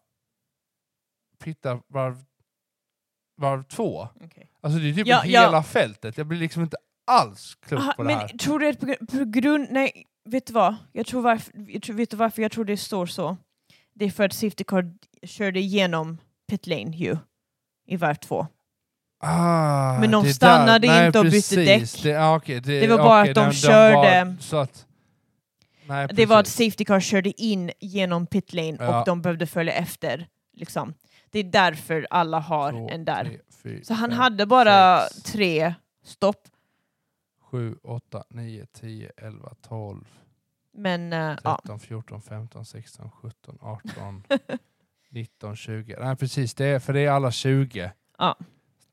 Speaker 3: pittar varv, varv två.
Speaker 2: Okej.
Speaker 3: Alltså det är typ
Speaker 2: Ja,
Speaker 3: hela
Speaker 2: ja.
Speaker 3: fältet. Jag blir liksom inte alls klok
Speaker 2: Aha,
Speaker 3: på det här.
Speaker 2: Men tror du att på, gr- på grund, nej, vet du vad? Jag tror varför, jag tror, vet du varför jag tror det står så? Det är för att Safety Car körde igenom pit lane ju, i varv två.
Speaker 3: Ah,
Speaker 2: Men de
Speaker 3: det där-
Speaker 2: stannade
Speaker 3: nej,
Speaker 2: inte och bytte
Speaker 3: precis.
Speaker 2: däck.
Speaker 3: Det, ah, okej, det,
Speaker 2: Det var bara
Speaker 3: okej,
Speaker 2: att de
Speaker 3: den- den
Speaker 2: körde-
Speaker 3: var- så att, nej,
Speaker 2: Det var att
Speaker 3: precis.
Speaker 2: Safety Car körde in genom pit lane
Speaker 3: Ja.
Speaker 2: och de behövde följa efter. Liksom. Det är därför alla har
Speaker 3: Två,
Speaker 2: en där.
Speaker 3: tre, fyra,
Speaker 2: så han
Speaker 3: fem,
Speaker 2: hade bara
Speaker 3: sex,
Speaker 2: tre stopp,
Speaker 3: Sju, åtta, nio, tio, elva, tolv,
Speaker 2: men eh, ja.
Speaker 3: tretton, fjorton, femton, sexton, sjutton,
Speaker 2: *laughs*
Speaker 3: arton, nitton, tjugo. Nej precis, det är, för det är alla tjugo.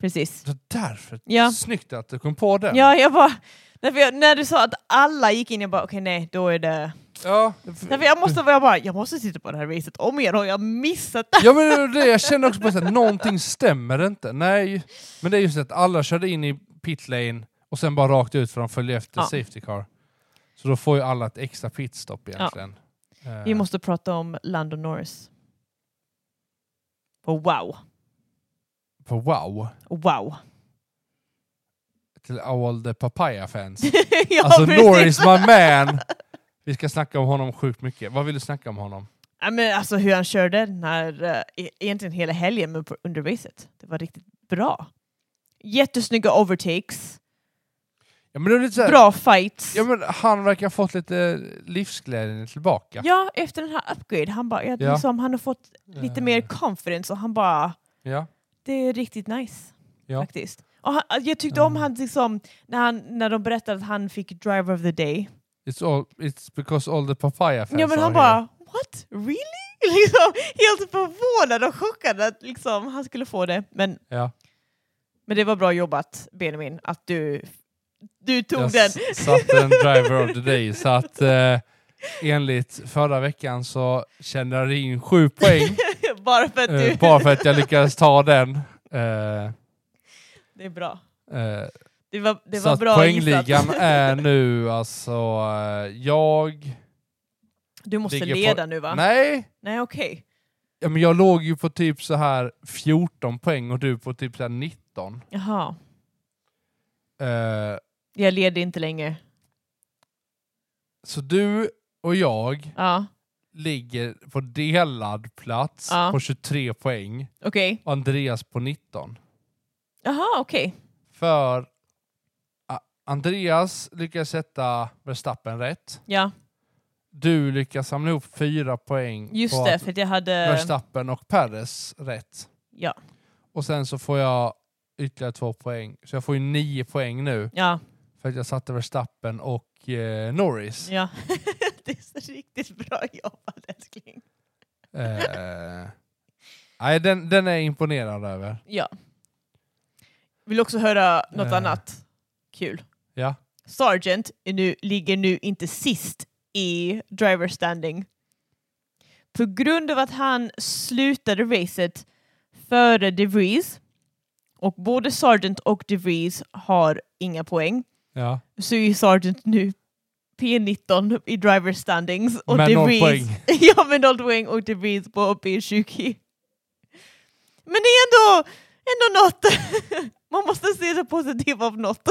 Speaker 2: precis.
Speaker 3: Så därför,
Speaker 2: Ja.
Speaker 3: snyggt att du kom på det.
Speaker 2: Ja, jag bara... Därför jag, när du sa att alla gick in, jag bara okej nej, då är det...
Speaker 3: Ja.
Speaker 2: Därför jag måste, jag bara, jag måste titta på det här racet om igen, har jag missat det?
Speaker 3: Ja men det var det, jag kände också på att någonting stämmer inte. Nej, men det är just att alla körde in i pit lane och sen bara rakt ut för de följde efter
Speaker 2: Ja.
Speaker 3: safety car. Så då får ju alla ett extra pitstop egentligen. Eh,
Speaker 2: Vi måste prata om Lando Norris. Och wow,
Speaker 3: På wow,
Speaker 2: wow. *laughs*
Speaker 3: till all the papaya fans.
Speaker 2: *laughs* ja,
Speaker 3: alltså
Speaker 2: precis.
Speaker 3: Norris my man! Vi ska snacka om honom sjukt mycket. Vad vill du snacka om honom?
Speaker 2: Ja, men alltså hur han körde den här, eh, e- egentligen hela helgen men på- under racet. Det var riktigt bra. Jättesnygga overtakes,
Speaker 3: Ja, men det är lite så här,
Speaker 2: bra fights.
Speaker 3: Ja,
Speaker 2: Ja,
Speaker 3: men han verkar ha fått lite livsglädjen tillbaka.
Speaker 2: efter den här upgrade, han, bara, ja.
Speaker 3: Ja.
Speaker 2: liksom, han har fått lite mer
Speaker 3: Eh,
Speaker 2: confidence och han bara,
Speaker 3: Ja.
Speaker 2: det är riktigt nice
Speaker 3: Ja.
Speaker 2: faktiskt. Och han, jag tyckte om han, liksom, när han när de berättade att han fick driver of the day.
Speaker 3: It's, all, it's because all the papaya fans
Speaker 2: Ja men
Speaker 3: are
Speaker 2: han
Speaker 3: here.
Speaker 2: bara, what? Really? *laughs* Liksom, helt förvånad och chockad att liksom, han skulle få det. Men
Speaker 3: Ja.
Speaker 2: Men det var bra jobbat Benjamin att du, du tog
Speaker 3: Jag
Speaker 2: den.
Speaker 3: s- satte en driver of the day. Så att eh, enligt förra veckan så kände jag in sju poäng.
Speaker 2: *laughs* bara för att *laughs* du...
Speaker 3: Eh, bara för att jag lyckades ta den. Eh,
Speaker 2: *laughs* Det är bra.
Speaker 3: Eh,
Speaker 2: Det var, det
Speaker 3: så
Speaker 2: var
Speaker 3: att
Speaker 2: bra
Speaker 3: poängligan
Speaker 2: gissat.
Speaker 3: är nu alltså, eh, jag...
Speaker 2: *laughs* Du måste
Speaker 3: ligger på-
Speaker 2: leda nu va?
Speaker 3: Nej!
Speaker 2: Nej okej.
Speaker 3: Ja, men jag låg ju på typ så här 14 poäng och du på typ så här 19.
Speaker 2: Jaha.
Speaker 3: Eh,
Speaker 2: Jag leder inte längre.
Speaker 3: så du och jag
Speaker 2: Ja,
Speaker 3: ligger på delad plats
Speaker 2: Ja.
Speaker 3: på 23 poäng
Speaker 2: okej.
Speaker 3: och Andreas på 19.
Speaker 2: Jaha, okej.
Speaker 3: För A- Andreas lyckas sätta Verstappen rätt.
Speaker 2: Ja,
Speaker 3: Du lyckas samla ihop fyra poäng
Speaker 2: just
Speaker 3: på
Speaker 2: det.
Speaker 3: att
Speaker 2: För att jag hade...
Speaker 3: Verstappen och Perez rätt.
Speaker 2: Ja,
Speaker 3: Och sen så får jag ytterligare två poäng. Så jag får ju nio poäng nu
Speaker 2: ja,
Speaker 3: för att jag satte Verstappen och eh, Norris.
Speaker 2: ja. *laughs* det är så riktigt bra jobbat älskling.
Speaker 3: Eh, nej, den, den är jag imponerad över.
Speaker 2: Ja. Vill också höra något
Speaker 3: Eh.
Speaker 2: annat kul.
Speaker 3: Ja.
Speaker 2: Sargent är nu, ligger nu inte sist i driver standing. På grund av att han slutade racet före De Vries och både Sargent och De Vries har inga poäng
Speaker 3: ja.
Speaker 2: så är Sargent nu P19 i driver standings och
Speaker 3: Med
Speaker 2: De
Speaker 3: noll
Speaker 2: Vries-
Speaker 3: poäng.
Speaker 2: *laughs* ja, med noll poäng och De Vries på P20. Men det är ändå, ändå något. *laughs* Man måste se det positiva av något.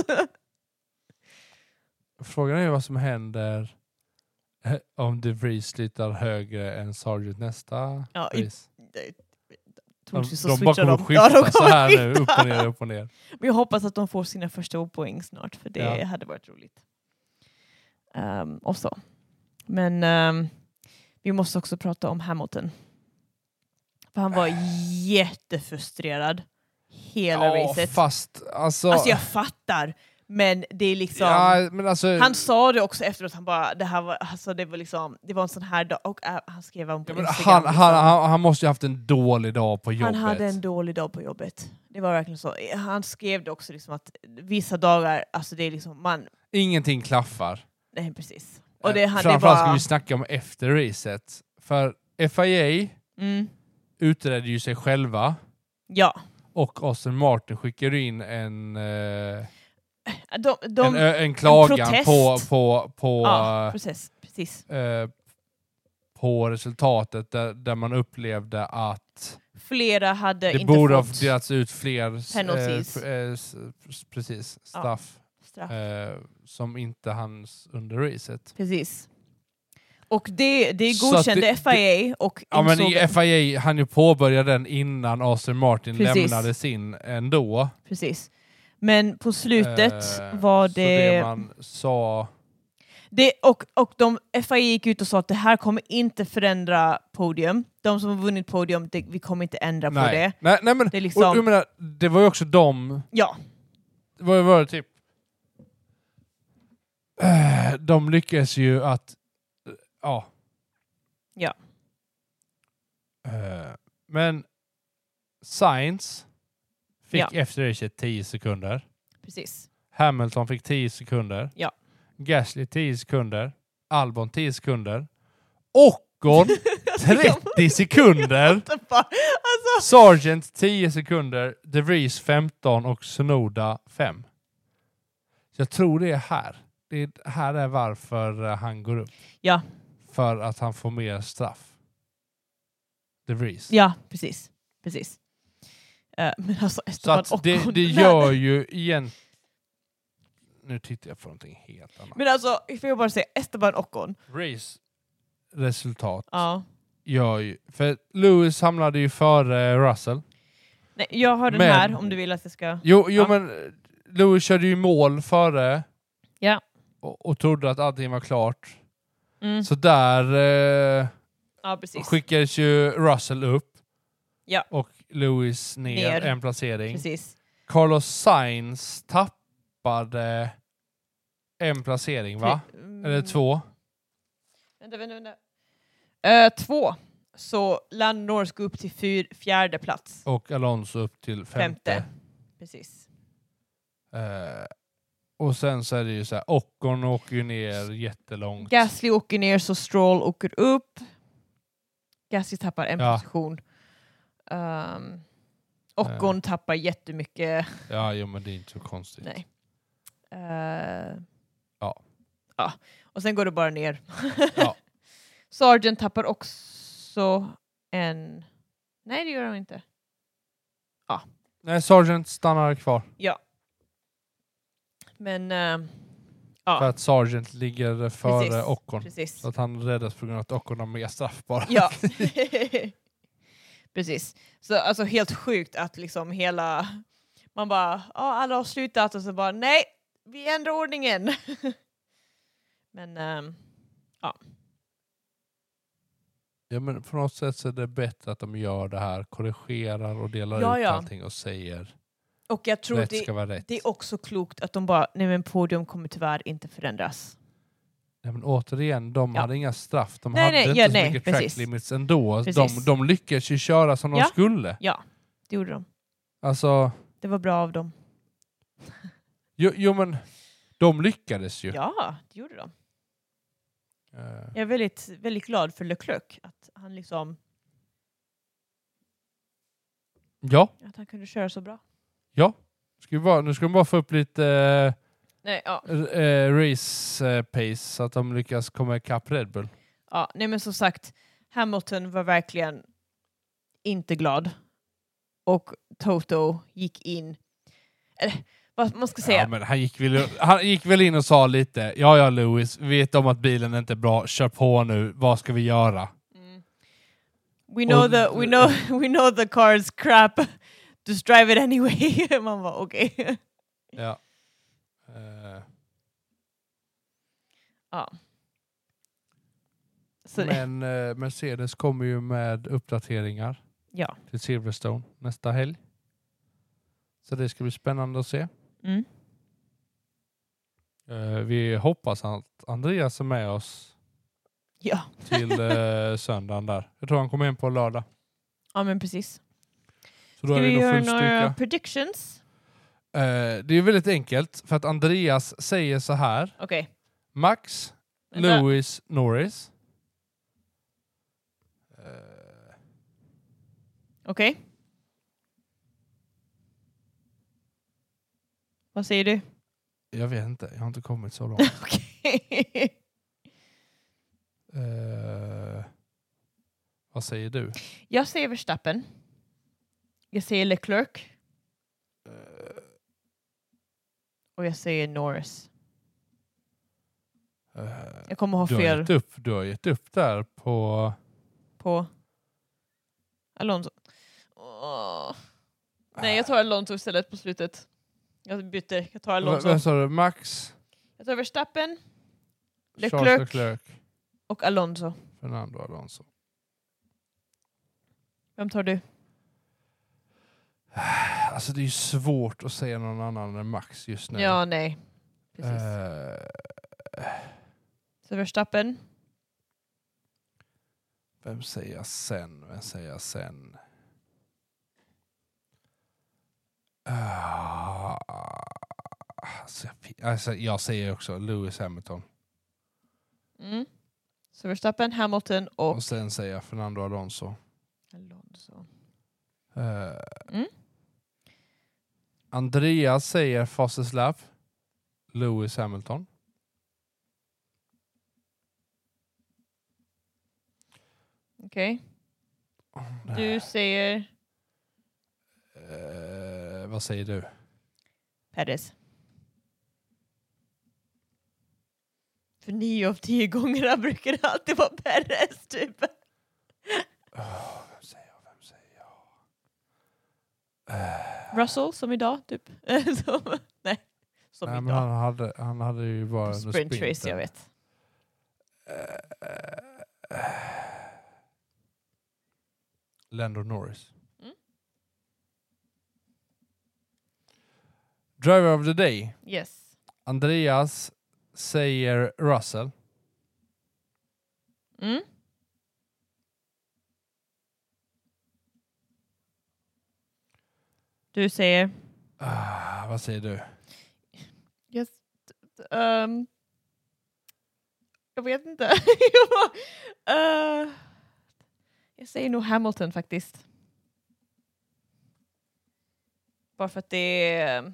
Speaker 3: Frågan är ju vad som händer eh, om De Vries slutar högre än Sargent nästa
Speaker 2: Ja, i-
Speaker 3: race. De,
Speaker 2: Troligtvis så
Speaker 3: de bara
Speaker 2: switchar
Speaker 3: kommer
Speaker 2: de.
Speaker 3: skifta
Speaker 2: Ja, de kommer
Speaker 3: så här nu,
Speaker 2: skifta.
Speaker 3: upp och ner, upp och ner.
Speaker 2: Men jag hoppas att de får sina första poäng snart, för det
Speaker 3: Ja.
Speaker 2: hade varit roligt. Ehm, och så. Men ehm, vi måste också prata om Hamilton. För han var jättefrustrerad hela
Speaker 3: Ja,
Speaker 2: racet.
Speaker 3: fast alltså...
Speaker 2: Alltså jag fattar, men det är liksom...
Speaker 3: ja, men alltså
Speaker 2: Han sa det också efteråt, han bara, det här var, alltså det var liksom, det var en sån här dag, och äh, han skrev om på
Speaker 3: ja, men
Speaker 2: Instagram.
Speaker 3: han,
Speaker 2: liksom.
Speaker 3: han, han, han måste ju haft en dålig dag på
Speaker 2: Han
Speaker 3: jobbet.
Speaker 2: hade en dålig dag på jobbet. Det var verkligen så. Han skrev det också liksom att vissa dagar, alltså det är liksom man...
Speaker 3: Ingenting klaffar.
Speaker 2: Nej precis. Och det,
Speaker 3: Eh,
Speaker 2: han, det
Speaker 3: Framförallt ska
Speaker 2: var...
Speaker 3: vi snacka om efter racet. För FIA
Speaker 2: Mm,
Speaker 3: utredde ju sig själva
Speaker 2: ja.
Speaker 3: och Austin Martin skickade in en, eh,
Speaker 2: De,
Speaker 3: en,
Speaker 2: de,
Speaker 3: ö- en klagan
Speaker 2: protest.
Speaker 3: på, på, på,
Speaker 2: ja, precis. precis.
Speaker 3: eh, på resultatet där, där man upplevde att
Speaker 2: Flera hade
Speaker 3: det
Speaker 2: Eh, inte
Speaker 3: borde ha
Speaker 2: fått
Speaker 3: delats ut fler s-
Speaker 2: Penalties.
Speaker 3: eh, f- eh, s- s- precis,
Speaker 2: Ja.
Speaker 3: straff
Speaker 2: straff.
Speaker 3: eh, som inte hanns under racet.
Speaker 2: Precis. Och det, det
Speaker 3: Så att
Speaker 2: godkände
Speaker 3: det-
Speaker 2: FIA och
Speaker 3: Ja, men
Speaker 2: insåg...
Speaker 3: i FIA hann ju påbörja den innan Aston Martin
Speaker 2: Precis.
Speaker 3: lämnade sin ändå.
Speaker 2: precis. Men på slutet
Speaker 3: Eh,
Speaker 2: var
Speaker 3: Så det man sa...
Speaker 2: Det, och, och de, FIA gick ut och sa att det här kommer inte förändra podium. De som har vunnit podium, det, vi kommer inte ändra på
Speaker 3: Nej.
Speaker 2: det.
Speaker 3: Nej, nej, men,
Speaker 2: Det är liksom-
Speaker 3: och, um- jag menar, det var ju också de
Speaker 2: Ja,
Speaker 3: vad var det typ? Eh, De lyckas ju att... eh, Ja.
Speaker 2: Ja.
Speaker 3: Eh, Men Science fick
Speaker 2: Ja.
Speaker 3: efter racet 10 sekunder.
Speaker 2: precis.
Speaker 3: Hamilton fick 10 sekunder.
Speaker 2: Ja.
Speaker 3: Gasly 10 sekunder. Albon 10 sekunder.
Speaker 2: *laughs*
Speaker 3: Ocon 30 sekunder.
Speaker 2: Det var- Alltså,
Speaker 3: Sargent 10 sekunder, De Vries 15 och Sonoda 5. Så jag tror det är här. Det är, här är varför eh, han går upp.
Speaker 2: Ja.
Speaker 3: För att han får mer straff. De Vries.
Speaker 2: ja, precis. precis. Eh, men alltså,
Speaker 3: Så
Speaker 2: Esteban
Speaker 3: att det,
Speaker 2: Ocon...
Speaker 3: det gör ju igen... Nu tittar jag på någonting helt annat.
Speaker 2: Men alltså, får jag bara säga Esteban Ocon.
Speaker 3: Race resultat
Speaker 2: Ja.
Speaker 3: gör ju... För Lewis hamnade ju före Russell.
Speaker 2: Nej, jag har den
Speaker 3: Men-
Speaker 2: här om du vill att jag ska...
Speaker 3: Jo, jo
Speaker 2: Ja.
Speaker 3: men eh, Lewis körde ju mål före
Speaker 2: Ja.
Speaker 3: och, och trodde att allting var klart.
Speaker 2: Mm.
Speaker 3: Så där eh,
Speaker 2: Ja, precis.
Speaker 3: skickades ju Russell upp
Speaker 2: Ja.
Speaker 3: och Lewis ner,
Speaker 2: Ner.
Speaker 3: en placering.
Speaker 2: precis.
Speaker 3: Carlos Sainz tappade en placering va?
Speaker 2: Mm.
Speaker 3: Eller två?
Speaker 2: Vänta, vänta, vänta. Eh, två. Så Lando Norris går upp till fyr, fjärde plats.
Speaker 3: Och Alonso upp till femte.
Speaker 2: Femte. Precis.
Speaker 3: Eh, och sen så är det ju så här, Ocon åker ju ner jättelångt.
Speaker 2: Gasly åker ner så Stroll åker upp. Gasly tappar en
Speaker 3: Ja.
Speaker 2: position. Ehm, Och
Speaker 3: Eh.
Speaker 2: hon tappar jättemycket.
Speaker 3: Ja, jo, men det är inte så konstigt.
Speaker 2: Nej. eh,
Speaker 3: Ja.
Speaker 2: ja. Och sen går det bara ner.
Speaker 3: Ja.
Speaker 2: *laughs* Sargent tappar också en... Nej, det gör han inte.
Speaker 3: Nej, Sergeant stannar kvar
Speaker 2: Men... eh, ja,
Speaker 3: för att Sergeant ligger före
Speaker 2: Precis.
Speaker 3: Ockon.
Speaker 2: precis.
Speaker 3: Så att han räddas på grund av att Ockon har mer straff bara.
Speaker 2: Ja. Precis. Så alltså helt sjukt att liksom hela... Man bara, ja alla har slutat och så bara nej, vi ändrar ordningen. *laughs* Men ehm,
Speaker 3: *laughs* Ja, men på något sätt så är det bättre att de gör det här, korrigerar och delar
Speaker 2: Ja,
Speaker 3: ut
Speaker 2: ja.
Speaker 3: allting och säger
Speaker 2: och jag tror
Speaker 3: rätt
Speaker 2: det,
Speaker 3: ska vara rätt.
Speaker 2: det är också klokt att de bara, nej men podium kommer tyvärr inte förändras.
Speaker 3: Nej, men återigen, de
Speaker 2: Ja.
Speaker 3: hade inga straff. De
Speaker 2: Nej,
Speaker 3: hade
Speaker 2: nej,
Speaker 3: inte
Speaker 2: ja,
Speaker 3: så
Speaker 2: nej,
Speaker 3: mycket
Speaker 2: precis.
Speaker 3: track limits ändå. De,
Speaker 2: Precis.
Speaker 3: de lyckades ju köra som de
Speaker 2: Ja.
Speaker 3: skulle.
Speaker 2: Det gjorde de.
Speaker 3: Alltså,
Speaker 2: Det var bra av dem.
Speaker 3: jo, jo men de lyckades ju.
Speaker 2: Ja, det gjorde de.
Speaker 3: Eh,
Speaker 2: Jag är väldigt, väldigt glad för Leclerc att han liksom,
Speaker 3: ja.
Speaker 2: att han kunde köra så bra.
Speaker 3: Ska vi bara, nu ska de bara få upp lite eh,
Speaker 2: Nej, ja.
Speaker 3: r- eh, race eh, pace så att de lyckas komma ikapp Red Bull.
Speaker 2: Ja, nej men som sagt, Hamilton var verkligen inte glad. Och Toto gick in... Eller, vad man ska säga.
Speaker 3: Ja, men han, gick väl, han gick väl in och sa lite, ja ja Lewis, vet om att bilen inte är bra, kör på nu, vad ska vi göra?
Speaker 2: Mm. We, know
Speaker 3: Och-
Speaker 2: the, we, know, *laughs* we know the car is crap. *laughs* Just drive it anyway. *laughs* Man var okej.
Speaker 3: Ja. Eh,
Speaker 2: Så det-
Speaker 3: men eh, Mercedes kommer ju med uppdateringar
Speaker 2: Ja.
Speaker 3: till Silverstone nästa helg. Så det ska bli spännande att se.
Speaker 2: Mm.
Speaker 3: Eh, vi hoppas att Andreas är med oss
Speaker 2: Ja.
Speaker 3: till
Speaker 2: *laughs*
Speaker 3: eh, söndagen där. Jag tror han kommer in på lördag.
Speaker 2: ja, men precis.
Speaker 3: Så då
Speaker 2: Ska
Speaker 3: är
Speaker 2: vi
Speaker 3: vi då
Speaker 2: göra
Speaker 3: full
Speaker 2: några
Speaker 3: styrka.
Speaker 2: predictions?
Speaker 3: Eh, det är väldigt enkelt för att Andreas säger så här.
Speaker 2: Okej.
Speaker 3: Max,
Speaker 2: Vänta.
Speaker 3: Lewis, Norris. Eh,
Speaker 2: Okej. Vad säger du?
Speaker 3: jag vet inte, jag har inte kommit så långt.
Speaker 2: *laughs* Okej.
Speaker 3: Eh, vad säger du?
Speaker 2: *laughs* Jag säger Verstappen. Jag säger Leclerc. Och jag säger Norris.
Speaker 3: Eh,
Speaker 2: Jag kommer ha
Speaker 3: du, har
Speaker 2: fel
Speaker 3: gett upp, du har gett upp där på...
Speaker 2: på Alonso. Åh. Nej, jag tar Alonso istället på slutet. Jag byter. Jag tar
Speaker 3: V-
Speaker 2: Alonso.
Speaker 3: Vem sa du? Max,
Speaker 2: Jag tar Verstappen Leclerc.
Speaker 3: Charles Leclerc,
Speaker 2: och Alonso.
Speaker 3: Fernando Alonso.
Speaker 2: Vem tar du?
Speaker 3: Alltså det är ju svårt att säga någon annan än Max just nu.
Speaker 2: Ja, nej. Precis.
Speaker 3: Eh,
Speaker 2: Så Verstappen.
Speaker 3: vem säger jag sen? Vem säger jag sen? Ah, alltså, jag, alltså, jag säger också Lewis Hamilton.
Speaker 2: Mm. Så Verstappen, Hamilton och
Speaker 3: Och sen säger jag Fernando Alonso.
Speaker 2: Alonso.
Speaker 3: Eh,
Speaker 2: Mm.
Speaker 3: Andreas säger fastest lap. Lewis Hamilton.
Speaker 2: Okej. Du säger
Speaker 3: Eh, vad säger du?
Speaker 2: Perez. För nio av tio gångerna brukar det alltid vara Perez, typ.
Speaker 3: Ah, vem säger jag? Vem säger jag?
Speaker 2: Russell, som idag, typ. *laughs* som, nej, som
Speaker 3: Nej, men
Speaker 2: idag.
Speaker 3: han, hade, han hade ju bara... under
Speaker 2: Sprint race,
Speaker 3: sprinten.
Speaker 2: jag vet.
Speaker 3: Lando Norris.
Speaker 2: Mm.
Speaker 3: Driver of the day.
Speaker 2: Yes.
Speaker 3: Andreas säger Russell.
Speaker 2: Mm. Du säger?
Speaker 3: Ah, vad säger du?
Speaker 2: Yes. Ehm, jag vet inte. *laughs* jag, bara, eh, jag säger nog Hamilton faktiskt. Bara för att det är...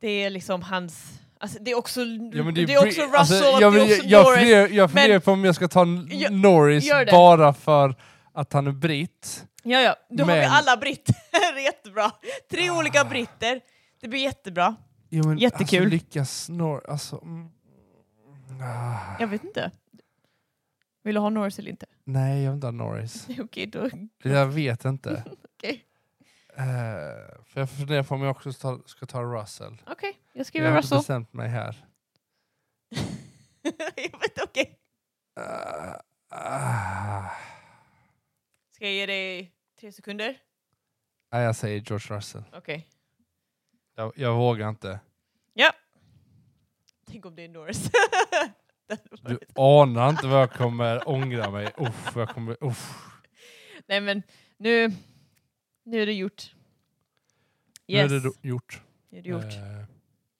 Speaker 2: Det är liksom hans... Alltså det är också,
Speaker 3: Oh. Ja, men
Speaker 2: det är
Speaker 3: Bri-
Speaker 2: också Russell
Speaker 3: alltså,
Speaker 2: och
Speaker 3: jag,
Speaker 2: det är
Speaker 3: vill-
Speaker 2: också
Speaker 3: jag,
Speaker 2: Norris.
Speaker 3: funderar- jag funderar
Speaker 2: men-
Speaker 3: på om jag ska ta N-
Speaker 2: Gör-
Speaker 3: Norris
Speaker 2: gör det.
Speaker 3: bara för att han är britt.
Speaker 2: Ja, ja. Då har vi
Speaker 3: Men- Ah.
Speaker 2: alla britter. *laughs* det är jättebra. Tre olika britter. Det blir jättebra.
Speaker 3: Jo, men,
Speaker 2: Jättekul.
Speaker 3: Alltså, lyckas Norris... Alltså, mm, ah,
Speaker 2: Jag vet inte. Vill du ha Norris eller inte? *laughs*
Speaker 3: nej, jag vill inte ha Norris.
Speaker 2: Okej, då.
Speaker 3: Jag vet inte.
Speaker 2: Okej.
Speaker 3: Eh, för jag funderar på om jag också ska ta, ska ta Russell.
Speaker 2: Okej, jag
Speaker 3: Jag
Speaker 2: skriver
Speaker 3: har inte
Speaker 2: Russell.
Speaker 3: bestämt mig här.
Speaker 2: *laughs* jag vet, okej.
Speaker 3: Eh, ah.
Speaker 2: Ska jag ge dig tre sekunder?
Speaker 3: Nej, jag säger George Russell.
Speaker 2: Okej.
Speaker 3: Jag, jag vågar inte.
Speaker 2: Tänk om det är Norris. *laughs* Det hade
Speaker 3: Du
Speaker 2: varit-
Speaker 3: anar inte vad jag kommer ångra mig. Uff, jag kommer... Uff.
Speaker 2: Nej men nu, nu är det gjort.
Speaker 3: Nu är
Speaker 2: Yes,
Speaker 3: det do- gjort.
Speaker 2: nu är det gjort.
Speaker 3: Eh,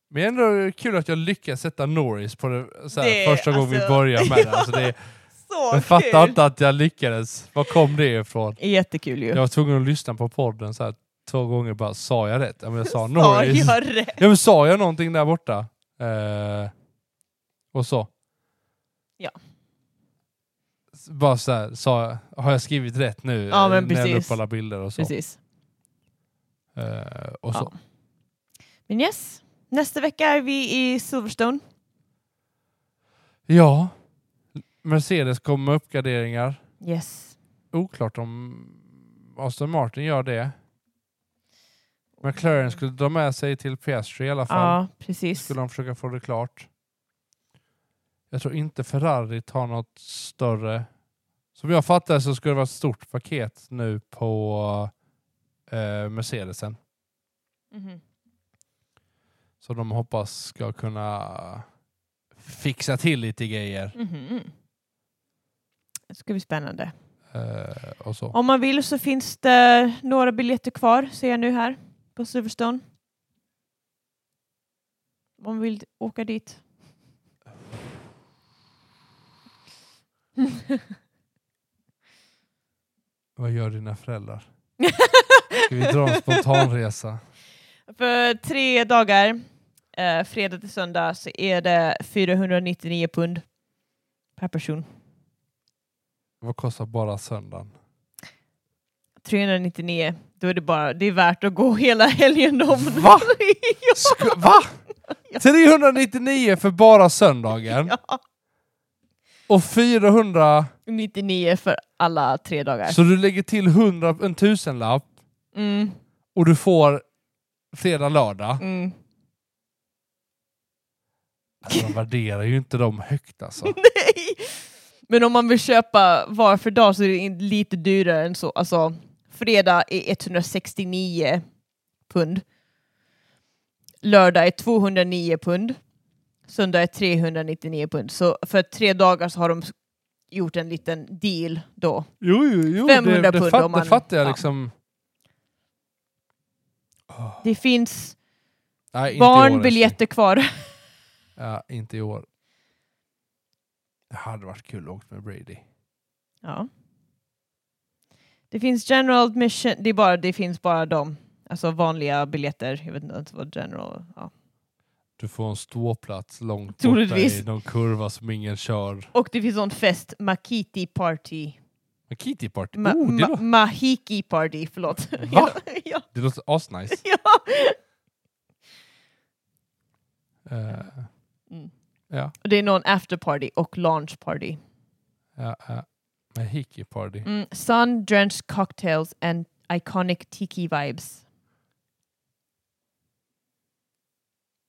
Speaker 3: Men ändå är det kul att jag lyckas sätta Norris på det, såhär,
Speaker 2: Det är,
Speaker 3: första gången vi
Speaker 2: alltså-
Speaker 3: börjar med det. Alltså, det
Speaker 2: *laughs*
Speaker 3: är,
Speaker 2: Så
Speaker 3: jag fattar inte att jag lyckades. Var kom det ifrån?
Speaker 2: Jättekul ju.
Speaker 3: Jag var tvungen att lyssna på podden så här, två gånger bara, sa jag rätt? Ja, men jag
Speaker 2: *laughs*
Speaker 3: sa
Speaker 2: Sa
Speaker 3: Norris.
Speaker 2: jag rätt?
Speaker 3: *laughs* Ja, men sa jag någonting där borta? Eh, och så?
Speaker 2: Ja.
Speaker 3: S- Bara så här, sa jag, har jag skrivit rätt nu?
Speaker 2: Ja, men
Speaker 3: Eh, När jag la
Speaker 2: precis.
Speaker 3: upp alla bilder och så.
Speaker 2: Precis.
Speaker 3: Eh, och så.
Speaker 2: Ja. Men yes, nästa vecka är vi i Silverstone.
Speaker 3: Ja. Mercedes kommer med uppgraderingar.
Speaker 2: Yes.
Speaker 3: Oklart om Aston Martin gör det. McLaren skulle dra med sig till Piastri i alla fall.
Speaker 2: Ja, precis.
Speaker 3: skulle de försöka få det klart. Jag tror inte Ferrari tar något större. Som jag fattar så skulle det vara ett stort paket nu på eh, Mercedesen.
Speaker 2: Mhm.
Speaker 3: Som de hoppas ska kunna fixa till lite grejer.
Speaker 2: Mhm. Det ska bli spännande.
Speaker 3: Eh, och så.
Speaker 2: Om man vill så finns det några biljetter kvar, ser jag nu här, på Silverstone. Om man vill åka dit.
Speaker 3: Vad gör
Speaker 2: *laughs*
Speaker 3: dina föräldrar? Ska vi dra en spontanresa?
Speaker 2: För tre dagar, eh, fredag till söndag, så är det 499 pund per person.
Speaker 3: Vad kostar bara söndagen?
Speaker 2: 399, då är det bara, det är värt att gå *laughs* hela helgen om. *laughs*
Speaker 3: Va?
Speaker 2: Ja,
Speaker 3: Sk- va? 399 för bara söndagen
Speaker 2: ja.
Speaker 3: och 400
Speaker 2: 99 för alla tre dagar.
Speaker 3: Så du lägger till 100, en tusenlapp
Speaker 2: Mm,
Speaker 3: och du får fredag, lördag.
Speaker 2: mm.
Speaker 3: Alltså, de värderar ju inte dem högt alltså.
Speaker 2: *laughs* Nej! Men om man vill köpa var för dag så är det in- lite dyrare än så. Alltså, fredag är 169 pund. Lördag är 209 pund. Söndag är 399 pund. Så för tre dagar så har de s- gjort en liten deal då.
Speaker 3: Jo, jo, jo.
Speaker 2: 500
Speaker 3: det, det,
Speaker 2: pund
Speaker 3: fatt,
Speaker 2: om man-
Speaker 3: det fattar jag
Speaker 2: ja.
Speaker 3: liksom.
Speaker 2: Det finns
Speaker 3: Nej, inte i år, alltså. älskling.
Speaker 2: barnbiljetter kvar. *laughs*
Speaker 3: Ja, inte i år. Det hade varit kul att åka med Brady.
Speaker 2: Ja. Det finns general admission, det, är bara, det finns bara de. Alltså vanliga biljetter. Jag vet inte ens vad general... Ja.
Speaker 3: Du får en ståplats långt borta
Speaker 2: Troligtvis.
Speaker 3: i någon kurva som ingen kör.
Speaker 2: Och det finns en fest, Makiti Party.
Speaker 3: Men Kitty Party,
Speaker 2: Ma-
Speaker 3: oh, det,
Speaker 2: ma-
Speaker 3: lå-
Speaker 2: Mahiki Party, förlåt.
Speaker 3: Va?
Speaker 2: *laughs* ja,
Speaker 3: det låter
Speaker 2: *laughs*
Speaker 3: asnice.
Speaker 2: ja.
Speaker 3: Eh,
Speaker 2: Mm.
Speaker 3: ja,
Speaker 2: Och Det är någon after party och launch party.
Speaker 3: ja, ja. Men Hickey Party.
Speaker 2: Mm, sun drenched cocktails and iconic tiki vibes.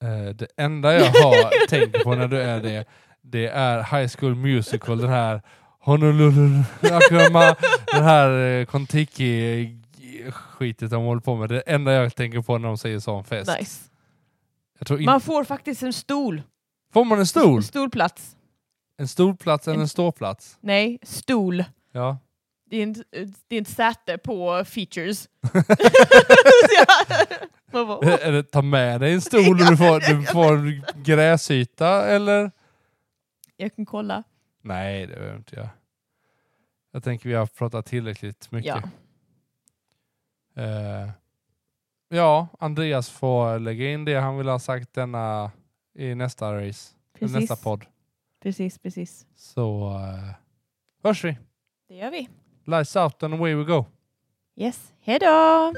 Speaker 3: Eh, det enda
Speaker 2: *laughs*
Speaker 3: jag har tänkt på när du är det, det är High School Musical, den här Honolulu, Akuma, den här eh, Kontiki skitet de håller på med. Det enda jag tänker på när de säger sån fest.
Speaker 2: Nice.
Speaker 3: Jag tror
Speaker 2: Man
Speaker 3: inte.
Speaker 2: får faktiskt en stol.
Speaker 3: Får man en stol?
Speaker 2: Stolplats.
Speaker 3: En stolplats eller
Speaker 2: En-
Speaker 3: en ståplats?
Speaker 2: Nej, stol.
Speaker 3: Ja.
Speaker 2: Det är ett, det är ett säte på
Speaker 3: *laughs*
Speaker 2: features. Så jag- Man bara, "Åh."
Speaker 3: Eller ta med dig en stol och du får,
Speaker 2: *laughs*
Speaker 3: du får en gräsyta eller?
Speaker 2: jag kan kolla.
Speaker 3: Nej, det behöver inte jag. Jag tänker vi har pratat tillräckligt mycket.
Speaker 2: Ja.
Speaker 3: Eh, Ja, Andreas får lägga in det han vill ha sagt denna i nästa race, eller
Speaker 2: Precis,
Speaker 3: nästa podd.
Speaker 2: precis, precis.
Speaker 3: Så uh, hörs vi.
Speaker 2: Det gör vi.
Speaker 3: Lights out and away we go.
Speaker 2: Yes, hej då!